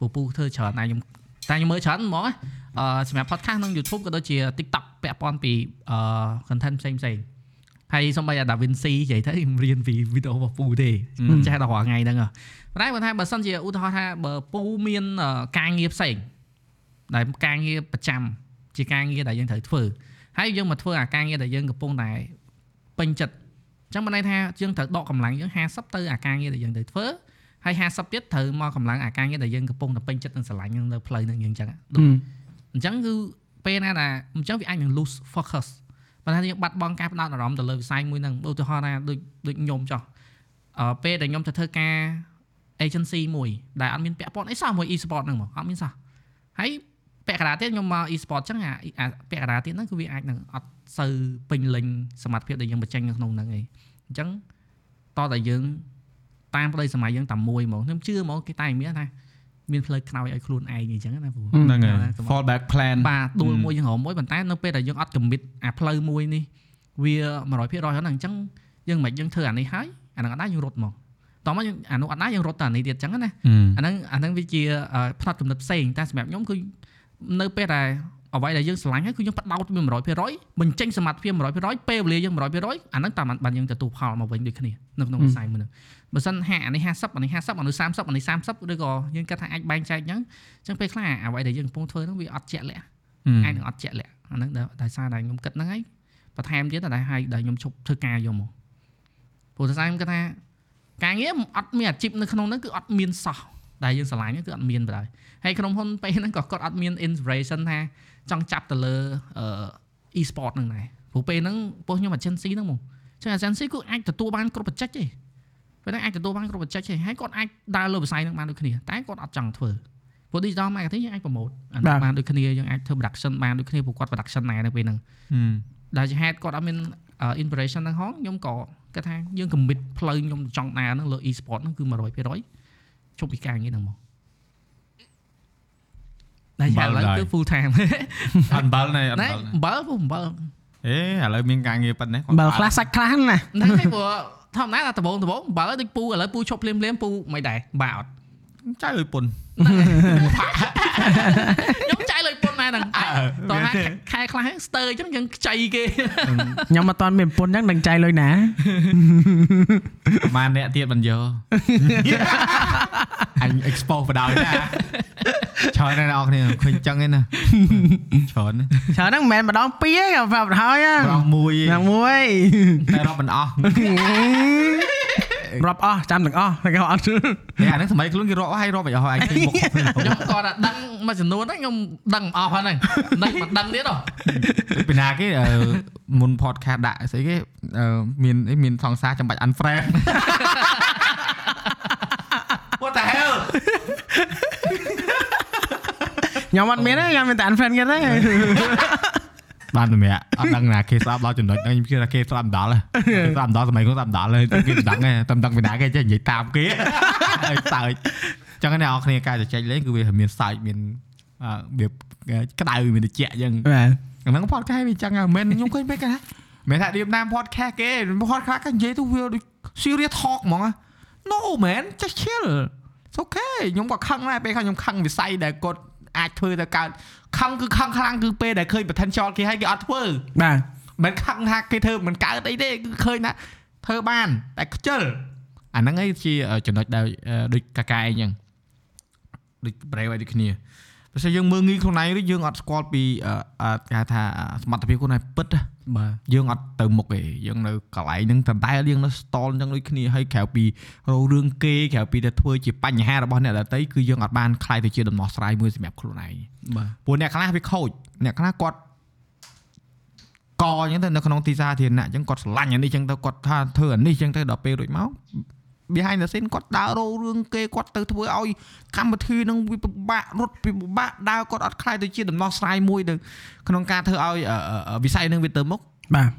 [SPEAKER 3] ពូពូធ្វើច្រើនណាស់ខ្ញុំតែខ្ញុំមើលច្រើនហ្មងណាអឺសម្រាប់ podcast និង YouTube ក៏ដូចជា TikTok ពាក់ព័ន្ធពីអឺ content ផ្សេងផ្សេងៗហើយសូម្បីតែ Da Vinci និយាយទៅ ខ្ញុំរៀនពីវីដេអូរបស់ពូទេមិនចេះដល់រាល់ថ្ងៃហ្នឹងហ៎ប៉ុន្តែបើថាបើសិនជាឧទាហរណ៍ថាបើពូមានអឺការងារផ្សេងដែលការងារប្រចាំជាការងារដែលយើងត្រូវធ្វើហើយយើងមកធ្វើអាការងារដែលយើងកំពុងតែ ពេញចិត្តអញ្ចឹងបានន័យថាយើងត្រូវដកកម្លាំងយើង50ទៅអាការងារដែលយើងត្រូវធ្វើហើយ50ទៀតត្រូវមកកម្លាំងអាការងារដែលយើងកំពុងតែពេញចិត្តនឹងស្រឡាញ់នឹងនៅផ្លូវនឹងយើងអញ្ចឹងអ
[SPEAKER 2] ហឹម
[SPEAKER 3] ញ្ចឹងគឺពេលណាដែលអញ្ចឹងវាអាចនឹង lose focus បើថាយើងបាត់បង់ការផ្ដោតអារម្មណ៍ទៅលើវិស័យមួយហ្នឹងឧទាហរណ៍ថាដូចដូចខ្ញុំចោះអឺពេលដែលខ្ញុំទៅធ្វើការ agency មួយដែលអត់មានពាក់ព័ន្ធអីសោះមួយ e-sport ហ្នឹងមកអត់មានសោះហើយពាក់កណ្ដាលទៀតខ្ញុំមក e-sport អញ្ចឹងអាអាពាក់កណ្ដាលទៀតហ្នឹងគឺវាអាចនឹងអត់សូវពេញលេញសមត្ថភាពដែលយើងបញ្ចេញនៅក្នុងហ្នឹងឯង អញ្ចឹងតតែយើងតាមប្តីសម័យយើងតាមមួយហ្មងខ្ញុំជឿហ្មងគេតែងមានថាមានផ្លូវខ្នើយឲ្យខ្លួនឯងអញ្ចឹងណាព្រោះ
[SPEAKER 4] ហ្នឹងហើយ
[SPEAKER 3] សម្រាប់
[SPEAKER 4] fall back plan
[SPEAKER 3] បាទដួលមួយយើងរមមួយប៉ុន្តែនៅពេលដែលយើងអត់ commit អាផ្លូវមួយនេះវា100%ហ្នឹងអញ្ចឹងយើងមិនយើងធ្វើអានេះហើយអាហ្នឹងអត់ដែរយើងរត់ហ្មងតោះមកយើងអានោះអត់ដែរយើងរត់តែអានេះទៀតអញ្ចឹងណា អាហ្នឹងអាហ្នឹងវាជាអឺផ្នត់គំនិតផ្សេងតែសម្រាប់ខ្ញុំគឺនៅពេលដែលអ្វីដែលយើងស្រឡាញ់ហើយគឺយើងបដោតវា100%បញ្ចេញសមត្ថភាព100%ពេលវេលាយើង100%អាហ្នឹងតាមបានយើងទទួលផលមកវិញដូចគ្នានៅក្នុង
[SPEAKER 2] ហ៊ឹម
[SPEAKER 3] វិស័យមួយហ្នឹងបើសិនហាអានេះ50អានេះ50អានោះ30អានេះ30ឬក៏យើងគិតថាអាចបែងចែកអញ្ចឹងអញ្ចឹងពេលខ្លះអ្វីដែលយើងកំពុងធ្វើហ្នឹងវាអត់ជាក់លាក់អាចនឹងអត់ជាក់លាក់អាហ្នឹងដែលដោយសារតែខ្ញុំគិតហ្នឹងហើយបន្ថែមទៀតតែឲ្យដល់ខ្ញុំឈប់ធ្វើការយកមកព្រោះតែខ្ញុំគិតថាការងារអត់មានអាជីពនៅក្នុងហ្នឹងគឺអត់មានសោះ ដែលយើងស្រឡាញ់ហ្នឹងគឺអត់មានបណ្ដោយហើយក្រុមហ៊ុនពេលហ្នឹងក៏គាត់អត់មាន inspiration ថាចង់ចាប់ទៅលើអឺ e-sport ហ្នឹងដែរព្រោះពេលហ្នឹងពួកខ្ញុំ agency ហ្នឹងមកចឹង agency គឺអាចទទួលបានគ្រប់បច្ចេកទេពេលហ្នឹងអាចទទួលបានគ្រប់បច្ចេកទេហើយគាត់អាចដើរលើវិស័យហ្នឹងបានដូចគ្នាតែគាត់អត់ចង់ធ្វើព្រោះ digital marketing យើងអាច promote អាហ្នឹ
[SPEAKER 2] បាទ
[SPEAKER 3] ងបានដូចគ្នាយើងអាចធ្វើ production បានដូចគ្នាព្រោះគាត់ production ដែរនៅពេលហ្នឹង ដែលជាហេតុគាត់អត់មានអឺ inspiration ហ្នឹងហងខ្ញុំក៏គិតថាយើង commit ផ្លូវខ្ញុំចង់ណារហ្នឹងលើ e-sport ហ្នឹងគឺ100%ជប់ពីការងារហ្នឹងមកតែយ៉ាងឡើយ
[SPEAKER 4] បាល់ដែរ
[SPEAKER 3] គឺ full time
[SPEAKER 4] អត់បាល់ណែអត់
[SPEAKER 3] ណែ
[SPEAKER 4] បាល់
[SPEAKER 3] អំបិល
[SPEAKER 4] ណែ
[SPEAKER 3] ពុះអំបិល
[SPEAKER 4] អេឥឡូវមានការងារប៉ុណ្ណេះ
[SPEAKER 2] បើខ្លះសាច់ខ្លះហ្នឹងណា
[SPEAKER 3] ហ្នឹងហើយព្រោះធម្មតាដល់ដំបងដំបងអំបិលដូចពូឥឡូវពូជប់ភ្លាមភ្លាមពូមិនដែរបាអត់
[SPEAKER 4] ចៅឲ្យពុន
[SPEAKER 3] ខ្ញុំចៃលើពុនម៉ែហ្នឹង
[SPEAKER 4] អើ
[SPEAKER 3] តោះណាខែខ្លះស្ទើរអញ្ចឹងយើងខ្ចីគេ
[SPEAKER 2] ខ្ញុំអត់ទាន់មានប្រពន្ធហ្នឹងដឹងចៃលុយណា
[SPEAKER 4] ប្រហែលអ្នកទៀតមិនយកអញ expose បណ្ដោយណាច្រើនណាស់អ្នកនរគ្នាឃើញចឹងឯណាច្រើនណាស់
[SPEAKER 2] ច្រើនហ្នឹងមិនមែនម្ដងពីរទេប្រាប់ទៅហើយ
[SPEAKER 4] ប្រងមួយឯ
[SPEAKER 2] ណា
[SPEAKER 4] ង
[SPEAKER 2] មួយ
[SPEAKER 4] តែរាប់មិនអស់
[SPEAKER 2] រាប់អស់ចាំទាំងអស់តែគេ អត់
[SPEAKER 4] ហេអាហ្នឹងសម័យខ្លួនគេរាប់ឲ្យរាប់ឲ្យអស់ឯងឃើញមុខ
[SPEAKER 3] ខ្ញុំគាត់ថាដឹងមួយចំនួនហ្នឹងខ្ញុំដឹងមិនអស់ហ្នឹងហ្នឹងមិនដឹងទៀតហ៎
[SPEAKER 4] ពីណាគេអឺមុន podcast ដាក់ស្អីគេអឺមានអីមានសង្សារចាំបាច់ unfriend What the hell
[SPEAKER 2] ខ្ញុំអត់មានទេខ្ញុំមានតែ unfriend គេទេ
[SPEAKER 4] បានតម្រាក់អត់ដឹងណាគេស្ដាប់ដល់ចំណុចហ្នឹងខ្ញុំគិតថាគេស្ដាប់មិនដល់ហ៎គេស្ដាប់មិនដល់សម័យខ្លួនស្ដាប់មិនដល់ហើយតែគេមិនដឹងទេតែមិនដឹងពីណាគេចេះនិយាយតាមគេ ហើយសើចអញ្ចឹងអ្នកនរគ្នាការជជែកលេងគឺវាមានសើចមានអឺវាក្តៅមានត្រជាក់អញ្ចឹង
[SPEAKER 2] បាទ
[SPEAKER 4] អាហ្នឹង podcast វាអញ្ចឹងហ៎មិនមែនខ្ញុំឃើញពេកគេណាមិនមែនថារៀបណាម podcast គេ podcast គេនិយាយទៅវាដូច serious talk ហ្មងហ៎ No man just chill It's okay ខ្ញុំក៏ខឹងដែរពេលខ្លះខ្ញុំខឹងវិស័យដែលគាត់អាចធ្វើទៅកើតខឹងគឺខឹងខ្លាំងគឺពេលដែលឃើញ potential គេហើយគេអត់ធ្វើ
[SPEAKER 2] បាទ
[SPEAKER 4] មិនខឹងថាគេធ្វើមិនកើតអីទេគឺឃើញថាធ្វើបានតែខ្ជិលអាហ្នឹងឯងជាអឺចំណុចដែលអឺដូចកាកាឯងចឹងដូចប្រេវឲ្យដូចគ្នាបើស្អីយើងមើលងាយខ្លួនឯងឬយើងអត់ស្គាល់ពីអឺអឺគេហៅថាសមត្ថភាពខ្លួនឯងពិតណា
[SPEAKER 3] បាទ
[SPEAKER 4] យើងអត់ទៅមុខទេយើងនៅកន្លែងហ្នឹងតដែលយើងនៅ stall ចឹងដូចគ្នាហើយក្រៅពីរោរឿងគេក្រៅពីតែធ្វើជាបញ្ហារបស់អ្នកដទៃគឺយើងអត់បានខ្លាយទៅជាដំណោះស្រាយមួយសម្រាប់ខ្លួនឯង
[SPEAKER 3] បាទ
[SPEAKER 4] ព្រោះអ្នកខ្លះវាខូចអ្នកខ្លះគាត់កអញ្ចឹងទៅនៅក្នុងទីសាធារណៈអញ្ចឹងគាត់ស្រឡាញ់អានេះអញ្ចឹងទៅគាត់ថាធ្វើអានេះអញ្ចឹងទៅដល់ពេលរួចមក behind the scene គាត់ដើររោរឿងគេគាត់ទៅធ្វើឲ្យកម្មវិធីនឹងវាពិបាករត់វាពិបាកដើរគាត់អត់ខ្លាយទៅជាដំណោះស្រាយមួយទៅក្នុងការធ្វើឲ្យអឺអឺអឺវិស័យនឹងវាទៅមុខ
[SPEAKER 2] បាទ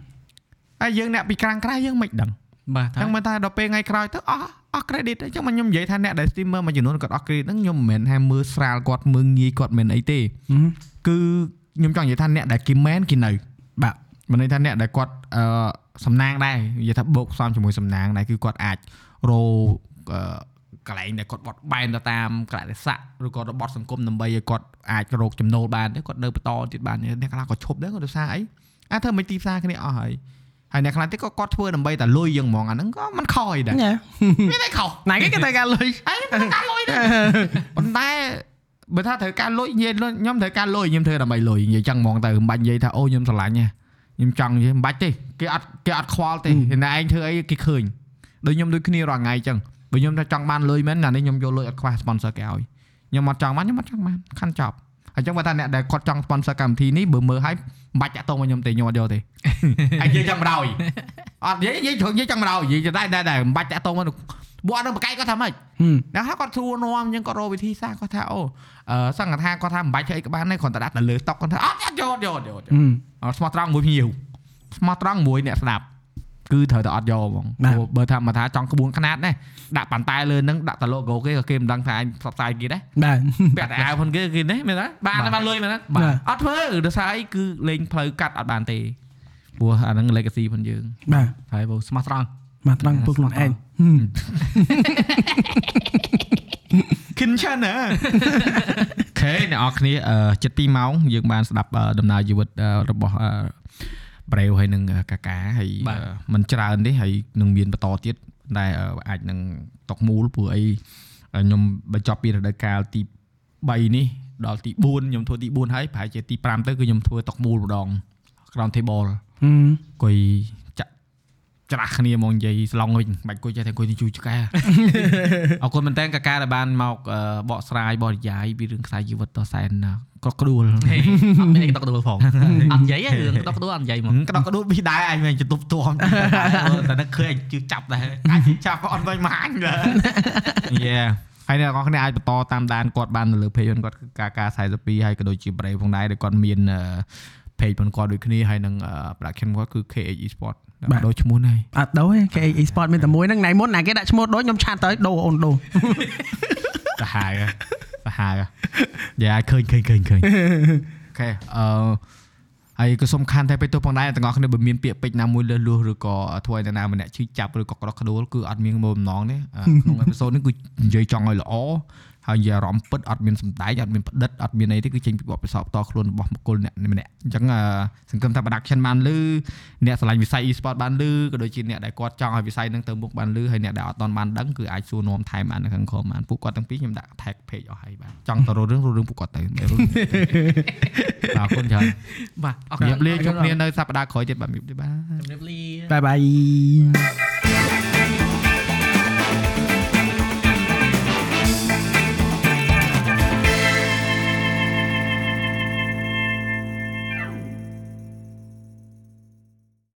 [SPEAKER 4] ហើយយើងអ្នកពីក្រាំងក្រៅយើងមិនដឹង
[SPEAKER 3] បាទ
[SPEAKER 4] ចឹ
[SPEAKER 3] ហើ
[SPEAKER 4] ង
[SPEAKER 3] យ
[SPEAKER 4] មើលតែដល់ពេលថ្ងៃក្រោយទៅអស់អស់ credit ហើយចឹងមកខ្ញុំនិយាយថាអ្នកដែល streamer មួយចំនួនគាត់អស់ credit ហ្នឹងខ្ញុំមិនមែនថាមើលស្រាលគាត់មើលងាយគាត់មិនអីទេគឺខ្ញុំចង់និយាយថាអ្នកដែលគេមែនគេនៅ
[SPEAKER 2] បាទ
[SPEAKER 4] មិនន័យថាអ្នកដែលគាត់អឺសំណាងដែរនិយាយថាបូកផ្សំជាមួយសំណាងដែរគឺគាត់អាចរោអឺកន្លែងដែលគាត់បត់បែនទៅតាមកលៈទេសៈឬក៏របត់សង្គមដើម្បីឲ្យគាត់អាចរកចំណូលបានទេគាត់នៅបន្តទៀតបានអ្នកខ្លះក៏ឈប់ដែរគាត់ដោយសារអីអាចធ្វើមិនទីផ្សារគ្នាអស់ហើយហើយអ្នកខ្លះទៀតក៏គាត់ធ្វើដើម្បីតែលុយយើងហ្មងអាហ្នឹងក៏មិនខុសអីដែរ
[SPEAKER 2] ណា
[SPEAKER 4] មានតែខុស
[SPEAKER 2] ណៃគេទៅការលុយ
[SPEAKER 4] អីត្រូវការលុយទេប៉ុន្តែបើថាត្រូវការលុយនិយាយលុយខ្ញុំត្រូវការលុយខ្ញុំធ្វើដើម្បីលុយនិយាយចឹងហ្មងទៅមិនបាច់និយាយថាអូខ្ញុំស្រឡាញ់ទេខ្ញុំចង់និយាយមិនបាច់ទេគេអត់គេអត់ខ្វល់ទេតែឯងធ្វើអីគេឃើញដូចខ្ញុំដូចគ្នារាល់ថ្ងៃចឹងបើខ្ញុំថាចង់បានលុយមែនអានេះខ្ញុំយកលុយអត់ខ្វះ sponsor គេឲ្យខ្ញុំអត់ចង់បានខ្ញុំអត់ចង់បានខាន់ចប់អញ្ចឹងបើថាអ្នកដែលគាត់ចង់ sponsor កម្មវិធីនេះបើមើលឲ្យមិនបាច់តាក់ទងមកខ្ញុំទេខ្ញុំអត់យកទេ ហើយនិយាយចឹងបណ្ដោយអត់និយាយនិយាយជ្រុលនិយាយចឹងបណ្ដោយនិយាយតែតែតែមិនបាច់តាក់ទងមកបួអត់នឹងបកកាយគាត់ថាម៉េច អ្នកខ្លះគាត់ធួនាំអញ្ចឹងគាត់រកវិធីសាស្ត្រគាត់ថាអូអឺសង្ឃថាគាត់ថាមិនបាច់ធ្វើអីក៏បានដែរគ្រាន់តែដាក់ទៅលើតុកគាត់ថាអត់អត់យកអត់យកអត់យកអត់យកអត់ស្មោះត្រង់មួយភ្ញៀវស្មោះត្រង់មួយអ្នកស្ដាប់គឺត្រូវតែអត់យកហ្មង
[SPEAKER 2] បាទ
[SPEAKER 4] ព្រោះបើថាមកថាចង់ក្បួនខ្នាតណាដាក់ប៉ុន្តែលើនឹងដាក់តែ logo គេក៏គេមិនដឹងថាអញផ្សព្វផ្សាយគេដែរ
[SPEAKER 2] បាទ
[SPEAKER 4] ពាក់តែអាវផងគេគេនេះមែនទេបានទេបានលុយមែនទេ
[SPEAKER 2] បាទ
[SPEAKER 4] អត់ធ្វើដោយសារអីគឺលេងផ្លូវកាត់អត់បានទេព្រោះអាហ្នឹង legacy ផងយើង
[SPEAKER 2] បាទ
[SPEAKER 4] ហើយបើស្មោះត្រង់
[SPEAKER 2] បាទត្រង់ពួកខ្លួនឯង
[SPEAKER 4] Kinchan ណា ខេអ្នកអរគ្នាអឺចិត្ត2ម៉ោងយើងបានស្ដាប់អឺដំណើរជីវិតអឺរបស់អឺប្រេវហើយនឹងអឺកាកាហើយអឺมันច្រើនទេហើយនឹងមានបន្តទៀតតែអឺអាចនឹងຕົកមូលព្រោះអីអឺខ្ញុំបញ្ចប់ពីរដូវកាលទី3នេះដល់ទី4ខ្ញុំធ្វើទី4ហើយប្រហែលជាទី5ទៅគឺខ្ញុំធ្វើຕົកមូលម្ដងក្រោម table អង្គុយចាក់ច្រាស់គ្នាមកនិយាយស្លងវិញមិនបាច់អង្គុយចេះតែអង្គុយទៅជួយឆ្កែ អរគុណមែនតើកាកាដែលបានមកអឺបកស្រាយបរិយាយពីរឿងខ្សែជីវិតតសែនណាក៏ ក្ដួល
[SPEAKER 3] អត់មានអីក្តុកក្តួល ផងអត់និយាយទេរឿងក្តុកក្តួលអត់និយាយហ្មក
[SPEAKER 4] ក្តុកក្ដួលពីដែរឯងមិនជំទប់ទួ ម តែនឹកឃើញឯងជឿចាប់ដែរអាចជឿចាប់ក៏អ ត់វិញមកអញដែរ យេហើយអ្នកនរគ្នាអាចបន្តតាមដានគាត់បាននៅលើ page គាត់គឺកាកា42ហើយក៏ដូចជា Brave ផងដែរដែលគាត់មានអឺ page ផងគាត់ដូចគ្នាហើយនឹងអឺ production គាត់គឺ KH Esport
[SPEAKER 2] បាទ
[SPEAKER 4] ដូចឈ្មោះហ្នឹងហើយ
[SPEAKER 2] អត់ដូរទេគេ e sport មានតែមួយហ្នឹងណៃមុនណាគេដាក់ឈ្មោះដូចខ្ញុំឆាតទៅដូរអូនដូរ
[SPEAKER 4] សាហាវសាហាវយ៉ាឃើញឃើញឃើញឃើញ អូខេអឺហើយក៏សំខាន់តែពេលទៅផងដែរអ្នកទាំងអស់គ្នាបើមានពាក្យពេចន៍ណាមួយលើសលួសឬក៏ធ្វើឲ្យអ្នកណាម្នាក់ឈឺចាប់ឬក៏ក្រក់ក្ដួលគឺអត់មានមូលបំណងទេអឺ ក្នុងអេពីសូតនេះគឺនិយាយចង់ឲ្យល្អហើយនិយាយអារម្មណ៍ពិតអត់មានសម្ដែងអត់មានផ្ដិតអត់មានអីទេគឺចេញពីបទពិសោធន៍ផ្ទាល់ខ្លួនរបស់បុគ្គលអ្នកម្នាក់អញ្ចឹងអឺសង្ឃឹមថា production បានលឺអ្នកឆ្លាញ់វិស័យ e-sport បានលឺក៏ដូចជាអ្នកដែលគាត់ចង់ឲ្យវិស័យហ្នឹងទៅមុខបានលឺហើយអ្នកដែលអត់ទាន់បានដឹងគឺអាចសួរនាំថែមបាននៅខាងក្រោមបានពួកគាត់ទាំងពីរខ្ញុំដាក់ tag page អស់ហើយបាទចង់ទៅរករឿងរករឿងពួកគាត់ទៅមិនរករឿង បាទអរគុណច្រើន
[SPEAKER 3] បាទអរគុណ
[SPEAKER 4] រៀបលាជួបគ្នានៅសប្តាហ៍ក្រោយទៀតបាទរៀបលាបាទ
[SPEAKER 3] ជម្រាបលា
[SPEAKER 2] បាយបាយ